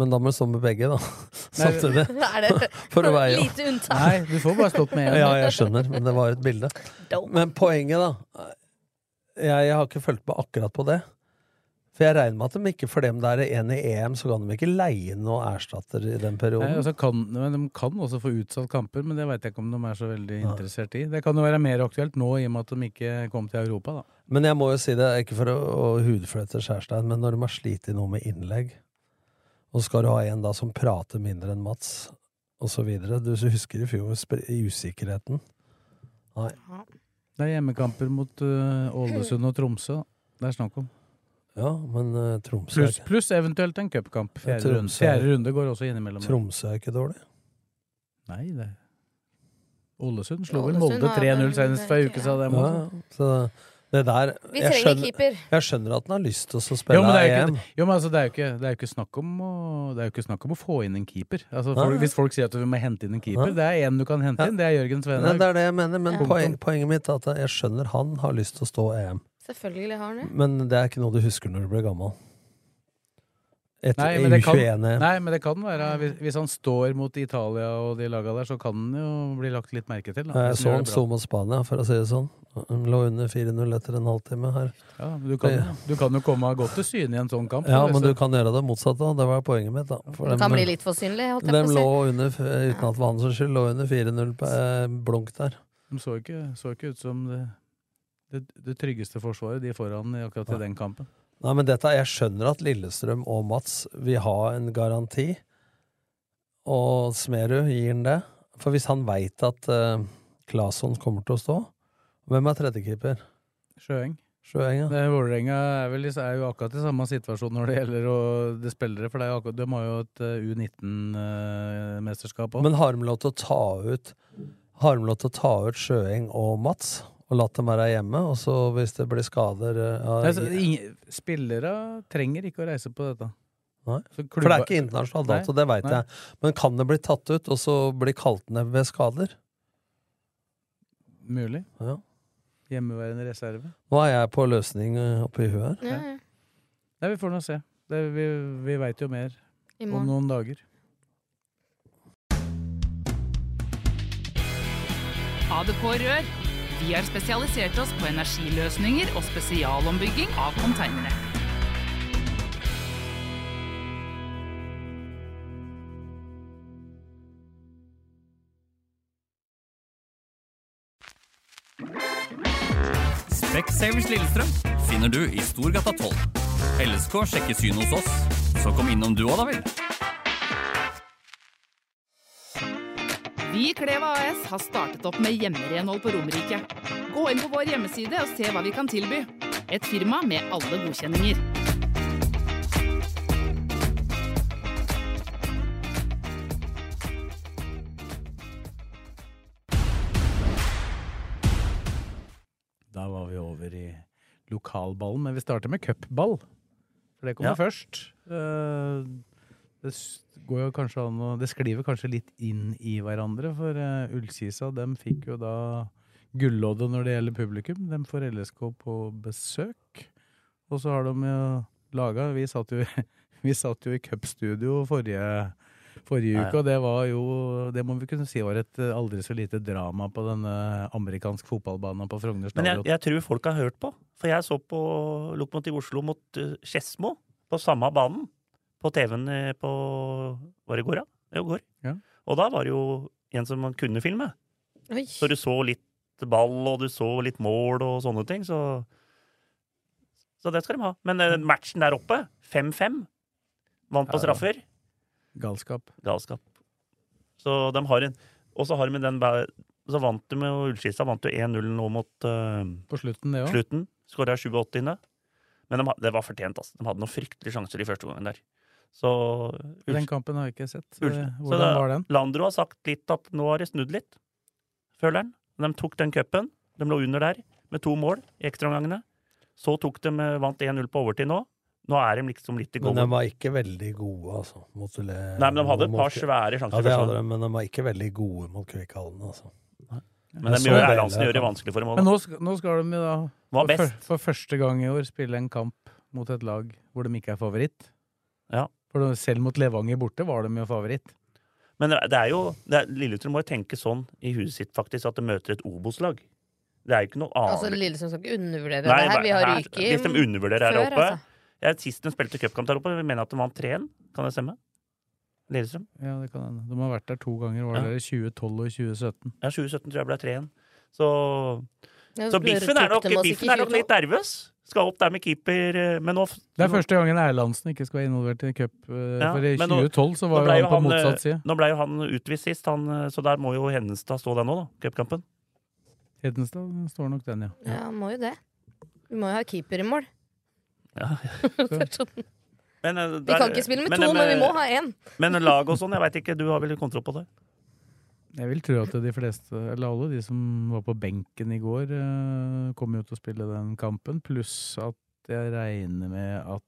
Speaker 6: Men da må du stå med begge, da. Samtidig.
Speaker 7: er det
Speaker 6: For å veie opp.
Speaker 7: lite unntak.
Speaker 4: Nei, du får bare stått med én.
Speaker 6: Ja, jeg skjønner, men det var et bilde. Men poenget, da Jeg, jeg har ikke fulgt med akkurat på det. For jeg regner med at de ikke for dem det er en i EM, så kan de ikke leie inn noen erstatter i den
Speaker 4: Nei,
Speaker 6: perioden.
Speaker 4: altså kan, men de kan også få utsatt kamper, men det veit jeg ikke om de er så veldig interessert i. Det kan jo være mer aktuelt nå i og med at de ikke kom til Europa, da.
Speaker 6: Men jeg må jo si det, ikke for å, å hudflette Skjærstein, men når de har slitt i noe med innlegg, og skal du ha en da som prater mindre enn Mats, og så videre Du husker i fjor spre- usikkerheten. Nei.
Speaker 4: Det er hjemmekamper mot øh, Ålesund og Tromsø. da. Det er snakk om.
Speaker 6: Ja, men eh, Tromsø er
Speaker 4: Pluss pluss eventuelt en cupkamp.
Speaker 6: Ja,
Speaker 4: Fjerde, runde.
Speaker 6: Tromsø-
Speaker 4: Fjerde runde går også innimellom.
Speaker 6: Tromsø er ikke dårlig.
Speaker 4: Nei, det Ålesund slo vel
Speaker 7: Ålesund
Speaker 4: Molde
Speaker 7: har
Speaker 4: 3-0
Speaker 7: vel-
Speaker 4: senest for en uke siden. det må-
Speaker 6: Ja, så det der
Speaker 7: Vi
Speaker 6: jeg
Speaker 7: trenger
Speaker 6: skjønner,
Speaker 7: keeper.
Speaker 6: jeg skjønner at han har lyst til å
Speaker 4: Jo,
Speaker 6: spille
Speaker 4: men, det er jo
Speaker 6: EM.
Speaker 4: ikke, jo, men altså, det er jo ikke, det er jo ikke, snakk, om å, det er jo ikke snakk om å få inn en keeper. Altså,
Speaker 6: Nei,
Speaker 4: folk,
Speaker 6: nei.
Speaker 4: hvis folk sier at du må hente inn en keeper,
Speaker 6: Nei.
Speaker 4: det er én du kan hente
Speaker 6: Ja.
Speaker 4: inn. Det er Jørgen
Speaker 6: Nei,
Speaker 4: Svenhaug.
Speaker 6: det er det jeg mener, men
Speaker 7: Ja.
Speaker 6: poen, poenget mitt er at jeg skjønner han har lyst til å stå EM,
Speaker 7: Selvfølgelig har han det.
Speaker 6: men det er ikke noe du husker når du blir gammel.
Speaker 4: Nei,
Speaker 6: Etter
Speaker 4: men det kan-
Speaker 6: EU21-EM.
Speaker 4: Nei, men det kan være hvis, hvis han står mot Italia og de laga der, så kan han jo bli lagt litt merke til. da,
Speaker 6: Jeg
Speaker 4: hvis
Speaker 6: så
Speaker 4: han
Speaker 6: han
Speaker 4: gjør det
Speaker 6: sto
Speaker 4: bra.
Speaker 6: mot Spania, for å si det sånn. Han lå under 4-0 etter en halvtime her.
Speaker 4: Ja, men du, kan, du kan jo komme godt til syne i en sånn kamp.
Speaker 6: Ja,
Speaker 4: da,
Speaker 6: men
Speaker 4: hvis
Speaker 6: du kan gjøre det motsatte, og det var poenget mitt, da. For
Speaker 7: Det
Speaker 6: dem-
Speaker 7: kan bli litt for synlig, holdt jeg
Speaker 6: dem
Speaker 7: på
Speaker 6: lå
Speaker 7: å si.
Speaker 6: under, f- eh, uten at det var hans skyld, lå under 4-0 på eh, blunk der.
Speaker 4: De så ikke, så ikke ut som det, det, det tryggeste forsvaret de foran i akkurat i den kampen.
Speaker 6: Nei, men dette, jeg skjønner at Lillestrøm og Mats vil ha en garanti, og Smerud gir han det. For hvis han veit at uh, Claesson kommer til å stå Hvem er tredjekeeper?
Speaker 4: Sjøeng.
Speaker 6: Sjøeng, ja.
Speaker 4: Det er- Vålerenga er, vel i- er jo akkurat i samme situasjon når det gjelder å, det spillere, for det er jo akkurat, de har jo et eh, U19-mesterskap òg.
Speaker 6: Men har de lov til å ta ut Har de lov til å ta ut Sjøeng og Mats? Og latt dem være hjemme, og så hvis det blir skader eh, ja, i-
Speaker 4: Spillere trenger ikke å reise på dette.
Speaker 6: Nei. For
Speaker 4: Så
Speaker 6: det
Speaker 4: klubba-
Speaker 6: er ikke altså. internasjonal
Speaker 4: Nei,
Speaker 6: dato, det veit
Speaker 4: nei.
Speaker 6: jeg. Men kan det bli tatt ut, og så bli kalt ned ved skader?
Speaker 4: Mulig.
Speaker 6: Ja.
Speaker 4: Hjemmeværende reserve.
Speaker 6: Nå er jeg på løsning eh, oppe i huet her.
Speaker 7: Ja, ja.
Speaker 4: Nei, vi får nå se. Det, vi vi veit jo mer
Speaker 7: I
Speaker 4: om
Speaker 7: morgen.
Speaker 4: noen dager.
Speaker 1: ADK Rør. Vi har spesialisert oss på energiløsninger og spesialombygging av containere.
Speaker 2: Specsavers Lillestrøm finner du i Storgata 12. LSK sjekker syn hos oss, så kom innom du òg, da vel.
Speaker 1: Vi i Kleva AS har startet opp med hjemmerenhold på Romerike. Gå inn på vår hjemmeside og se hva vi kan tilby. Et firma med alle godkjenninger.
Speaker 4: over i lokalballen. Men vi starter med cupball, for det kommer
Speaker 5: Ja.
Speaker 4: først. Eh, Det s- går jo kanskje an å Det skliver kanskje litt inn i hverandre, for eh, Ullkisa dem fikk jo da gulloddet når det gjelder publikum. De får LSK på besøk. Og så har de jo laga Vi satt jo, vi satt jo i cupstudio forrige, forrige
Speaker 5: Ja, ja.
Speaker 4: uke, og det var jo Det må vi kunne si var et eh, aldri så lite drama på denne amerikansk fotballbanen på Frogner
Speaker 5: Men jeg,
Speaker 4: stadion.
Speaker 5: jeg tror folk har hørt på. For jeg så på Lokomotiv Oslo mot eh, Skedsmo på samme banen. På TV-en eh, på Var det i går, da? Jo, i går.
Speaker 4: Ja.
Speaker 5: Og da var det jo en som man kunne filme.
Speaker 7: Oi.
Speaker 5: Så du så litt ball, og du så litt mål og sånne ting. Så, så det skal de ha. Men eh, matchen der oppe, 5-5,
Speaker 4: Mm. Ja,
Speaker 5: vant på
Speaker 4: ja.
Speaker 5: straffer.
Speaker 4: Galskap.
Speaker 5: Galskap. Så de har en Og så har de den ba- Så vant de med Ullskisa vant jo 1-0 nå mot eh,
Speaker 4: På slutten, det òg.
Speaker 5: slutten. Skåra 87. inne. Men de, ha- det var fortjent, altså. De hadde noen fryktelige sjanser i første omgang der. Så
Speaker 4: Den kampen har jeg ikke sett.
Speaker 5: Ull-
Speaker 4: Eh,
Speaker 5: så
Speaker 4: Hvordan
Speaker 5: da-
Speaker 4: var den?
Speaker 5: Landro har sagt litt at nå har det snudd litt, føler han. De tok den cupen. De lå under der med to mål i ekstraomgangene. Så tok de, eh, vant 1-0 på overtid nå. Nå er de liksom litt i
Speaker 8: Men de
Speaker 5: golden.
Speaker 8: var ikke veldig gode, altså. Mot Nei,
Speaker 5: Nei, men de hadde et par svære sjanser
Speaker 8: Ja, det
Speaker 5: først,
Speaker 8: hadde
Speaker 5: da.
Speaker 8: de, men de var ikke veldig gode mot Kvikkhallen, altså.
Speaker 5: Men
Speaker 8: Jeg
Speaker 5: de
Speaker 8: så
Speaker 5: gjør
Speaker 8: deler
Speaker 5: Erlandsen
Speaker 8: av
Speaker 5: gjør det
Speaker 8: kampen.
Speaker 5: vanskelig for dem
Speaker 4: Men
Speaker 5: òg.
Speaker 4: nå skal, nå skal de jo da
Speaker 5: Var
Speaker 4: for,
Speaker 5: best.
Speaker 4: fyr- for første gang i år spille en kamp mot et lag hvor de ikke er favoritt.
Speaker 5: Ja.
Speaker 4: For de- selv mot Levanger borte var de jo favoritt.
Speaker 5: Men det er jo det er, Lillestrøm må jo tenke sånn i huet sitt faktisk at de møter et Obos-lag. Det er jo ikke noe annet.
Speaker 7: Altså, Lillestrøm skal ikke undervurdere
Speaker 5: Nei,
Speaker 7: det her. Vi har
Speaker 5: nei,
Speaker 7: ryket
Speaker 5: Hvis de undervurderer her
Speaker 7: før,
Speaker 5: oppe
Speaker 7: altså.
Speaker 5: jeg, Sist de spilte cupkamp der oppe, vi mener at de vant 3-1. Kan det stemme? Lillestrøm?
Speaker 4: Ja, det kan hende. De har vært der to ganger, var
Speaker 5: Ja.
Speaker 4: det der i 2012 og i 2017.
Speaker 5: Ja, 2017 tror jeg ble 3-1. Så,
Speaker 7: Ja,
Speaker 5: så
Speaker 7: det
Speaker 5: Biffen er
Speaker 7: tok
Speaker 5: nok,
Speaker 7: dem oss ikke
Speaker 5: biffen er nok
Speaker 7: 22.
Speaker 5: litt nervøs. Skal opp der med keeper, eh, men nå
Speaker 4: Det er første gangen Erlandsen ikke skal være involvert i cup. eh,
Speaker 5: Ja,
Speaker 4: for i
Speaker 5: men nå-
Speaker 4: 2012 så
Speaker 5: nå
Speaker 4: var
Speaker 5: ble
Speaker 4: jo han på
Speaker 5: eh,
Speaker 4: motsatt side.
Speaker 5: Nå ble jo han utvist sist, han, eh, så der må jo Hennestad stå der nå, da. Cupkampen.
Speaker 4: Hedenstad står nok den, ja.
Speaker 7: Ja, må jo det. Vi må jo ha keeper i mål.
Speaker 5: Ja.
Speaker 7: Det er sånn.
Speaker 5: Men, eh,
Speaker 7: Vi kan ikke spille med to, men vi må ha én.
Speaker 5: Men lag og sånn, jeg veit ikke, du har vel kontroll på det?
Speaker 4: Jeg vil tro at de fleste, eller alle de som var på benken i går, eh, kom jo til å spille den kampen. Pluss at jeg regner med at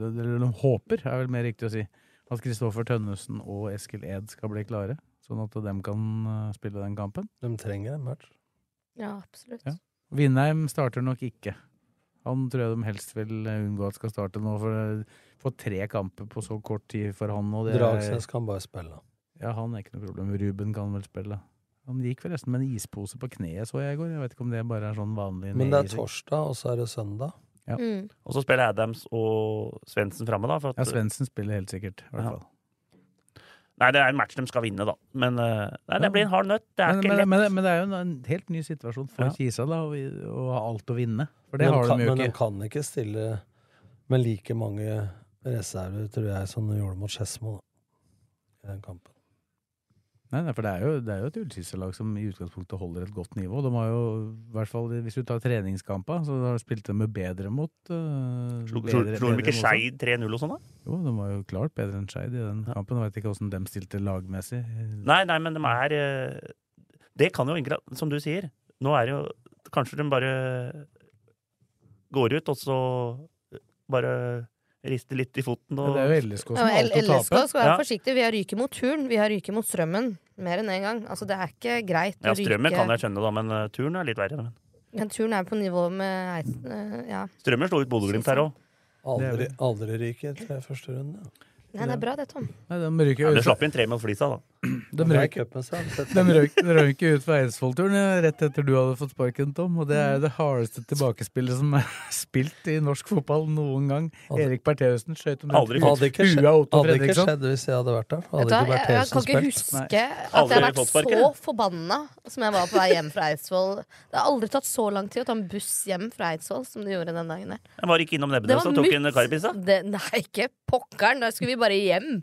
Speaker 4: Eller de håper, er vel mer riktig å si, at Kristoffer Tønnesen og Eskil Ed skal bli klare. Sånn at dem kan eh, spille den kampen.
Speaker 8: De trenger en match.
Speaker 7: Ja, absolutt.
Speaker 4: Ja. Vindheim starter nok ikke. Han tror jeg de helst vil unngå at skal starte nå, for få tre kamper på så kort tid for han. Og det er-
Speaker 8: Dragsnes kan bare spille.
Speaker 4: Ja, han er ikke noe problem. Ruben kan vel spille. Han gikk forresten med en ispose på kneet, så jeg i går. Jeg vet ikke om det bare er sånn vanlig
Speaker 8: Men det er
Speaker 4: nedising.
Speaker 8: torsdag, og så er det søndag.
Speaker 4: Ja.
Speaker 7: Mm.
Speaker 5: Og så spiller Adams og Svendsen framme, da. For at,
Speaker 4: Ja, Svendsen spiller helt sikkert, i hvert
Speaker 5: Ja.
Speaker 4: fall.
Speaker 5: Nei, det er en match de skal vinne, da. Men eh, nei, det blir en hard nøtt. Det er
Speaker 4: Men,
Speaker 5: ikke
Speaker 4: men,
Speaker 5: lett.
Speaker 4: men, men det er jo en, en helt ny situasjon for
Speaker 5: Ja.
Speaker 4: Kisa, da, å vi- å ha alt å vinne. For det
Speaker 8: Men
Speaker 4: har
Speaker 8: kan,
Speaker 4: de jo
Speaker 8: men de
Speaker 4: ikke.
Speaker 8: kan ikke stille med like mange reserver, tror jeg, som de gjorde mot Skedsmo, da. I den kampen.
Speaker 4: Nei, nei, for det er jo, det er jo et Ullkisa-lag som i utgangspunktet holder et godt nivå. De har jo, i hvert fall hvis du tar treningskamper, så har spilt de jo bedre mot uh,
Speaker 5: Slo slo de ikke Skeid 3-0 og sånn, da?
Speaker 4: Jo, de var jo klart bedre enn Skeid i den kampen. Jeg vet ikke åssen de stilte lagmessig.
Speaker 5: Nei, nei, men de er eh, Det kan jo egentlig, som du sier Nå er det jo Kanskje de bare går ut, og så bare rister litt i foten og
Speaker 4: Ja, det er jo LSK som
Speaker 7: Ja, men
Speaker 4: valgte å
Speaker 7: LSK
Speaker 4: tape.
Speaker 7: skal være
Speaker 5: Ja.
Speaker 7: forsiktig. Vi har ryket mot turn, vi har ryket mot strømmen. Mer enn én en gang. Altså, det er ikke greit
Speaker 5: Ja, strømmen kan jeg skjønne, da, men eh, turen er litt verre. Men.
Speaker 7: Men turn er på nivå med Eisen. eh, Ja.
Speaker 5: Strømmen slo ut Bodø-Glimt her òg.
Speaker 8: Aldri, aldri ryker etter første runde.
Speaker 7: Nei, det er bra det, Tom.
Speaker 4: Nei, de ryker
Speaker 5: Ja,
Speaker 4: jo
Speaker 5: det
Speaker 4: ut
Speaker 5: slapp inn tre mot flisa, da.
Speaker 4: De
Speaker 8: Det er
Speaker 4: røyk,
Speaker 8: cupen, så har vi sett
Speaker 4: de
Speaker 8: det.
Speaker 4: røyk, de røyk jo ut fra Eidsvollturen eh, rett etter du hadde fått sparken, Tom. Og det er det hardeste tilbakespillet som er spilt i norsk fotball noen gang. Erik Bertheussen skjøt om
Speaker 8: Aldri fått- Hadde ikke skjedd-
Speaker 4: Ua Otto
Speaker 8: hadde ikke
Speaker 4: Fredriksson.
Speaker 8: skjedd hvis jeg hadde vært der. Hadde
Speaker 7: Vet du hva,
Speaker 8: ikke
Speaker 7: jeg, jeg
Speaker 8: Bertheussen
Speaker 7: kan ikke
Speaker 8: spilt.
Speaker 7: huske at
Speaker 8: Aldri
Speaker 7: jeg har vært
Speaker 8: fått sparken,
Speaker 7: så forbanna som jeg var på vei hjem fra Eidsvoll. Det har aldri tatt så lang tid å ta en buss hjem fra Eidsvoll som det gjorde den dagen der.
Speaker 5: Jeg var ikke innom
Speaker 7: Det
Speaker 5: Nebbenes
Speaker 7: var
Speaker 5: og tok en
Speaker 7: mutt.
Speaker 5: Carbis, da.
Speaker 7: Det, nei, ikke pokkeren. Da skulle vi bare hjem.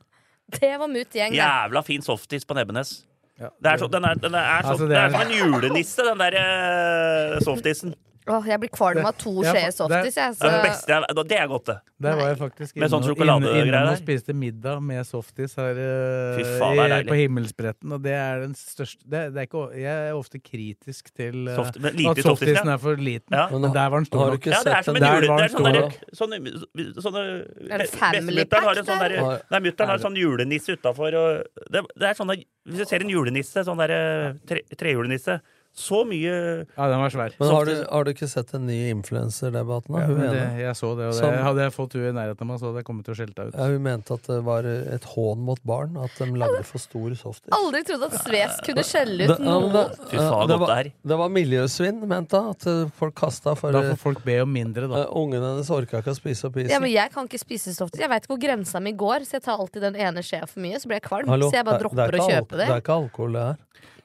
Speaker 7: Det var mut gjeng. det.
Speaker 5: Jævla fin softis på Nebbenes. det er så, den er, den er, så,
Speaker 4: Altså, det
Speaker 5: det er
Speaker 4: er-
Speaker 5: som en julenisse, den der eh, softisen.
Speaker 7: Åh, jeg blir kvalm av to
Speaker 4: Det- jeg-
Speaker 7: skjeer softis, jeg.
Speaker 5: Det er det
Speaker 7: Så.
Speaker 5: beste jeg Det er godt, det.
Speaker 4: Der var jeg faktisk
Speaker 5: Med sånn
Speaker 4: innom-
Speaker 5: sjokoladegreier
Speaker 4: innom
Speaker 5: der.
Speaker 4: og spiste middag med softis her eh,
Speaker 5: Fy faen, det er
Speaker 4: i,
Speaker 5: deilig.
Speaker 4: på Himmelsbretten, og det er den største det, det er ikke, o- Jeg er ofte kritisk til eh,
Speaker 5: Soft- men lite
Speaker 4: at
Speaker 5: softis,
Speaker 4: softisen
Speaker 5: ja.
Speaker 4: er for liten,
Speaker 5: Ja.
Speaker 4: men der var den stor
Speaker 6: Har du
Speaker 4: nok.
Speaker 6: ikke
Speaker 5: Ja, det er som en
Speaker 4: Der
Speaker 5: jule...
Speaker 4: var den
Speaker 5: Det er
Speaker 4: stor
Speaker 5: sånn der,
Speaker 4: nok.
Speaker 5: sånne, sånne
Speaker 7: Er det family
Speaker 5: Bestemutteren har en
Speaker 7: pack
Speaker 5: sånn der,
Speaker 7: der?
Speaker 5: Nei, mutter'n har en sånn julenisse utafor. Det, det er sånne Hvis du ser en julenisse, sånn der tre, trejulenisse Så mye
Speaker 4: Ja, den var svær.
Speaker 6: Men har du, har du ikke sett den nye influenserdebatten? da?
Speaker 4: Ja,
Speaker 6: Hun
Speaker 4: men det,
Speaker 6: ene.
Speaker 4: jeg så det, og det
Speaker 6: Som-
Speaker 4: hadde jeg fått hun i nærheten av meg, så hadde jeg kommet til å skjelte deg ut.
Speaker 6: Ja, hun mente at det var et hån mot barn at de lagde for stor softis.
Speaker 7: Aldri trodd at Sves kunne skjelle
Speaker 6: Det-
Speaker 7: ut
Speaker 6: ja, men
Speaker 7: noen.
Speaker 6: det-
Speaker 5: Fy faen,
Speaker 6: ja,
Speaker 5: godt
Speaker 6: det, var,
Speaker 5: det
Speaker 6: det var miljøsvinn, mente hun. At eh, folk kasta for eh,
Speaker 4: Da får folk be om mindre, da.
Speaker 6: Ungen hennes orka ikke å spise opp isen.
Speaker 7: Ja, men jeg kan ikke spise softis. Jeg veit hvor grensa mi går, så jeg tar alltid den ene skjea for mye. Så blir jeg kvalm.
Speaker 6: Hallo,
Speaker 7: så jeg bare
Speaker 6: det- det er
Speaker 7: dropper å
Speaker 6: ikke alko-
Speaker 7: kjøpe det.
Speaker 6: Det er ikke alkohol, det her.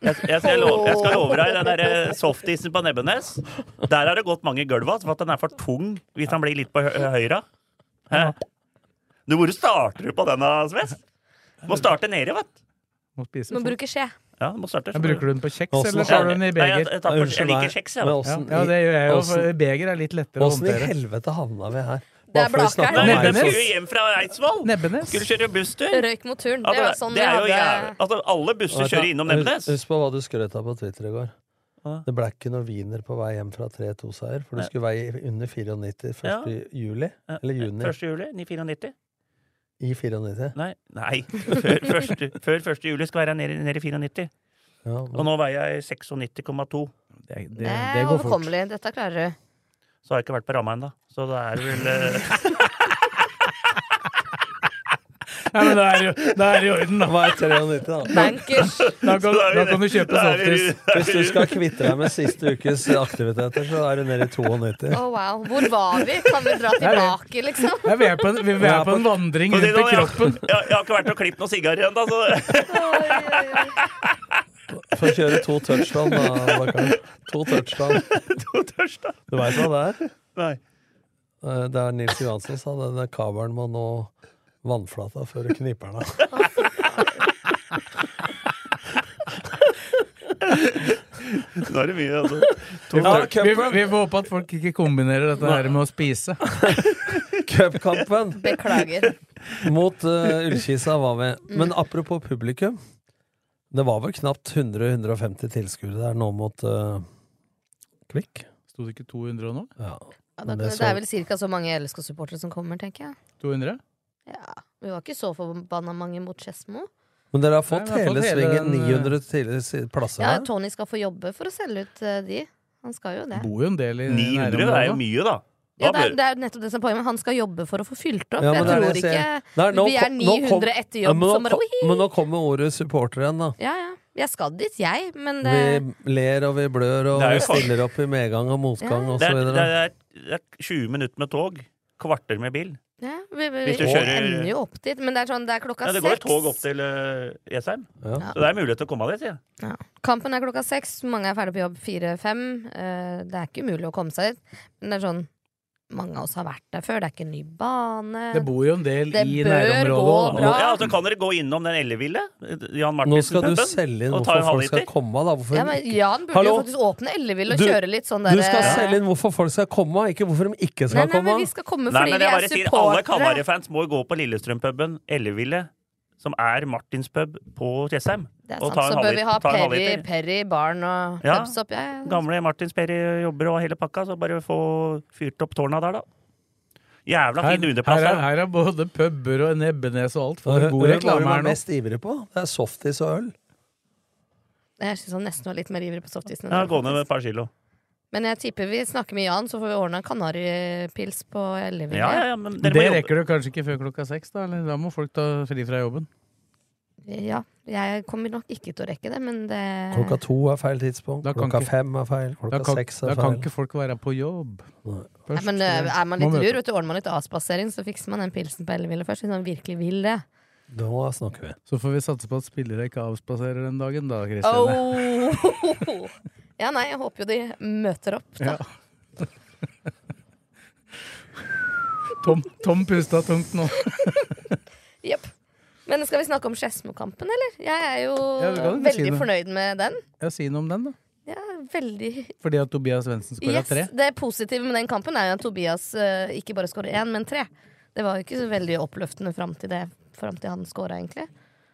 Speaker 5: Jeg skal, love, jeg skal love deg, den der softisen på Nebbenes Der har det gått mange gulv ass, for at den er for tung hvis han blir litt på hø- høyre. Hæ? Du, hvor starter du på den, da, Sves? Må starte nedi, vet du.
Speaker 4: Må spise
Speaker 7: Må
Speaker 4: fort.
Speaker 7: bruke skje.
Speaker 5: Ja, du må starte.
Speaker 4: Men bruker du den på kjeks,
Speaker 6: Åssen-
Speaker 4: eller tar du den i
Speaker 5: Nei, altså, jeg-
Speaker 4: beger?
Speaker 5: jeg tar på- jeg liker kjeks, jeg, da.
Speaker 4: Ja, ja, det gjør jeg jo, for beger er litt lettere å
Speaker 6: Åssen i
Speaker 4: håndtere.
Speaker 6: helvete havna vi her?
Speaker 7: Det er
Speaker 6: Bare for å snakke om
Speaker 5: Nei,
Speaker 6: meg.
Speaker 5: de skulle jo hjem fra Eidsvoll.
Speaker 4: Nebbenes.
Speaker 5: Skulle kjøre busstur.
Speaker 7: Røyk mot turen.
Speaker 5: Ja,
Speaker 7: Det var sånn
Speaker 5: det
Speaker 7: vi
Speaker 5: er jo
Speaker 7: hadde
Speaker 5: jævlig. Altså, alle busser kjører innom Nebbenes.
Speaker 6: Hus- Husk på hva du skrøt av på Twitter i går. Det ble ikke noe wiener på vei hjem fra 3-2-seier, for du
Speaker 5: Nei.
Speaker 6: skulle veie under 94 1.
Speaker 5: Ja.
Speaker 6: juli. Eller juni.
Speaker 5: 1. juli 94.
Speaker 6: I 94.
Speaker 5: Nei, nei. Før, første, før 1. juli skal være nede, nede i 94.
Speaker 6: Ja,
Speaker 5: Og nå veier jeg 96,2.
Speaker 4: Det,
Speaker 7: Det, er overkommelig. Dette klarer du.
Speaker 5: Så har jeg ikke vært på ramma ennå. Så det er vel eh,
Speaker 4: Nei, men det er jo, det er i orden, da.
Speaker 6: Hva er 93, da?
Speaker 7: Bankers.
Speaker 4: Da kan,
Speaker 5: Så da er vi-
Speaker 4: da kan du kjøpe
Speaker 5: da er vi-
Speaker 4: softis.
Speaker 6: Hvis du skal kvitte deg med siste ukes aktiviteter, så er du nede i 92.
Speaker 7: Å, wow. Hvor var vi? Kan vi dra
Speaker 4: er det.
Speaker 7: tilbake, liksom?
Speaker 4: Ja, vi er på en, vi, vi er på en vandring
Speaker 5: Så det
Speaker 4: rundt i
Speaker 5: nå, ja.
Speaker 4: kroppen.
Speaker 5: jeg, jeg har ikke vært og klippet noen sigarer ennå, så
Speaker 6: Få kjøre to touchdown, da. Bakkar. To touchdown.
Speaker 5: to tørsta.
Speaker 6: Du veit hva det er?
Speaker 5: Nei.
Speaker 6: Eh, Det er Nils Johansen sa det. det er Kabelen må nå vannflata før du kniper den av.
Speaker 5: Nå er det mye, altså.
Speaker 4: Vi
Speaker 6: Ja,
Speaker 4: får, vi,
Speaker 6: cupen.
Speaker 4: vi får håpe at folk ikke kombinerer dette her med å spise.
Speaker 6: Cupkampen
Speaker 7: Beklager.
Speaker 6: mot eh, Ullkisa var vi.
Speaker 7: Mm.
Speaker 6: Men apropos publikum. Det var vel knapt 100-150 tilskuere der nå mot eh, Kvikk.
Speaker 4: Sto det ikke 200 nå?
Speaker 6: Ja.
Speaker 7: Ja, da,
Speaker 6: Men
Speaker 7: det
Speaker 6: det
Speaker 7: er
Speaker 6: så,
Speaker 7: vel ca. så mange LSK-supportere som kommer, tenker jeg.
Speaker 4: 200?
Speaker 7: Ja, Vi var ikke så forbanna mange mot Skedsmo.
Speaker 6: men dere har fått
Speaker 4: Nei, vi har
Speaker 6: hele
Speaker 4: fått hele
Speaker 6: svingen.
Speaker 4: den, eh,
Speaker 6: 900 tidligere si- plasser
Speaker 7: Ja,
Speaker 6: der.
Speaker 7: Tony skal få jobbe for å selge ut eh, de. Han skal jo det.
Speaker 4: Bor jo en del i
Speaker 5: 900 er jo mye, da. Da
Speaker 7: Ja, det, er,
Speaker 5: bør-
Speaker 7: det er jo nettopp det som er poenget, men han skal jobbe for å få fylt opp.
Speaker 6: Ja, men det er
Speaker 7: jeg tror
Speaker 6: det jeg
Speaker 7: ikke
Speaker 6: sier. Nei, nå
Speaker 7: Vi er
Speaker 6: kom- nå kom-
Speaker 7: 900 etter
Speaker 6: Ja,
Speaker 7: jobb
Speaker 6: men, nå,
Speaker 7: som bare
Speaker 6: kom- men nå kommer ordet supporter igjen, da.
Speaker 7: Ja, ja. Jeg skal dit, jeg, men det
Speaker 6: Vi ler og vi blør og
Speaker 5: Det er jo
Speaker 6: vi stiller opp i medgang og motgang
Speaker 7: Ja.
Speaker 6: og
Speaker 5: Det
Speaker 6: så
Speaker 5: er, det,
Speaker 6: videre.
Speaker 5: er, det er 20 minutter med tog. Kvarter med bil.
Speaker 7: ja, vi, vi,
Speaker 5: Hvis du
Speaker 7: vi
Speaker 5: kjører-
Speaker 7: ender jo opp dit. Men det er sånn, det er klokka
Speaker 5: Ja, det går et
Speaker 7: seks.
Speaker 5: tog opp til eh, Jessheim.
Speaker 6: Ja.
Speaker 5: Så det er mulighet til å komme av dit, sier jeg.
Speaker 7: Ja. Kampen er klokka seks, mange er ferdig på jobb fire-fem. Eh, det er ikke umulig å komme seg dit. Men det er sånn Mange av oss har vært der før, det er ikke en ny bane.
Speaker 4: Det bor jo en del
Speaker 7: Det
Speaker 4: i
Speaker 7: bør
Speaker 4: nærområdet.
Speaker 7: gå
Speaker 4: også, da.
Speaker 7: bra.
Speaker 5: Ja, så kan dere gå innom den elleville. Jan
Speaker 6: Nå skal du
Speaker 5: Martinsen-puben.
Speaker 6: selge inn
Speaker 5: Og ta
Speaker 6: hvorfor
Speaker 5: en
Speaker 6: folk skal
Speaker 5: halvliter.
Speaker 6: komme, da. Hvorfor
Speaker 7: ja, men Jan burde
Speaker 6: Hallo?
Speaker 7: jo faktisk åpne Ellevill og
Speaker 6: Du-
Speaker 7: kjøre litt sånn
Speaker 6: Du
Speaker 7: derre
Speaker 6: skal selge inn hvorfor folk skal komme, ikke hvorfor de ikke
Speaker 7: Nei,
Speaker 6: skal
Speaker 7: nei, men vi
Speaker 6: komme.
Speaker 7: skal komme
Speaker 5: Nei,
Speaker 7: fordi
Speaker 5: men jeg bare
Speaker 7: vi er
Speaker 5: sier alle
Speaker 7: supportere.
Speaker 5: Kalvarøy-fans må gå på Lillestrøm-puben Elleville, som er Martins pub på Jessheim.
Speaker 7: Det er
Speaker 5: og
Speaker 7: sant,
Speaker 5: ta en
Speaker 7: så bør vi
Speaker 5: halvliter-
Speaker 7: ha
Speaker 5: ta en
Speaker 7: Perry,
Speaker 5: halvliter.
Speaker 7: Perry barn og
Speaker 5: Ja.
Speaker 7: Dubs opp. Ja, ja.
Speaker 5: Gamle Martins Perry jobber og hele pakka, så bare få fyrt opp tårna der, da. Jævla
Speaker 4: Her,
Speaker 5: fin
Speaker 4: her,
Speaker 5: underplass.
Speaker 4: er,
Speaker 5: her.
Speaker 4: her er både puber og Nebbenes og alt. For
Speaker 6: Hører
Speaker 4: god
Speaker 6: du hva du
Speaker 4: reklame
Speaker 6: var
Speaker 4: her nå.
Speaker 6: mest ivrig på? Det er softis og øl.
Speaker 7: Eh. Jeg syns han nesten var litt mer ivrig på softisen. enn
Speaker 5: Ja,
Speaker 7: dere,
Speaker 5: gå ned
Speaker 7: faktisk.
Speaker 5: med et par kilo.
Speaker 7: Men jeg tipper vi snakker med Jan, så får vi ordna en kanaripils på Elleville.
Speaker 5: Ja, ja, ja, men
Speaker 4: Det
Speaker 5: dere må jobbe.
Speaker 4: rekker du kanskje ikke før klokka seks, da? Eller da må folk ta fri fra jobben.
Speaker 7: Ja, jeg kommer nok ikke til å rekke det, men det
Speaker 6: Klokka to er feil tidspunkt.
Speaker 4: Da kan
Speaker 6: Klokka
Speaker 4: ikke-
Speaker 6: fem er feil.
Speaker 4: Da
Speaker 6: Klokka
Speaker 4: kan,
Speaker 6: seks
Speaker 4: da
Speaker 6: er
Speaker 4: kan
Speaker 6: feil.
Speaker 4: ikke folk være på jobb.
Speaker 6: Nei.
Speaker 7: Nei,
Speaker 4: Først,
Speaker 7: men
Speaker 4: så
Speaker 7: øh,
Speaker 4: det-
Speaker 7: er man
Speaker 4: må
Speaker 7: litt
Speaker 4: møte-
Speaker 7: lur, vet du, ordner man litt avspasering, så fikser man den pilsen på Elleville først, hvis man virkelig vil det.
Speaker 6: Nå snakker vi.
Speaker 4: Så får vi satse på at spillere ikke avspaserer den dagen, da, Kristine.
Speaker 7: Oh. Ja, nei, jeg håper jo de møter opp, da.
Speaker 4: Tom, Tom pusta tungt nå.
Speaker 7: Jepp. Men skal vi snakke om Skedsmo-kampen, eller? Jeg er jo
Speaker 4: Ja, vi kan jo si
Speaker 7: veldig
Speaker 4: det.
Speaker 7: fornøyd med den.
Speaker 4: Ja, si noe om den, da.
Speaker 7: Ja, veldig
Speaker 4: Fordi at Tobias Svendsen skåra
Speaker 7: Yes,
Speaker 4: tre?
Speaker 7: Det positive med den kampen er jo at Tobias eh, ikke bare skårer én, men tre. Det var jo ikke så veldig oppløftende fram til det Frem til han skåra, egentlig.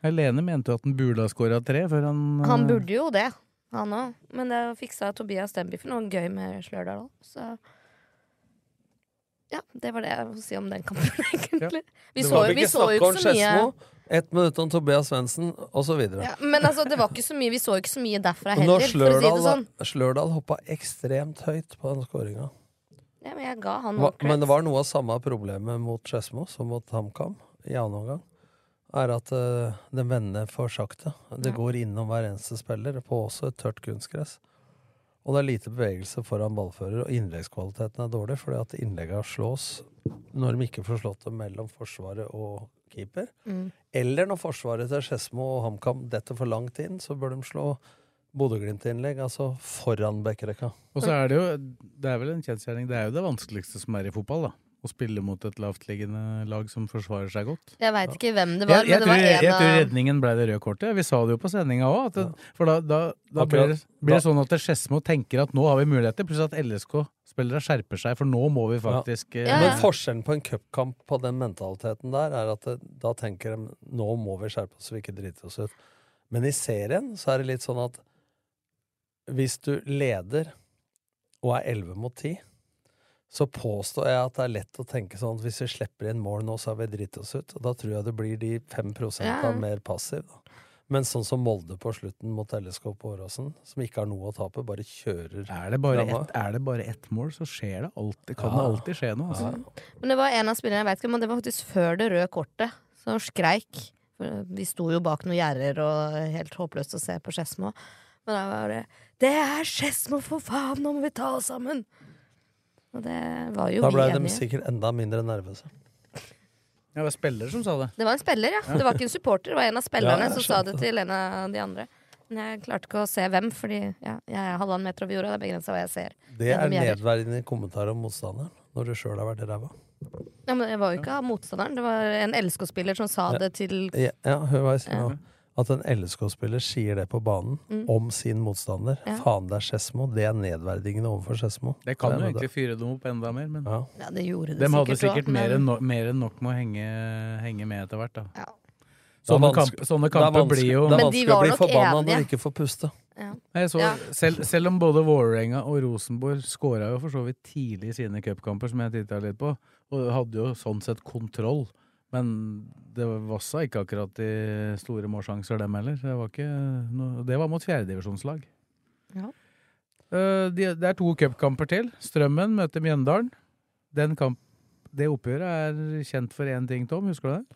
Speaker 4: Helene mente jo at han burde ha skåra tre før han eh,
Speaker 7: Han burde jo det, han òg. Men det fiksa Tobias Denbiffen noe gøy med Slørdal òg, så Ja, det var det jeg ville si om den kampen, egentlig. Vi
Speaker 6: Det
Speaker 7: så,
Speaker 6: var-
Speaker 7: jo- vi så jo
Speaker 6: snakke om
Speaker 7: ikke så mye
Speaker 6: Skedsmo, Ett minutt om Tobias Svendsen, osv.
Speaker 7: ja, Men altså, det var ikke så mye Vi så jo ikke så mye derfra
Speaker 6: Når
Speaker 7: heller, for å si
Speaker 6: Slørdal,
Speaker 7: det sånn.
Speaker 6: Slørdal hoppa ekstremt høyt på den skåringa.
Speaker 7: Ja, men jeg ga han
Speaker 6: Hva-
Speaker 7: nok
Speaker 6: Men
Speaker 7: cred.
Speaker 6: det var noe av samme problemet mot Skedsmo som mot HamKam i annen omgang. Er at uh, den vender for sakte. Det
Speaker 7: Ja.
Speaker 6: går innom hver eneste spiller, på også et tørt kunstgress. Og det er lite bevegelse foran ballfører, og innleggskvaliteten er dårlig, fordi at innlegga slås når de ikke får slått dem mellom Forsvaret og keeper.
Speaker 10: Mm.
Speaker 6: Eller når Forsvaret til Skedsmo og HamKam detter for langt inn, så bør de slå Bodø-Glimt-innlegg, altså foran bekkerekka.
Speaker 4: Og så er det jo Det er vel en kjensgjerning. Det er jo det vanskeligste som er i fotball, da. Å spille mot et lavtliggende lag som forsvarer seg godt.
Speaker 7: Jeg veit ikke hvem det var,
Speaker 4: jeg, jeg,
Speaker 7: men det var
Speaker 4: tror, jeg,
Speaker 7: en
Speaker 4: jeg tror
Speaker 7: av
Speaker 4: redningen ble det røde kortet. Vi sa det jo på sendinga òg. For da, da, da
Speaker 6: Akkurat.
Speaker 4: blir, det, blir det
Speaker 6: Da-
Speaker 4: sånn at Skedsmo tenker at nå har vi muligheter, pluss at LSK-spillere skjerper seg, for nå må vi faktisk eh,
Speaker 6: Men forskjellen på en cupkamp på den mentaliteten der, er at det, da tenker de nå må vi skjerpe oss så vi ikke driter oss ut. Men i serien så er det litt sånn at hvis du leder og er 11 mot 10, så påstår jeg at det er lett å tenke sånn at hvis vi slipper inn mål nå, så har vi driti oss ut. Og da tror jeg det blir de 5
Speaker 7: Ja.
Speaker 6: mer passiv. Da. Men sånn som Molde på slutten mot LSK på Åråsen, som ikke har noe å tape, bare kjører
Speaker 4: Er det bare, ett, er det bare ett mål, så skjer det alltid. Kan det
Speaker 6: Ja.
Speaker 4: alltid skje noe, altså.
Speaker 7: Men det var en av spillerne, jeg vet ikke, men det var faktisk før det røde kortet. Så han skreik. De sto jo bak noen gjerder og helt håpløst å se på Skedsmo. Men da var det Det er Skedsmo, for faen! Nå må vi ta oss sammen! Og det var jo
Speaker 6: Da
Speaker 7: vi
Speaker 6: ble de
Speaker 7: enige.
Speaker 6: sikkert enda mindre nervøse.
Speaker 4: Ja, det var spiller som sa det.
Speaker 7: Det var en spiller, ja. Det var ikke en supporter. Det var en av spillerne
Speaker 6: Ja, jeg
Speaker 7: som sa det
Speaker 6: skjønte.
Speaker 7: til en av de andre. Men jeg klarte ikke å se hvem, fordi ja, jeg er halvannen meter over jorda. Det er begrensa hva jeg ser.
Speaker 6: Det er
Speaker 7: gjennom gjerder.
Speaker 6: nedverdigende kommentar om motstanderen når du sjøl har vært ræva.
Speaker 7: Ja, men jeg var jo ikke motstanderen. Det var en LSK-spiller som sa
Speaker 6: Ja.
Speaker 7: det til
Speaker 6: Ja, ja, hør hva jeg sier nå. At en LSK-spiller sier det på banen
Speaker 7: Mm.
Speaker 6: om sin motstander.
Speaker 7: Ja.
Speaker 6: Faen, det er Skedsmo. Det er nedverdigende overfor Skedsmo.
Speaker 4: Det kan jo
Speaker 6: er
Speaker 4: egentlig fyre dem opp enda mer, men
Speaker 7: Ja, det gjorde det
Speaker 4: De hadde
Speaker 7: sikkert
Speaker 4: sikkert
Speaker 7: også,
Speaker 4: mer,
Speaker 7: men-
Speaker 4: enn no, mer enn nok med å henge, henge med etter hvert, da.
Speaker 6: Det er
Speaker 4: Sånne,
Speaker 6: vanske-
Speaker 4: kamp, sånne
Speaker 6: det er
Speaker 4: kamper
Speaker 6: vanske-
Speaker 4: blir jo
Speaker 6: det er Men de vanskelig å var bli nok forbanna når enige. du ikke får puste.
Speaker 4: Nei, jeg så,
Speaker 6: Ja.
Speaker 4: selv, selv om både Vålerenga og Rosenborg skåra jo for så vidt tidlig i sine cupkamper, som jeg titta litt på, og hadde jo sånn sett kontroll. Men det vassa ikke akkurat de store målsjanser, dem heller. Det var, ikke noe, det var mot fjerdedivisjonslag.
Speaker 7: Ja.
Speaker 4: Eh, de, det er to cupkamper til. Strømmen møter Mjøndalen. Den kamp, det oppgjøret er kjent for én ting, Tom. Husker du det?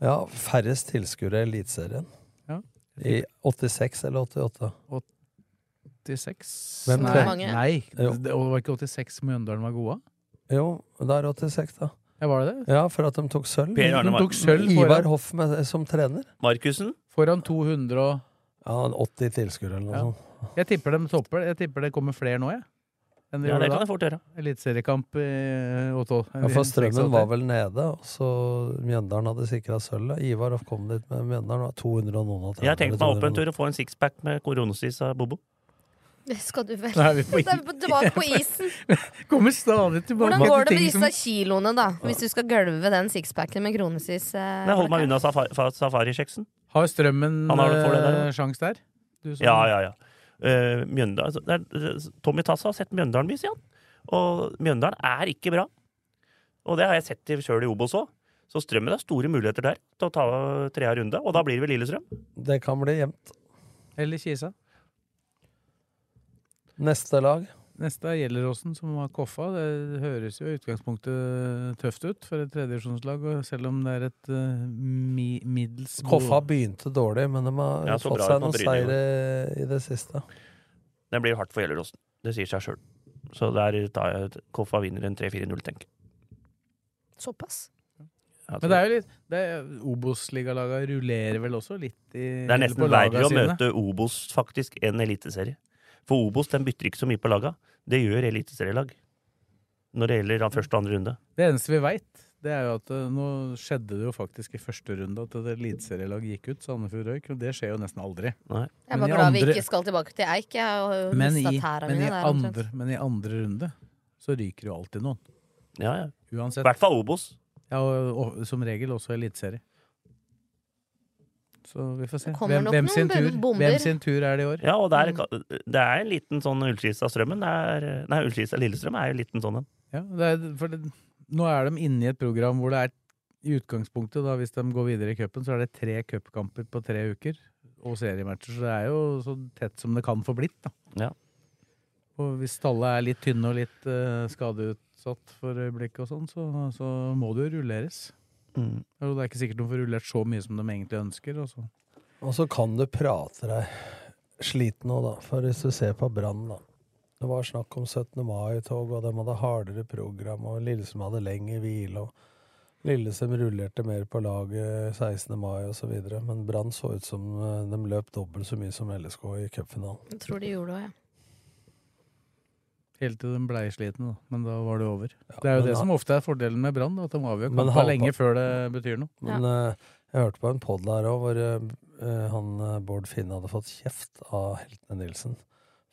Speaker 6: Ja, færrest tilskuere i Eliteserien.
Speaker 4: Ja.
Speaker 6: I 86 eller 88.
Speaker 4: 86?
Speaker 6: Hvem
Speaker 4: nei,
Speaker 6: tre-
Speaker 4: nei.
Speaker 6: Jo.
Speaker 4: Det, det var ikke 86 Mjøndalen var gode av?
Speaker 6: Jo, det er 86, da.
Speaker 4: Ja, var det det?
Speaker 6: Ja, for at de tok sølv.
Speaker 5: Per Arne
Speaker 6: de tok
Speaker 5: Martin.
Speaker 6: sølv
Speaker 4: foran-
Speaker 6: Ivar Hoff med, som trener.
Speaker 5: Markussen?
Speaker 4: Foran 200 og
Speaker 6: Ja, 80 tilskuere eller noe
Speaker 4: Ja.
Speaker 6: sånt.
Speaker 4: Jeg tipper de topper. Jeg tipper det kommer flere nå, jeg. Enn
Speaker 5: Ja,
Speaker 4: gjorde
Speaker 5: det kan
Speaker 4: da.
Speaker 5: jeg fort gjøre.
Speaker 4: Eliteseriekamp i Åtå.
Speaker 6: Ja, for Strømmen var vel nede, og så Mjøndalen hadde sikra sølvet. Ivar Hoff kom dit med Mjøndalen, og 200 og noen og
Speaker 5: Jeg har tenkt meg opp en
Speaker 6: 200.
Speaker 5: tur og få en sixpack med koronasis av Bobo.
Speaker 7: Det skal du vel.
Speaker 5: Nå er vi på
Speaker 7: Det er på- tilbake på isen.
Speaker 4: Kommer stadig tilbake
Speaker 7: Hvordan går det
Speaker 5: til
Speaker 7: med
Speaker 5: ting
Speaker 7: disse
Speaker 5: som-
Speaker 7: kiloene, da? Hvis du skal gølve den sixpacken med kronesis? eh,
Speaker 5: Nei, hold meg unna safari, safarikjeksen.
Speaker 4: Har Strømmen
Speaker 5: Han har det for det der,
Speaker 4: eh, sjans der? Du som-
Speaker 5: Ja, ja, ja. Eh, Mjøndalen så det er- Tommy Tassa har sett Mjøndalen mye, sier han. Og Mjøndalen er ikke bra. Og det har jeg sett sjøl i Obos òg. Så Strømmen har store muligheter der til å ta trea runde, og da blir det vel Lillestrøm.
Speaker 6: Det kan bli jevnt.
Speaker 4: Eller Kisa.
Speaker 6: Neste lag.
Speaker 4: Neste er Gjelleråsen, som har koffa. Det høres jo i utgangspunktet tøft ut for et tredjevisjonslag, og selv om det er et eh, mi middels
Speaker 6: Koffa begynte dårlig, men de har
Speaker 5: Ja, så
Speaker 6: fått
Speaker 5: bra
Speaker 6: seg
Speaker 5: ut mot
Speaker 6: noen
Speaker 5: Bryne i
Speaker 6: seire i det siste.
Speaker 5: Det blir hardt for Gjelleråsen. Det sier seg sjøl. Så der tar jeg Koffa vinner en 3-4-0, tenk.
Speaker 7: Såpass.
Speaker 4: Men det er jo litt det er- Obos-ligalaga rullerer vel også litt i
Speaker 5: Det er
Speaker 4: på
Speaker 5: nesten
Speaker 4: laga
Speaker 5: verre å
Speaker 4: sine.
Speaker 5: møte Obos faktisk enn Eliteserie. For Obos den bytter ikke så mye på laga. Det gjør eliteserielag. Når det gjelder den første og andre runde.
Speaker 4: Det eneste vi veit, det er jo at eh, nå skjedde det jo faktisk i første runde at et eliteserielag gikk ut, Sandefjord røyk. og Det skjer jo nesten aldri.
Speaker 7: Jeg
Speaker 4: i
Speaker 7: er bare glad vi
Speaker 4: andre-
Speaker 7: ikke skal tilbake til Eik. Jeg har jo
Speaker 4: men i,
Speaker 7: mistet tæra
Speaker 4: men, i
Speaker 7: mine der omtrent.
Speaker 4: andre, men i andre runde så ryker jo alltid noen.
Speaker 5: Ja, ja.
Speaker 4: Uansett.
Speaker 5: I hvert fall Obos.
Speaker 4: Ja, og, og som regel også eliteserie. Så vi får se.
Speaker 7: kommer
Speaker 4: Hvem,
Speaker 7: nok
Speaker 4: hvem,
Speaker 7: noen
Speaker 4: sin tur,
Speaker 7: bomber.
Speaker 4: hvem sin tur er det i år?
Speaker 5: Ja, og det er, det er en liten sånn Ullskisa-strømmen. det er- Nei, Ullskisa-Lillestrøm er jo en liten sånn en.
Speaker 4: Ja, det er, for det, nå er de inne i et program hvor det er i utgangspunktet, da, hvis de går videre i cupen, så er det tre cupkamper på tre uker. Og seriematcher. Så det er jo så tett som det kan få blitt. da.
Speaker 5: Ja.
Speaker 4: Og hvis tallet er litt tynne og litt eh, skadeutsatt for øyeblikket, og sånn, så, så må det jo rulleres.
Speaker 5: Mm.
Speaker 4: Og det er ikke sikkert de får rullert så mye som de egentlig ønsker. altså. Og så.
Speaker 6: Og så kan du prate deg sliten nå, da. For hvis du ser på Brann, da. Det var snakk om 17. mai-tog, og de hadde hardere program, og Lillestrøm hadde lengre hvile, og Lillestrøm rullerte mer på laget 16. mai og så videre. Men Brann så ut som eh, de løp dobbelt så mye som LSK i cupfinalen.
Speaker 7: Jeg tror de gjorde det òg, jeg.
Speaker 4: Helt til de blei slitne, da. Men da var det over. det er jo
Speaker 6: men
Speaker 4: det
Speaker 6: da-
Speaker 4: som ofte er fordelen med Brann, da, at de avgjør
Speaker 6: Men
Speaker 4: kampen
Speaker 6: halvpa-
Speaker 4: lenge før det betyr noe.
Speaker 6: Men eh, jeg hørte på en podd her òg, hvor eh, eh, han eh, Bård Finne hadde fått kjeft av Heltene Nilsen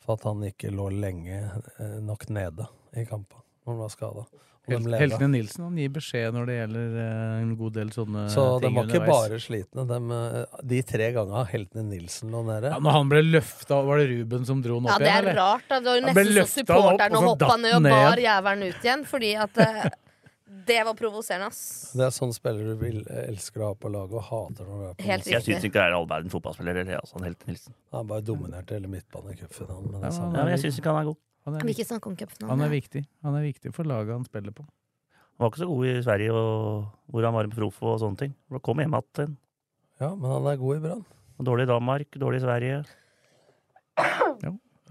Speaker 6: for at han ikke lå lenge eh, nok nede i kampen når han var skada.
Speaker 4: Hel- Heltene Nilsen han gir beskjed når det gjelder eh, en god del sånne
Speaker 6: Så de
Speaker 4: ting
Speaker 6: var ikke
Speaker 4: underveis.
Speaker 6: bare slitne. De, eh, de tre gangene Heltene Nilsen lå nede.
Speaker 4: ja, Når han ble løfta, var det Ruben som dro han
Speaker 7: Ja,
Speaker 4: opp
Speaker 7: det
Speaker 4: igjen?
Speaker 7: er
Speaker 4: eller?
Speaker 7: rart. da. Det var jo
Speaker 4: Han ble
Speaker 7: nesten så
Speaker 4: løftet han opp,
Speaker 7: supporterne
Speaker 4: og så
Speaker 7: hoppa
Speaker 4: datt
Speaker 7: ned og
Speaker 4: ned.
Speaker 7: bar jævelen ut igjen, fordi at eh, Det var provoserende, ass.
Speaker 6: Det er sånn spillere du vil, elsker å ha på laget og hater når du er på
Speaker 7: Helt
Speaker 5: Jeg syns
Speaker 6: riktig.
Speaker 5: ikke det er all verden fotballspiller, eller altså, han helt Nilsen.
Speaker 6: Han bare dominerte hele midtbanen i cupfinalen. men det er
Speaker 4: Ja,
Speaker 6: samme.
Speaker 5: Ja, men jeg syns ikke han er god.
Speaker 4: Han er,
Speaker 7: Vi ikke snakke om cupfinalen.
Speaker 4: han er
Speaker 7: ja.
Speaker 4: viktig. Han er viktig for laget han spiller på.
Speaker 5: Han var ikke så god i Sverige, og, hvor han var med proff og sånne ting. Han kom hjem igjen.
Speaker 6: Ja, men han er god i Brann.
Speaker 5: Dårlig i Danmark, dårlig i Sverige.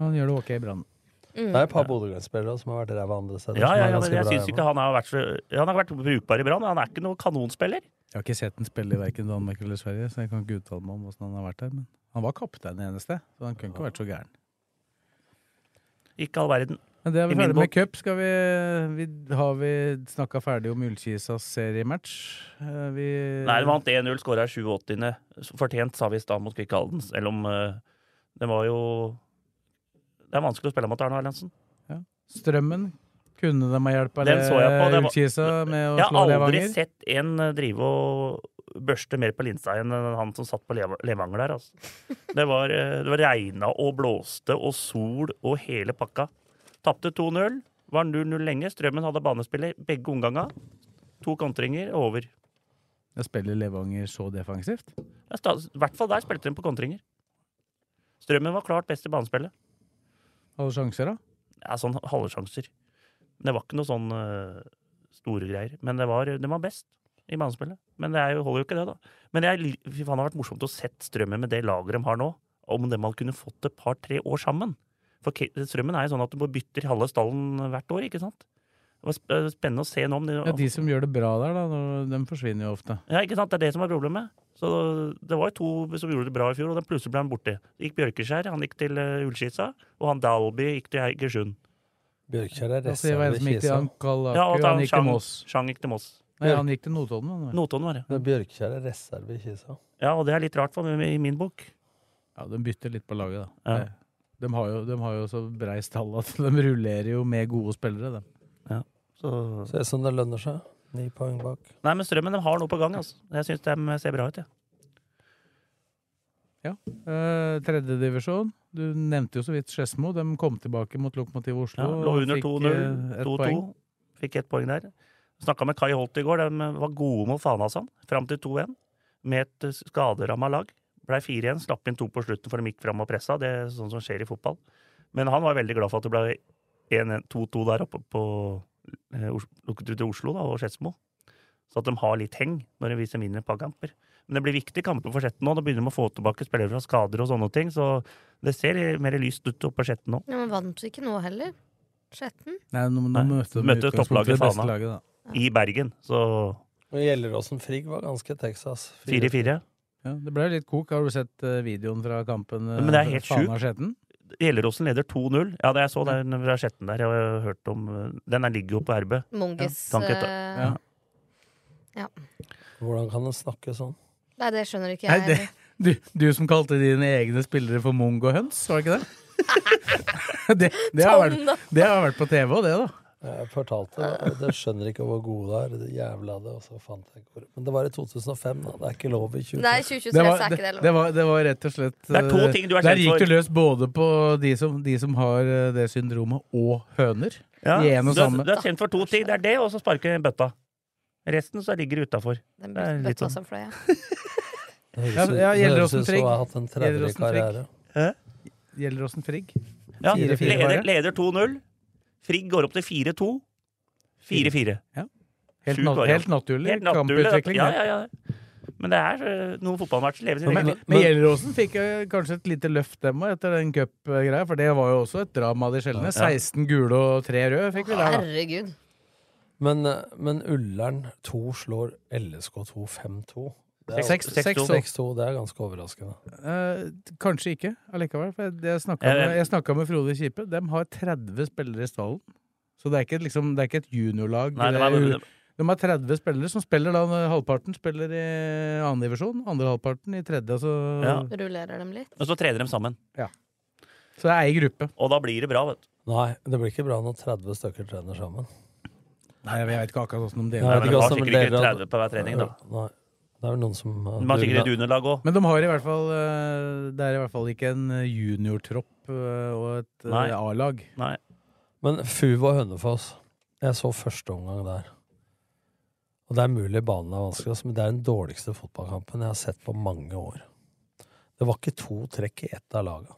Speaker 4: Han gjør det ok i Brann.
Speaker 7: Mm.
Speaker 6: Det er et par Bodø-Glimt-spillere som har vært ræva andre steder.
Speaker 5: Ja,
Speaker 6: som
Speaker 5: ja,
Speaker 6: er
Speaker 5: ja,
Speaker 6: ganske
Speaker 5: men jeg
Speaker 6: bra
Speaker 5: synes
Speaker 6: hjemme.
Speaker 5: ikke han har vært så Han har vært brukbar i Brann, men han er ikke noen kanonspiller.
Speaker 4: Jeg har ikke sett han spille i verken Danmark eller Sverige, så jeg kan ikke uttale meg om åssen han har vært der. Men han var kaptein i eneste, så han kunne ikke vært så gæren.
Speaker 5: Ikke all verden.
Speaker 4: Men det er
Speaker 5: I
Speaker 4: vi
Speaker 5: min
Speaker 4: ferdig med
Speaker 5: bok.
Speaker 4: cup. Skal vi, vi, har vi snakka ferdig om Ullkisas seriematch? Eh, Vi
Speaker 5: Nei, de vant 1-0, skåra 87. Fortjent, sa vi i stad mot Kvikhalden. Selv om eh, det var jo Det er vanskelig å spille mot Arne Erlandsen.
Speaker 4: Strømmen kunne de ha hjelpa
Speaker 5: Den så jeg på. Det var-
Speaker 4: Ullkisa med å
Speaker 5: Jeg
Speaker 4: slå
Speaker 5: har aldri
Speaker 4: Levanger?
Speaker 5: sett en eh, drive og børste mer på linsa enn han som satt på Leva- Levanger der. Altså. Det var, eh, det var regna og blåste og sol og hele pakka. Tapte 2-0. Var 0-0 lenge. Strømmen hadde banespiller begge omganga. To kontringer og over.
Speaker 4: Da Spiller Levanger så defensivt?
Speaker 5: Ja, sta- I hvert fall der spilte de på kontringer. Strømmen var klart best i banespillet.
Speaker 4: Hadde sjanser, da?
Speaker 5: Ja, sånn halve sjanser. Det var ikke noe sånn eh, store greier. Men det var, det var best i banespillet. Men det er jo, holder jo ikke det, da. Men jeg, li- fy faen, det har vært morsomt å sett Strømmen med det lageret de har nå. Om de hadde kunne fått et par-tre år sammen. For Ke- Strømmen er jo sånn at du bare bytter halve stallen hvert år, ikke sant? Det var sp- eh, spennende å se nå om de,
Speaker 4: Ja, de som gjør det bra der, da, når- de forsvinner jo ofte.
Speaker 5: Ja, ikke sant? Det er det som er problemet. Så Det var jo to som gjorde det bra i fjor, og den plutselig ble han borte. Det gikk Bjørkeskjær, han gikk til eh, Ullskisa, og han Dalby gikk til Eigersund.
Speaker 6: Bjørkjær er
Speaker 4: Da sier jeg hva som gikk til Ankalaku,
Speaker 5: Ja, og da
Speaker 4: han gikk til
Speaker 5: Chang-
Speaker 4: Moss.
Speaker 5: Chang gikk til Moss.
Speaker 4: Nei, han gikk til Notodden. han, vel?
Speaker 5: Notodden var det.
Speaker 6: Men Bjørkjær er reserve i Kisa.
Speaker 5: Ja, og det er litt rart for meg i min bok.
Speaker 4: Ja, de bytter litt på laget, da.
Speaker 5: Ja.
Speaker 4: De, har jo, de har jo så brei stall at de rullerer jo med gode spillere, de.
Speaker 5: Så...
Speaker 6: Ser ut som det lønner seg. Ni poeng bak.
Speaker 5: Nei, men Strømmen de har noe på gang. altså. Jeg syns de ser bra ut. Ja.
Speaker 4: Ja. Eh, Tredjedivisjon. Du nevnte jo så vidt Skedsmo. De kom tilbake mot Lokomotiv Oslo.
Speaker 5: Ja, lå
Speaker 4: og
Speaker 5: under
Speaker 4: fikk,
Speaker 5: 2-0,
Speaker 4: eh, et
Speaker 5: 2-2.
Speaker 4: poeng.
Speaker 5: Fikk ett poeng der. Snakka med Kai Holt i går. De var gode mot Fanasand fram til 2-1. Med et eh, skaderamma lag. Blei 4-1, slapp inn to på slutten for de gikk fram og pressa. Det er sånn som skjer i fotball. Men han var veldig glad for at det ble 1-1, 2-2 der oppe på eh, Os- lukket ut til Oslo da, og Skedsmo. Så at de har litt heng når de viser mindre på kamper. Men det blir viktige kamper for Skjetten nå. Da begynner de å få tilbake spillere fra skader og sånne ting. Så det ser mer lyst ut oppe på Skjetten nå.
Speaker 7: Ja, men vant vi ikke nå heller? Skjetten?
Speaker 4: Nei, nå, nå møtte de i
Speaker 5: Møtte
Speaker 4: utgangspunktet
Speaker 5: topplaget
Speaker 4: det beste
Speaker 5: Fana
Speaker 4: laget, da.
Speaker 5: i Bergen. Så
Speaker 6: Og Gjelleråsen Frigg var ganske Texas.
Speaker 5: 4-4.
Speaker 4: Ja, det ble litt kok. Har du sett eh, videoen fra kampen? eh,
Speaker 5: Men det er helt
Speaker 4: Fana
Speaker 5: sjukt.
Speaker 4: Skjetten?
Speaker 5: Gjelleråsen leder 2-0. Ja, det jeg så den eh, fra Skjetten der. Jeg har hørt om Den er ligger jo på RB.
Speaker 7: Mongis,
Speaker 5: Tanket,
Speaker 7: eh,
Speaker 5: ja.
Speaker 7: Ja.
Speaker 6: Hvordan kan en snakke sånn?
Speaker 7: Nei, det skjønner ikke
Speaker 4: Nei,
Speaker 7: jeg.
Speaker 4: det,
Speaker 7: heller.
Speaker 4: du, du som kalte dine egne spillere for mongohøns, var det ikke det? det, det, har
Speaker 7: Tom,
Speaker 4: vært,
Speaker 7: da.
Speaker 4: det har vært på TV òg, det, da.
Speaker 6: Jeg fortalte det. Dere skjønner ikke hvor gode det er. Det jævla det, og så fant jeg ikke ordet. Men det var i 2005, da. Det er ikke lov i 2023.
Speaker 7: Nei, 2023 Det var- er ikke det lov.
Speaker 4: Det var, det var rett og slett
Speaker 5: Det er to
Speaker 4: eh,
Speaker 5: ting du er
Speaker 4: Der
Speaker 5: kjent
Speaker 4: gikk
Speaker 5: for.
Speaker 4: du løs både på de som, de som har eh, det syndromet, og høner.
Speaker 5: Ja,
Speaker 4: I en og
Speaker 5: du, er,
Speaker 4: samme.
Speaker 5: du er kjent for to ting. Det er det, og så sparke bøtta. Resten så ligger utafor.
Speaker 7: Den
Speaker 5: Det er litt
Speaker 7: bøtta
Speaker 5: sånn.
Speaker 7: som fløy, ja.
Speaker 6: Det
Speaker 4: Ja,
Speaker 6: høres ut-
Speaker 4: ja,
Speaker 6: det høres ut som
Speaker 4: Gjelleråsen
Speaker 6: jeg
Speaker 4: Frigg.
Speaker 6: har hatt en 30-årig
Speaker 4: Gjelleråsen Frigg.
Speaker 6: karriere.
Speaker 4: Gjelleråsen Frigg.
Speaker 5: Ja,
Speaker 4: 4-4 var
Speaker 5: leder
Speaker 4: det.
Speaker 5: leder 2-0. Frigg går opp til 4-2. 4-4.
Speaker 4: Ja. Helt
Speaker 5: Sjuk
Speaker 4: nat-
Speaker 5: variant.
Speaker 4: helt naturlig
Speaker 5: Helt naturlig.
Speaker 4: kamputvikling,
Speaker 5: Ja,
Speaker 4: det.
Speaker 5: ja, ja. Men det er eh, noen fotballmatcher lever sin
Speaker 4: Men,
Speaker 5: egen
Speaker 4: men,
Speaker 5: liv.
Speaker 4: Gjelleråsen fikk eh, kanskje et lite løft, dem òg, etter den cupgreia. For det var jo også et drama av de sjeldne.
Speaker 6: Ja.
Speaker 4: 16 gule og 3 røde fikk vi der, da.
Speaker 7: Herregud.
Speaker 6: Men, eh, men Ullern 2 slår LSK2 5-2. Det er-
Speaker 4: Seks- seks-
Speaker 6: 6-2.
Speaker 4: seks-
Speaker 6: 6-2, Det er ganske overraskende.
Speaker 4: Eh, kanskje ikke allikevel. For jeg- jeg snakka
Speaker 6: Jeg-
Speaker 4: med, jeg snakket med Frode Kipe. De har 30 spillere i stallen. Så det er ikke, et liksom, det er ikke et juniorlag.
Speaker 5: Nei,
Speaker 4: det
Speaker 5: de er-
Speaker 4: er jo- de har 30 spillere som spiller da halvparten spiller i andre divisjon, andre halvparten i tredje. Altså,
Speaker 5: Ja.
Speaker 7: Rullerer dem litt.
Speaker 5: Og så trener de sammen.
Speaker 4: Ja. Så det er ei gruppe.
Speaker 5: Og da blir det bra, vet du.
Speaker 6: Nei, det blir ikke bra når 30 stykker trener sammen.
Speaker 4: Nei, jeg vet ikke akkurat hvordan de
Speaker 6: Nei,
Speaker 5: men
Speaker 6: det
Speaker 5: de
Speaker 6: går
Speaker 5: har
Speaker 6: som
Speaker 5: sikkert
Speaker 6: deler
Speaker 5: ikke
Speaker 6: av-
Speaker 5: 30 på hver trening, da.
Speaker 6: Nei, det er vel noen som eh,
Speaker 5: De har sikkert et
Speaker 6: durer-
Speaker 5: juniorlag òg.
Speaker 4: Men de har i hvert fall eh, Det er i hvert fall ikke en eh, juniortropp eh, og et eh,
Speaker 5: Nei.
Speaker 4: A-lag.
Speaker 5: Nei.
Speaker 6: Men Fuva Hønefoss, jeg så første omgang der. Og det er mulig banen er vanskelig, altså, men det er den dårligste fotballkampen jeg har sett på mange år. Det var ikke to trekk i ett av laga.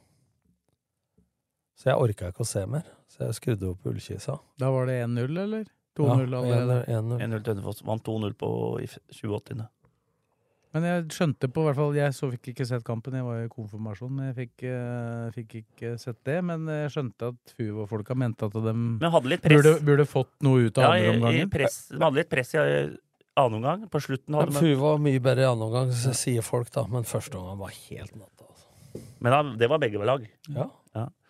Speaker 6: Så jeg orka ikke å se mer, så jeg skrudde opp ullkisa.
Speaker 4: Da var det 1-0, eller? 2-0
Speaker 6: Ja,
Speaker 4: allerede.
Speaker 6: 1-0.
Speaker 5: 1-0 til Hønefoss. Vant 2-0 på i f- 2080.
Speaker 4: Men jeg skjønte på hvert fall Jeg så fikk ikke sett kampen, jeg var i konfirmasjon. men Jeg fikk, eh, fikk ikke sett det, men jeg skjønte at Fuvo-folka mente at de
Speaker 5: Men hadde litt press.
Speaker 4: burde, burde fått noe ut av
Speaker 5: Ja,
Speaker 4: andre
Speaker 5: i- i
Speaker 4: omgangen.
Speaker 5: press- De hadde litt press i eh, annen omgang. På slutten
Speaker 6: Ja,
Speaker 5: hadde de
Speaker 6: Fuva var mye bedre i andre omgang, så sier folk, da, men første omgang var helt altså. natta.
Speaker 5: Men da, det var begge lag.
Speaker 6: Ja.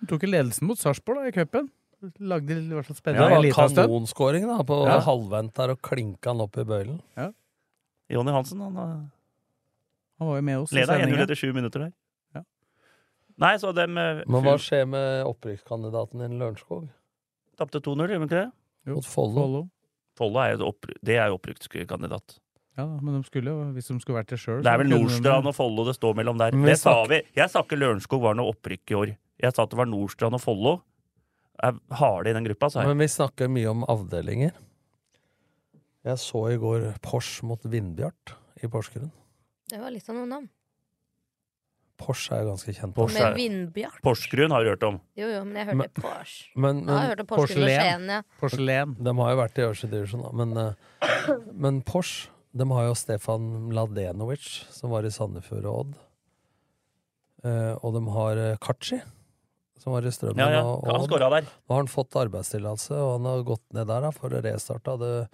Speaker 4: Tok jo ledelsen mot Sarpsborg da, i cupen. Lagde i hvert fall
Speaker 6: Det
Speaker 4: spennende
Speaker 6: var
Speaker 4: en liten stund.
Speaker 6: kanonskåring da, på
Speaker 4: Ja.
Speaker 6: halvvent der, og klinka han opp i bøylen.
Speaker 5: Jonny Hansen han eh,
Speaker 4: Han var jo med oss. i
Speaker 5: leda 1-0
Speaker 4: sendingen.
Speaker 5: etter sju minutter der.
Speaker 4: Ja.
Speaker 5: Nei, så dem eh,
Speaker 6: Men hva
Speaker 5: Fu-
Speaker 6: skjer med opprykkskandidaten din, Lørenskog?
Speaker 5: tapte 2-0, gjorde de ikke det?
Speaker 4: Jo,
Speaker 6: Mot Follo?
Speaker 4: Follo.
Speaker 5: Follo er jo et oppry- det er jo opprykkskandidat.
Speaker 4: Ja da, men de skulle jo, hvis de skulle vært det sjøl
Speaker 5: Det er vel Nordstrand og Follo det står mellom der.
Speaker 6: Men vi
Speaker 5: Det sa
Speaker 6: snakker-
Speaker 5: vi. Jeg sa ikke Lørenskog var noe opprykk i år. Jeg sa at det var Nordstrand og Follo. Er harde i den gruppa, sa jeg.
Speaker 6: Men vi snakker mye om avdelinger. Jeg så i går Pors mot Vindbjart i Porsgrunn.
Speaker 7: Det var litt av noen navn.
Speaker 6: Pors er jo ganske kjent.
Speaker 5: Porsche
Speaker 7: Med
Speaker 5: er-
Speaker 7: Vindbjart.
Speaker 5: Porsgrunn har du hørt om.
Speaker 7: Jo, jo, men jeg
Speaker 6: Men-
Speaker 7: hørte Porsche.
Speaker 6: Men,
Speaker 7: Ja, jeg
Speaker 6: men
Speaker 7: hørte Porsgrunn og Skien, ja.
Speaker 4: Porselen.
Speaker 6: De har jo vært i øverste divisjon, da. Men, eh, men Pors De har jo Stefan Mladenovic, som var i Sandefjord og Odd. Eh, og de har eh, Kachi, som var i Strømmen
Speaker 5: Ja, ja.
Speaker 6: og og
Speaker 5: Han
Speaker 6: Odd.
Speaker 5: skåra der.
Speaker 6: Nå har han fått arbeidstillatelse, og han har gått ned der da, for å restarte. Det,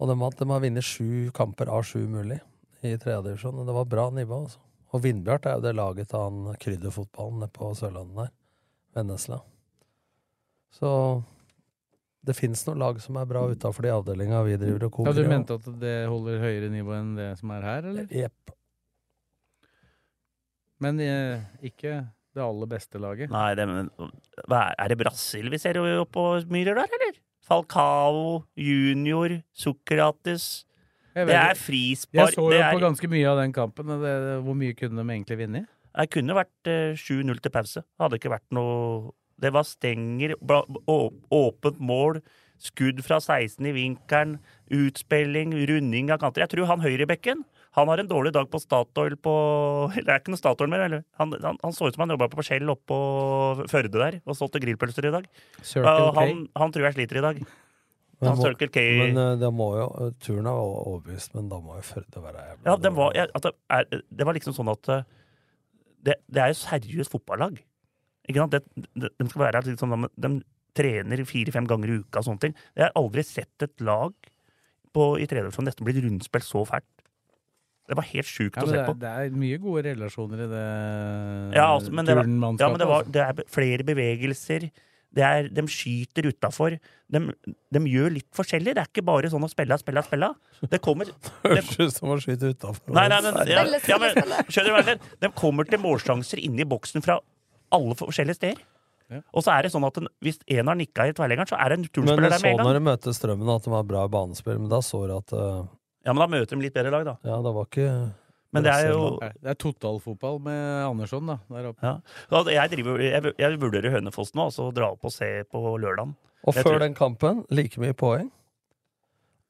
Speaker 6: og de, har- de har vunnet sju kamper av sju mulig i tredje divisjon. og Det var bra nivå. Altså. Og Vindbjart er jo det laget til han krydderfotballen nede på Sørlandet der. Vennesla. Så det fins noen lag som er bra utafor de avdelinga vi driver og
Speaker 4: Ja,
Speaker 6: koker
Speaker 4: du
Speaker 6: i, og-
Speaker 4: mente at det holder høyere nivå enn det som er her, eller?
Speaker 6: Jepp.
Speaker 4: Men eh, ikke det aller beste laget.
Speaker 5: Nei, det, men, hva er, er det Brasil vi ser oppå myrer der, eller? Falcao, junior, Sokrates.
Speaker 4: Jeg
Speaker 5: Det
Speaker 4: vet
Speaker 5: er
Speaker 4: ikke.
Speaker 5: frispark.
Speaker 4: Jeg så
Speaker 5: det
Speaker 4: jo
Speaker 5: er,
Speaker 4: på ganske mye av den kampen. Og det, hvor mye kunne de egentlig vinne?
Speaker 5: Det kunne vært eh, 7-0 til pause. Det Hadde ikke vært noe Det var stenger, bra- å- åpent mål, skudd fra 16 i vinkelen, utspilling, runding av kanter. Jeg tror han høyrebekken han har en dårlig dag på Statoil på Det er ikke noe Statoil mer, eller? Han, han, han så ut som han jobba på Shell oppå Førde der og solgte grillpølser i dag.
Speaker 4: Circle
Speaker 5: Og
Speaker 4: K.
Speaker 5: Eh, han, han tror jeg sliter i dag.
Speaker 6: Men
Speaker 5: Han
Speaker 6: må-
Speaker 5: Circle K
Speaker 6: Men eh, da må jo, turen er o- overbevist, men da må jo Førde være jævla
Speaker 5: Ja, det var, jeg- at det, er, det var liksom sånn at eh, Det, det er jo seriøst fotballag. Ikke sant? Det, det, de skal være her litt sånn, de, de trener fire-fem ganger i uka og sånne ting. Jeg har aldri sett et lag på, i tredje som nesten blir rundspilt så fælt. Det var helt sjukt
Speaker 4: Ja,
Speaker 5: å
Speaker 4: men
Speaker 5: se
Speaker 4: det, er,
Speaker 5: på.
Speaker 4: det er mye gode relasjoner i det
Speaker 5: Ja, altså, men det, var, ja,
Speaker 4: turnmannskapet,
Speaker 5: men det, var,
Speaker 4: altså.
Speaker 5: det er be- flere bevegelser. Det er, de skyter utafor. De, de gjør litt forskjellig. Det er ikke bare sånn å spille, spille, spille. Det kommer
Speaker 11: Høres
Speaker 4: altså.
Speaker 11: ut som å skyte utafor.
Speaker 5: Nei, nei, men, ja, ja, men skjønner du hva jeg mener? De kommer til målsjanser inni boksen fra alle forskjellige steder. Og så er det sånn at den, hvis en har nikka i tverrleggeren, så er det sånn en
Speaker 6: Men
Speaker 5: turspiller
Speaker 6: du
Speaker 5: der
Speaker 6: så
Speaker 5: med en
Speaker 6: når
Speaker 5: gang.
Speaker 6: de møtte Strømmen at de var bra i banespill, men da så du at eh,
Speaker 5: Ja, men da møter de litt bedre lag, da.
Speaker 6: Ja, det var ikke
Speaker 5: Men det er sånn, jo
Speaker 4: Nei, Det er totalfotball med Andersson, da. Der oppe.
Speaker 5: ja. Så Jeg, driver, jeg, jeg vurderer Hønefoss nå, og så dra opp og se på lørdagen.
Speaker 6: Og
Speaker 5: Jeg
Speaker 6: før
Speaker 5: tror-
Speaker 6: den kampen, like mye poeng.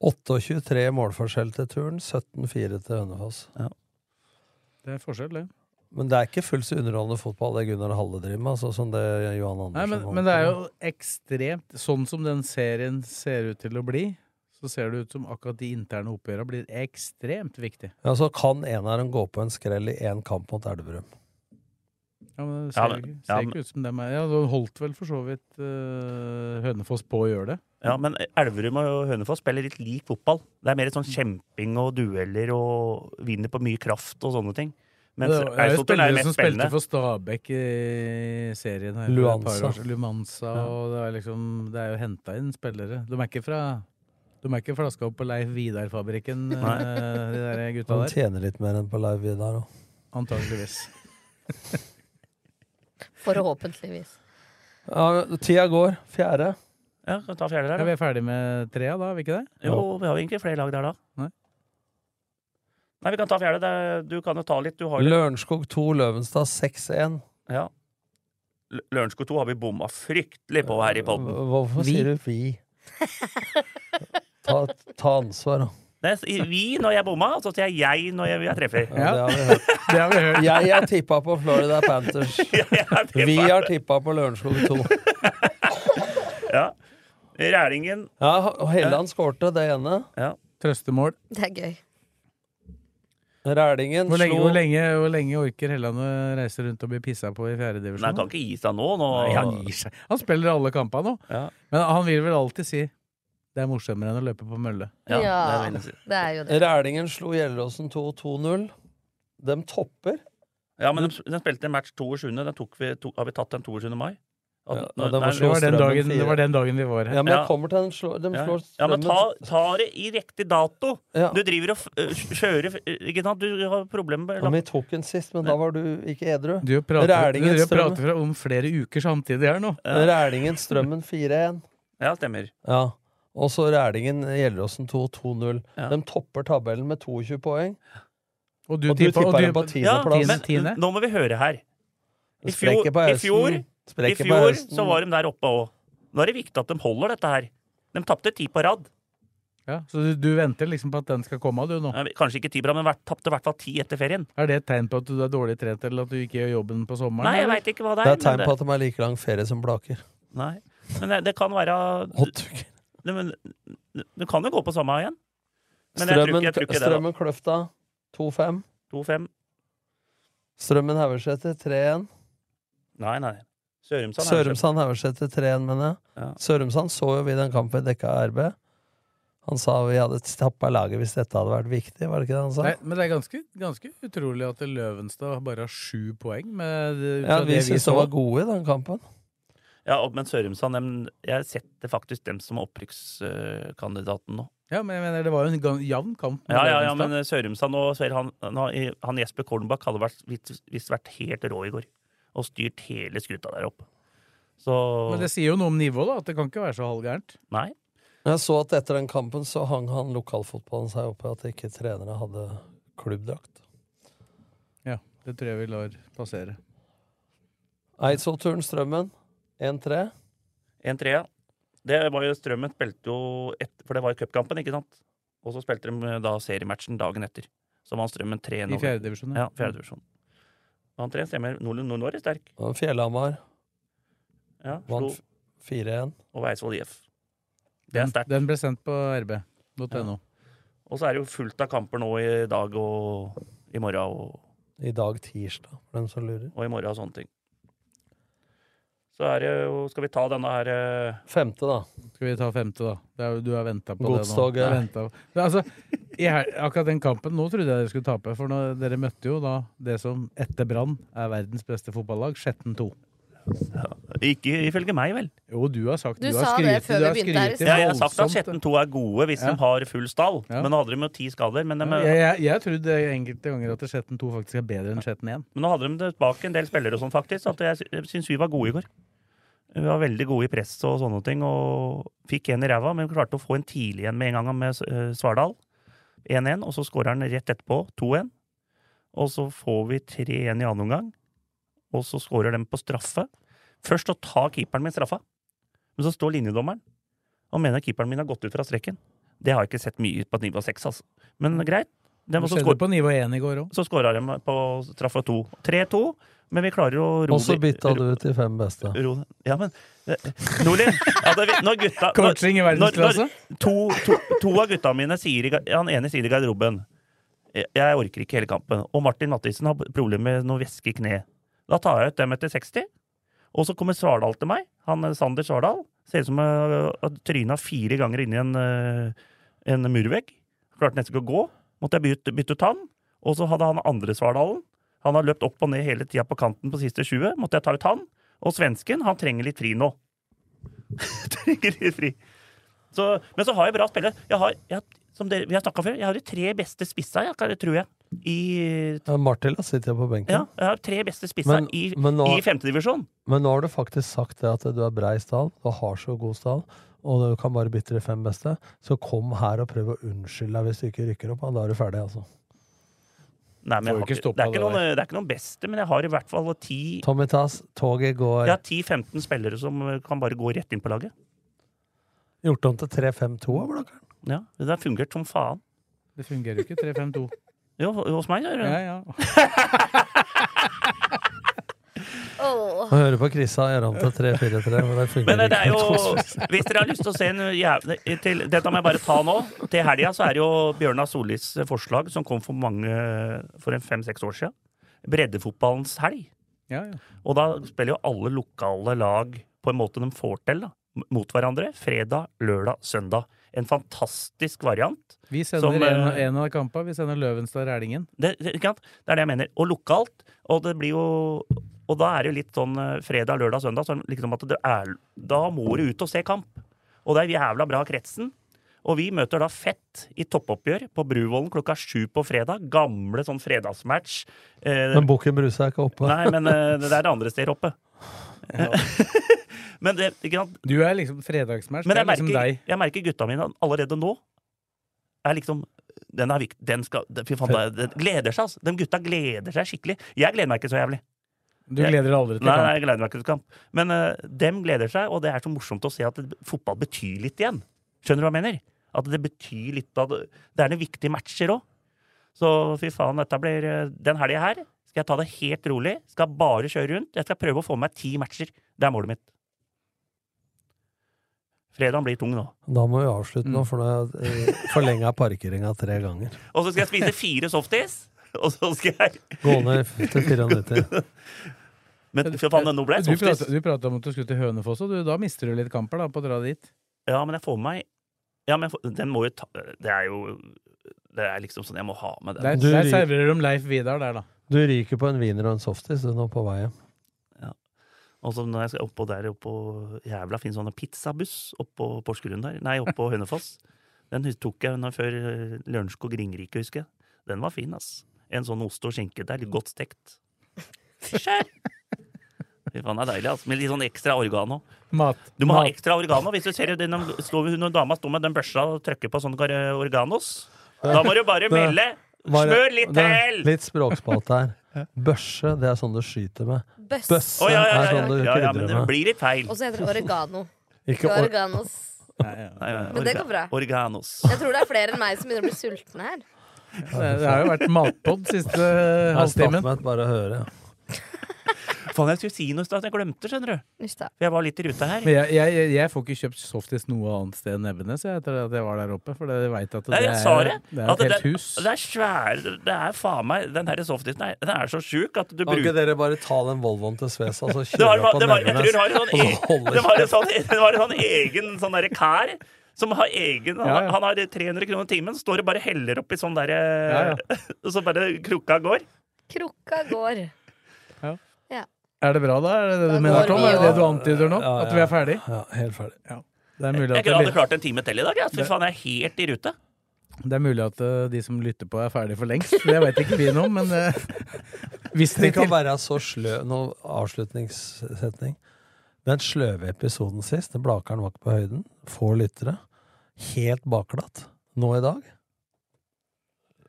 Speaker 6: 28-3 målforskjell til turn, 17-4 til Hønefoss.
Speaker 4: Det er forskjell, det.
Speaker 6: Men det er ikke fullt så underholdende fotball det Gunnar Halle driver med, altså, som det Johan Andersen
Speaker 4: Nei, men,
Speaker 6: holdt
Speaker 4: men det er
Speaker 6: på
Speaker 4: jo ekstremt Sånn som den serien ser ut til å bli, så ser det ut som akkurat de interne oppgjørene blir ekstremt viktig.
Speaker 6: med. Ja, så kan en av dem gå på en skrell i én kamp mot Elverum.
Speaker 4: Ja, men det
Speaker 6: Ja,
Speaker 4: ser,
Speaker 6: men-
Speaker 4: ikke-
Speaker 5: ja,
Speaker 4: ser ikke ut som dem er Ja, det holdt vel for så vidt eh, Hønefoss på å gjøre det.
Speaker 5: Ja, men Elverum og Hønefoss spiller litt lik fotball. Det er mer sånn kjemping og dueller og vinner på mye kraft og sånne ting. Mens
Speaker 4: det var- det er jo
Speaker 5: Eidsvoll er
Speaker 4: spillere
Speaker 5: mer
Speaker 4: som
Speaker 5: spennende.
Speaker 4: spilte for Stabæk i serien her. for et
Speaker 6: Luansa.
Speaker 4: par år siden. Luansa og det er, liksom, det er jo henta inn spillere. De er ikke fra de er ikke flaska opp på Leif Vidar-fabrikken,
Speaker 6: Nei.
Speaker 4: eh, de der gutta
Speaker 6: Han
Speaker 4: der.
Speaker 6: tjener litt mer enn på Leiv Vidar òg.
Speaker 4: Antageligvis.
Speaker 7: Forhåpentligvis.
Speaker 6: Ja, tida går. Fjerde.
Speaker 5: Ja, kan vi ta fjerde
Speaker 4: Ja,
Speaker 5: der, da?
Speaker 4: vi er ferdig med trea, da? er vi ikke det?
Speaker 5: Jo, vi har jo egentlig flere lag der, da.
Speaker 4: Nei.
Speaker 5: Nei, vi kan ta fjerde. Det er- Du kan jo ta litt. Du har jo
Speaker 6: Lørenskog 2, Løvenstad 6-1.
Speaker 5: ja. L- Lørenskog 2 har vi bomma fryktelig på her i podden.
Speaker 6: Hvorfor sier du vi? Ta, ta ansvar, da.
Speaker 5: Nei, jeg sier vi når jeg bomma, og så sier jeg jeg når jeg, jeg treffer.
Speaker 6: Ja, det har vi hørt. Jeg har tippa på Florida Panthers. Vi har tippa på Lørenskog 2.
Speaker 5: Ja. Rælingen
Speaker 6: Ja, og Helland skårte det ene.
Speaker 4: Trøstemål.
Speaker 7: Det er gøy.
Speaker 6: Rælingen
Speaker 4: Hvor lenge,
Speaker 6: slo
Speaker 4: hvor, lenge, hvor lenge orker Helland å reise rundt og bli pissa på i fjerde divisjon?
Speaker 5: Nei, han kan ikke gi seg nå. nå.
Speaker 4: Nei, han gir seg. Han spiller alle kampene nå.
Speaker 5: Ja.
Speaker 4: Men han vil vel alltid si det er morsommere enn å løpe på mølle.
Speaker 7: Ja, Ja, det er veldig sikkert. det er jo det.
Speaker 6: Rælingen slo Gjelleråsen 2-2-0. De topper.
Speaker 5: Ja, men den, den spilte en match 22. Den tok vi, to, har vi tatt den 22. mai? At- når-
Speaker 6: den
Speaker 5: nei,
Speaker 6: slå Strømmen fire.
Speaker 4: vi var
Speaker 6: Ja,
Speaker 4: her.
Speaker 6: men jeg
Speaker 5: Ja.
Speaker 6: kommer til den slå, de
Speaker 5: Ja.
Speaker 6: slår
Speaker 5: ja, men ta,
Speaker 6: Strømmen.
Speaker 5: ta det i riktig dato!
Speaker 6: Ja.
Speaker 5: Du driver og f- øh, kjører øh, Ikke sant, du har problemer med
Speaker 6: Ja, men vi tok den sist, men da var du ikke edru.
Speaker 4: Du prater,
Speaker 6: Rælingen,
Speaker 4: dere
Speaker 6: Strømmen.
Speaker 4: prater om flere uker samtidig her nå.
Speaker 6: Rælingen Strømmen 4-1.
Speaker 5: Ja, stemmer.
Speaker 6: Ja. Og så Rælingen Gjelleråsen 2-2-0. De topper tabellen med 22 poeng.
Speaker 4: Og
Speaker 6: du tippa- og du- dem på
Speaker 5: Ja, men
Speaker 6: tiendeplass.
Speaker 5: n- nå må vi høre her. I fjor,
Speaker 6: Sprekker på
Speaker 5: i
Speaker 6: høsten.
Speaker 5: fjor, i
Speaker 6: Sprekker på
Speaker 5: fjor
Speaker 6: høsten.
Speaker 5: så var de der oppe òg. Nå er det viktig at de holder dette her. De tapte ti på rad.
Speaker 4: Ja, så du, du venter liksom på at den skal komme, du nå?
Speaker 5: Nei, Eh, Kanskje ikke ti på rad, men vært- tapte i hvert fall ti etter ferien.
Speaker 4: Er det et tegn på at du er dårlig trent, eller at du ikke gjør jobben på sommeren?
Speaker 5: Nei, jeg
Speaker 4: eller?
Speaker 5: veit ikke hva det
Speaker 6: Det er
Speaker 5: er.
Speaker 6: tegn
Speaker 5: men
Speaker 6: på at de har like lang ferie som Blaker.
Speaker 5: Nei. Men det, det kan være Nei, men, Du kan jo gå på samme igjen. Men jeg tror ikke,
Speaker 6: Strømmen,
Speaker 5: jeg tror ikke det. da.
Speaker 6: strømmen Kløfta 2-5.
Speaker 5: 2-5.
Speaker 6: Strømmen Haugeseter 3-1.
Speaker 5: Nei, nei. Sørumsand. Sånn er det
Speaker 6: Sørumsand Haugeseter 3-1, mener jeg. Sørumsand så jo vi den kampen vi dekka RB. Han sa vi hadde tappa laget hvis dette hadde vært viktig, var det ikke det han sa?
Speaker 4: Nei, men det er ganske, ganske utrolig at Løvenstad bare har sju poeng. Med det, ut
Speaker 6: ja,
Speaker 4: fra
Speaker 6: vi
Speaker 4: det
Speaker 6: syntes de var gode i den kampen.
Speaker 5: Ja, og- men Sørumsand, dem- jeg setter faktisk dem som er opprykkskandidaten nå.
Speaker 4: Ja, men jeg mener, det var jo en gan- jevn kamp. med
Speaker 5: Ja, ja, ja,
Speaker 4: Løvenstad.
Speaker 5: men eh, Sørumsand og Sverre, han, han, han Jesper Kornbakk hadde vært- visst visst vært helt rå i går. Og styrt hele skuta der oppe. Så
Speaker 4: Men det sier jo noe om nivået, da. At det kan ikke være så halvgærent.
Speaker 5: Nei.
Speaker 6: Jeg så at etter den kampen så hang han lokalfotballen seg oppe at ikke trenere hadde klubbdrakt.
Speaker 4: Ja, det tror jeg vi lar passere.
Speaker 6: Eidsvollturen Strømmen 1-3.
Speaker 5: 1-3, ja. Det var jo Strømmen spilte jo etter, for det var jo cupkampen, ikke sant? Og så spilte de eh, da seriematchen dagen etter. Så vant Strømmen 3-0.
Speaker 4: I fjerde divisjon, ja.
Speaker 5: Ja, fjerde divisjon. Vant 3, stemmer. Nordlund Nord er sterk.
Speaker 6: Og Fjellhamar
Speaker 5: Ja, slo
Speaker 6: vant 4-1.
Speaker 5: over Eidsvoll IF. Det
Speaker 4: Mm.
Speaker 5: er sterkt.
Speaker 4: Den ble sendt på rb.no.
Speaker 5: Ja. Og så er det jo fullt av kamper nå i dag og i morgen og,
Speaker 6: I dag tirsdag, for dem som lurer.
Speaker 5: og i morgen og sånne ting. Så er det jo Skal vi ta denne her eh,
Speaker 6: Femte, da.
Speaker 4: Skal vi ta femte, da? Det er, jo- du har venta på
Speaker 6: Godstoget.
Speaker 4: det nå. Ventet på- Men altså, i hel, akkurat den kampen nå trodde jeg dere skulle tape, for nå, dere møtte jo da det som etter Brann er verdens beste fotballag, Skjetten 2.
Speaker 5: Ikke ifølge meg, vel.
Speaker 4: Jo, du har sagt
Speaker 7: Du du har sa det skrytet- før du vi har begynte her i skrytet sted.
Speaker 5: Ja, jeg har sagt at
Speaker 4: voldsomt.
Speaker 5: 17-2 er gode hvis de har full stall. Men nå hadde de jo ti skader. Men, de,
Speaker 4: Jeg, jeg, jeg trodde enkelte ganger at Skjetten 2 faktisk er bedre enn Skjetten 1.
Speaker 5: men nå hadde de tilbake en del spillere og sånn, faktisk. At jeg sy- syns vi var gode i går. Vi var veldig gode i press og sånne ting. Og fikk en i ræva, men klarte å få en tidlig en med en gang med eh, Svardal. 1-1, og så skårer han rett etterpå. 2-1. Og så får vi 3-1 i annen omgang. Og så skårer de på straffe. Først så tar keeperen min straffa, men så står linjedommeren og mener keeperen min har gått ut fra streken. Det har jeg ikke sett mye på et nivå 6, altså. Men greit. De
Speaker 4: Det
Speaker 5: også
Speaker 4: skjedde
Speaker 5: skår-
Speaker 4: på nivå 1 i går òg.
Speaker 5: så skåra de på straffa to. 3-2, men vi klarer å ro
Speaker 8: Og så
Speaker 5: de-
Speaker 8: bytta
Speaker 5: ro-
Speaker 8: du ut de fem beste.
Speaker 5: ro, Ja, men eh, Nordlien! Hadde vi, når gutta, når-
Speaker 4: Coaching i verdensklasse.
Speaker 5: Når, når to, to, to av gutta mine sier i, ga- Han ene sier i garderoben jeg, jeg orker ikke hele kampen. Og Martin Mattisen har problemer med noe væske i kneet. Da tar jeg ut dem etter 60. Og så kommer Svardal til meg. Han eh, Sander Svardal. Ser ut som eh, at tryna fire ganger inni en, eh, en murvegg. Klarte nesten ikke å gå. Måtte jeg bytte, bytte ut han. Og så hadde han andre Svardalen. Han har løpt opp og ned hele tida på kanten på siste 20. Måtte jeg ta ut han. Og svensken, han trenger litt fri nå. trenger litt fri. Så, men så har jeg bra spillere. Jeg har, jeg, som dere, vi har snakka før, jeg har de tre beste spissa, jeg, kan- tror jeg. I,
Speaker 8: Ja, Martila sitter jo på benken.
Speaker 5: ja, jeg har tre beste spissa
Speaker 8: Men-
Speaker 5: i,
Speaker 8: men nå-
Speaker 5: i femtedivisjon.
Speaker 8: Men nå har du faktisk sagt det at du er brei stall, du har så god stall, og du kan bare bytte de fem beste. Så kom her og prøv å unnskylde deg hvis du ikke rykker opp. ja, Da er du ferdig, altså.
Speaker 5: Nei, men jeg
Speaker 8: Får
Speaker 5: har
Speaker 8: ikke
Speaker 5: ikke,
Speaker 8: stoppa
Speaker 5: det, er ikke
Speaker 8: det
Speaker 5: noen,
Speaker 8: der.
Speaker 5: det er ikke noen beste, men jeg har i hvert fall ti
Speaker 8: Tommy Tass, toget går.
Speaker 5: Jeg har 10-15 spillere som kan bare gå rett inn på laget.
Speaker 8: Gjort om til 3-5-2 av blakkeren.
Speaker 5: Ja, Det har fungert som faen.
Speaker 4: Det fungerer jo ikke. 3-5-2.
Speaker 5: Jo, hos meg gjør det
Speaker 4: Ja, ja.
Speaker 7: Åh.
Speaker 8: Må høre på Krissa gjøre om til 3-4-3, men det fungerer
Speaker 5: Men eh, det er jo
Speaker 8: ikke.
Speaker 5: Hvis dere har lyst til å se en jævlig til, Dette må jeg bare ta nå. Til helga så er det jo Bjørnar Sollis forslag som kom for mange For en fem-seks år siden. Breddefotballens helg. Og da spiller jo alle lokale lag på en måte de får til, da. Mot hverandre. Fredag, lørdag, søndag. En fantastisk variant.
Speaker 4: Vi sender
Speaker 5: Som,
Speaker 4: en,
Speaker 5: eh,
Speaker 4: en av kampene. Vi sender Løvenstad-Rælingen.
Speaker 5: Det, det, ikke sant? det er det jeg mener. Og lokalt. Og det blir jo Og da er det jo litt sånn eh, fredag, lørdag, søndag. Sånn, liksom at det er, da må du ut og se kamp. Og det er jævla bra kretsen. Og vi møter da Fett i toppoppgjør på Bruvollen klokka sju på fredag. Gamle sånn fredagsmatch. Eh,
Speaker 8: Men Bukken Bruse er ikke oppe.
Speaker 5: Nei, men eh, det er det andre steder oppe. men det, ikke sant?
Speaker 4: Du er liksom fredagsmatch.
Speaker 5: Men
Speaker 4: Det
Speaker 5: jeg
Speaker 4: er liksom
Speaker 5: merker,
Speaker 4: deg.
Speaker 5: jeg merker gutta mine allerede nå er liksom Den er viktig. Den skal den- Fy faen, det, er- det gleder seg, altså. De gutta gleder seg skikkelig. Jeg gleder meg ikke så jævlig.
Speaker 4: Du gleder deg aldri til
Speaker 5: Nei,
Speaker 4: kamp.
Speaker 5: nei, jeg gleder meg ikke til kamp. Men eh, dem gleder seg, og det er så morsomt å se at det- fotball betyr litt igjen. Skjønner du hva jeg mener? At det betyr litt av det. Det er noen viktige matcher òg. Så fy faen, dette blir eh, Den helga her skal jeg ta det helt rolig. Skal bare kjøre rundt. Jeg skal prøve å få med meg ti matcher. Det er målet mitt. Fredagen blir tung nå.
Speaker 8: Da må vi avslutte
Speaker 5: Mm.
Speaker 8: nå, for nå har jeg forlenga parkeringa tre ganger.
Speaker 5: Og så skal jeg spise fire softis. Og så skal jeg
Speaker 8: Gå ned til 94.
Speaker 5: Men for faen, nå ble jeg
Speaker 4: Du
Speaker 5: softis.
Speaker 4: pratet- Du prata om at du skulle til Hønefoss, og du, da mister du litt kamper da, på å dra dit.
Speaker 5: Ja, men jeg får med meg Ja, men jeg får- den må jo ta Det er jo Det er liksom sånn jeg må ha med den.
Speaker 4: Der,
Speaker 8: Du-
Speaker 4: der serverer de Leif Vidar der, da.
Speaker 8: Du ryker på en wiener og en softis du, nå på vei hjem.
Speaker 5: Og så når jeg skal oppå der oppå Jævla finnes sånne pizzabuss oppå Porsgrunn der. Nei, oppå Hønefoss. Den hus- tok jeg nå før eh, Lørenskog Ringerike, husker jeg. Den var fin, ass. En sånn ost og skinke der, litt godt stekt. Skjær! Fy faen, det er deilig, ass. Med litt sånn ekstra oregano.
Speaker 4: Mat.
Speaker 5: Du må ha
Speaker 4: Mat.
Speaker 5: ekstra oregano. Hvis du ser den, står, når dama står med den børsa og trykker på sånn kar- oreganos, da må du bare
Speaker 8: Det-
Speaker 5: melde.
Speaker 8: Bare-
Speaker 5: Smør litt
Speaker 8: det er
Speaker 5: til!
Speaker 8: Litt språkspalte her. Børse, det er sånn du skyter med.
Speaker 7: Bøsse.
Speaker 8: Bøsse
Speaker 5: Å, ja, ja,
Speaker 8: er
Speaker 5: ja,
Speaker 8: sånn du
Speaker 5: ja, ja, men
Speaker 8: krydrer
Speaker 5: det
Speaker 8: med.
Speaker 5: blir litt feil.
Speaker 7: Og så heter det oregano.
Speaker 8: Ikke
Speaker 7: Ikke
Speaker 8: or-
Speaker 7: oreganos. Men det går bra.
Speaker 5: Oreganos.
Speaker 7: Jeg tror det er flere enn meg som begynner å bli sultne her.
Speaker 4: Det, det har jo vært matpod siste eh,
Speaker 8: Jeg stopper
Speaker 4: halvtimen.
Speaker 8: meg bare å høre.
Speaker 5: Faen, jeg skulle si noe i stad, jeg glemte, skjønner du.
Speaker 7: Just da.
Speaker 5: For jeg var litt i ruta her.
Speaker 4: Men jeg, jeg, jeg- jeg får ikke kjøpt softis noe annet sted enn Evenes jeg, etter at jeg var der oppe. For jeg vet at det,
Speaker 5: Nei, jeg sa
Speaker 4: er,
Speaker 5: det.
Speaker 4: det er
Speaker 5: At
Speaker 4: et
Speaker 5: det,
Speaker 4: helt
Speaker 5: det,
Speaker 4: hus.
Speaker 5: det er svære Det er faen meg Den her softisen er, den er så sjuk at du
Speaker 8: Kan ikke
Speaker 5: bruker
Speaker 8: dere bare ta den Volvoen til Svesa og så
Speaker 5: Det var,
Speaker 8: kjøre opp på
Speaker 5: det var, jeg
Speaker 8: Nevnes?
Speaker 5: tror
Speaker 4: altså.
Speaker 5: det var en
Speaker 8: og
Speaker 5: sånn,
Speaker 8: så holde
Speaker 5: det var en
Speaker 8: kjeft?
Speaker 5: sånn, det var en sånn egen sånn derre kar som har egen han,
Speaker 8: Ja, ja.
Speaker 5: han har 300 kroner timen, står og bare heller oppi sånn derre
Speaker 4: Ja,
Speaker 5: Og så bare krukka går. Altså-
Speaker 7: Krukka går.
Speaker 4: Ja.
Speaker 7: Ja.
Speaker 4: Er det bra, da? Er det det
Speaker 12: Da
Speaker 4: du mener,
Speaker 5: sånn-
Speaker 12: går
Speaker 4: Tom?
Speaker 12: vi
Speaker 4: Er det det
Speaker 12: jo-
Speaker 4: du antyder nå?
Speaker 6: Ja, ja.
Speaker 4: At vi er ferdig?
Speaker 6: Ja, helt ferdig.
Speaker 4: Det er
Speaker 5: Jeg,
Speaker 4: mulig
Speaker 5: jeg
Speaker 4: at det
Speaker 5: hadde
Speaker 4: blir-
Speaker 5: klart en time til i dag. Ja. Fy faen, jeg er helt i rute.
Speaker 4: Det er mulig at eh, de som lytter på, er ferdig for lengst. Det vet ikke vi noe om, men eh, hvis de
Speaker 6: Det kan være så slø Nå, avslutningssetning. Den sløve episoden sist, den Blakeren var ikke på høyden, få lyttere. Helt bakglatt. Nå i dag.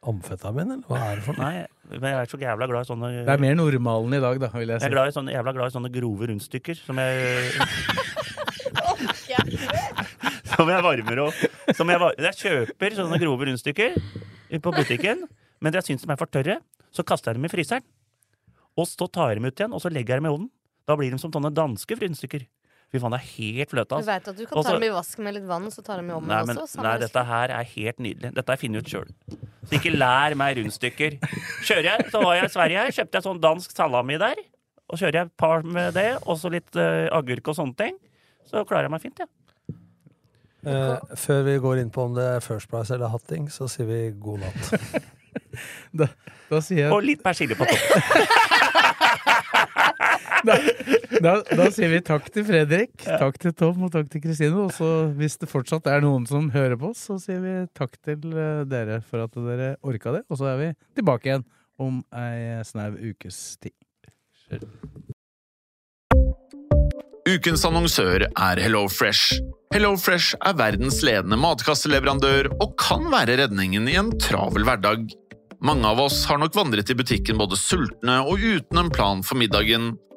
Speaker 6: Amfetamin, eller hva er det for noe?
Speaker 5: Nei, men jeg er så jævla glad i sånne
Speaker 4: Det er mer normalen i dag, da, vil jeg
Speaker 5: Jeg
Speaker 4: si.
Speaker 5: er glad i sånne, jævla glad i sånne grove rundstykker som jeg Som jeg varmer og som jeg, var, jeg kjøper sånne grove rundstykker på butikken, men jeg syns de er for tørre. Så kaster jeg dem i fryseren. Og så tar jeg dem ut igjen, og så legger jeg dem i ovnen. Da blir de som sånne danske rundstykker. Fy faen, det er helt fløte,
Speaker 12: Du
Speaker 5: altså.
Speaker 12: veit at du kan
Speaker 5: Også-
Speaker 12: ta dem i vasken med litt vann, og så tar dem i ovnen
Speaker 5: Nei, men,
Speaker 12: også? samme
Speaker 5: nei,
Speaker 12: respekt.
Speaker 5: dette her er helt nydelig. Dette har jeg funnet ut sjøl. Så ikke lær meg rundstykker. Kjører jeg, Så var jeg i Sverige, her, kjøpte jeg sånn dansk salami der. Og kjører jeg et par med det, og så litt eh, agurk og sånne ting. Så klarer jeg meg fint, jeg.
Speaker 6: Eh, før vi går inn på om det er First Price eller Hatting, så sier vi god natt.
Speaker 4: da, da sier jeg
Speaker 5: Og litt persille på toppen.
Speaker 4: da, da, da sier vi takk til Fredrik, takk til Tom og takk til Kristine. Og så hvis det fortsatt er noen som hører på oss, så sier vi takk til eh, dere for at dere orka det. Og så er vi tilbake igjen om ei snau ukes tid.
Speaker 7: Ukens annonsør er HelloFresh. HelloFresh er verdens ledende matkasseleverandør og kan være redningen i en travel hverdag. Mange av oss har nok vandret i butikken både sultne og uten en plan for middagen,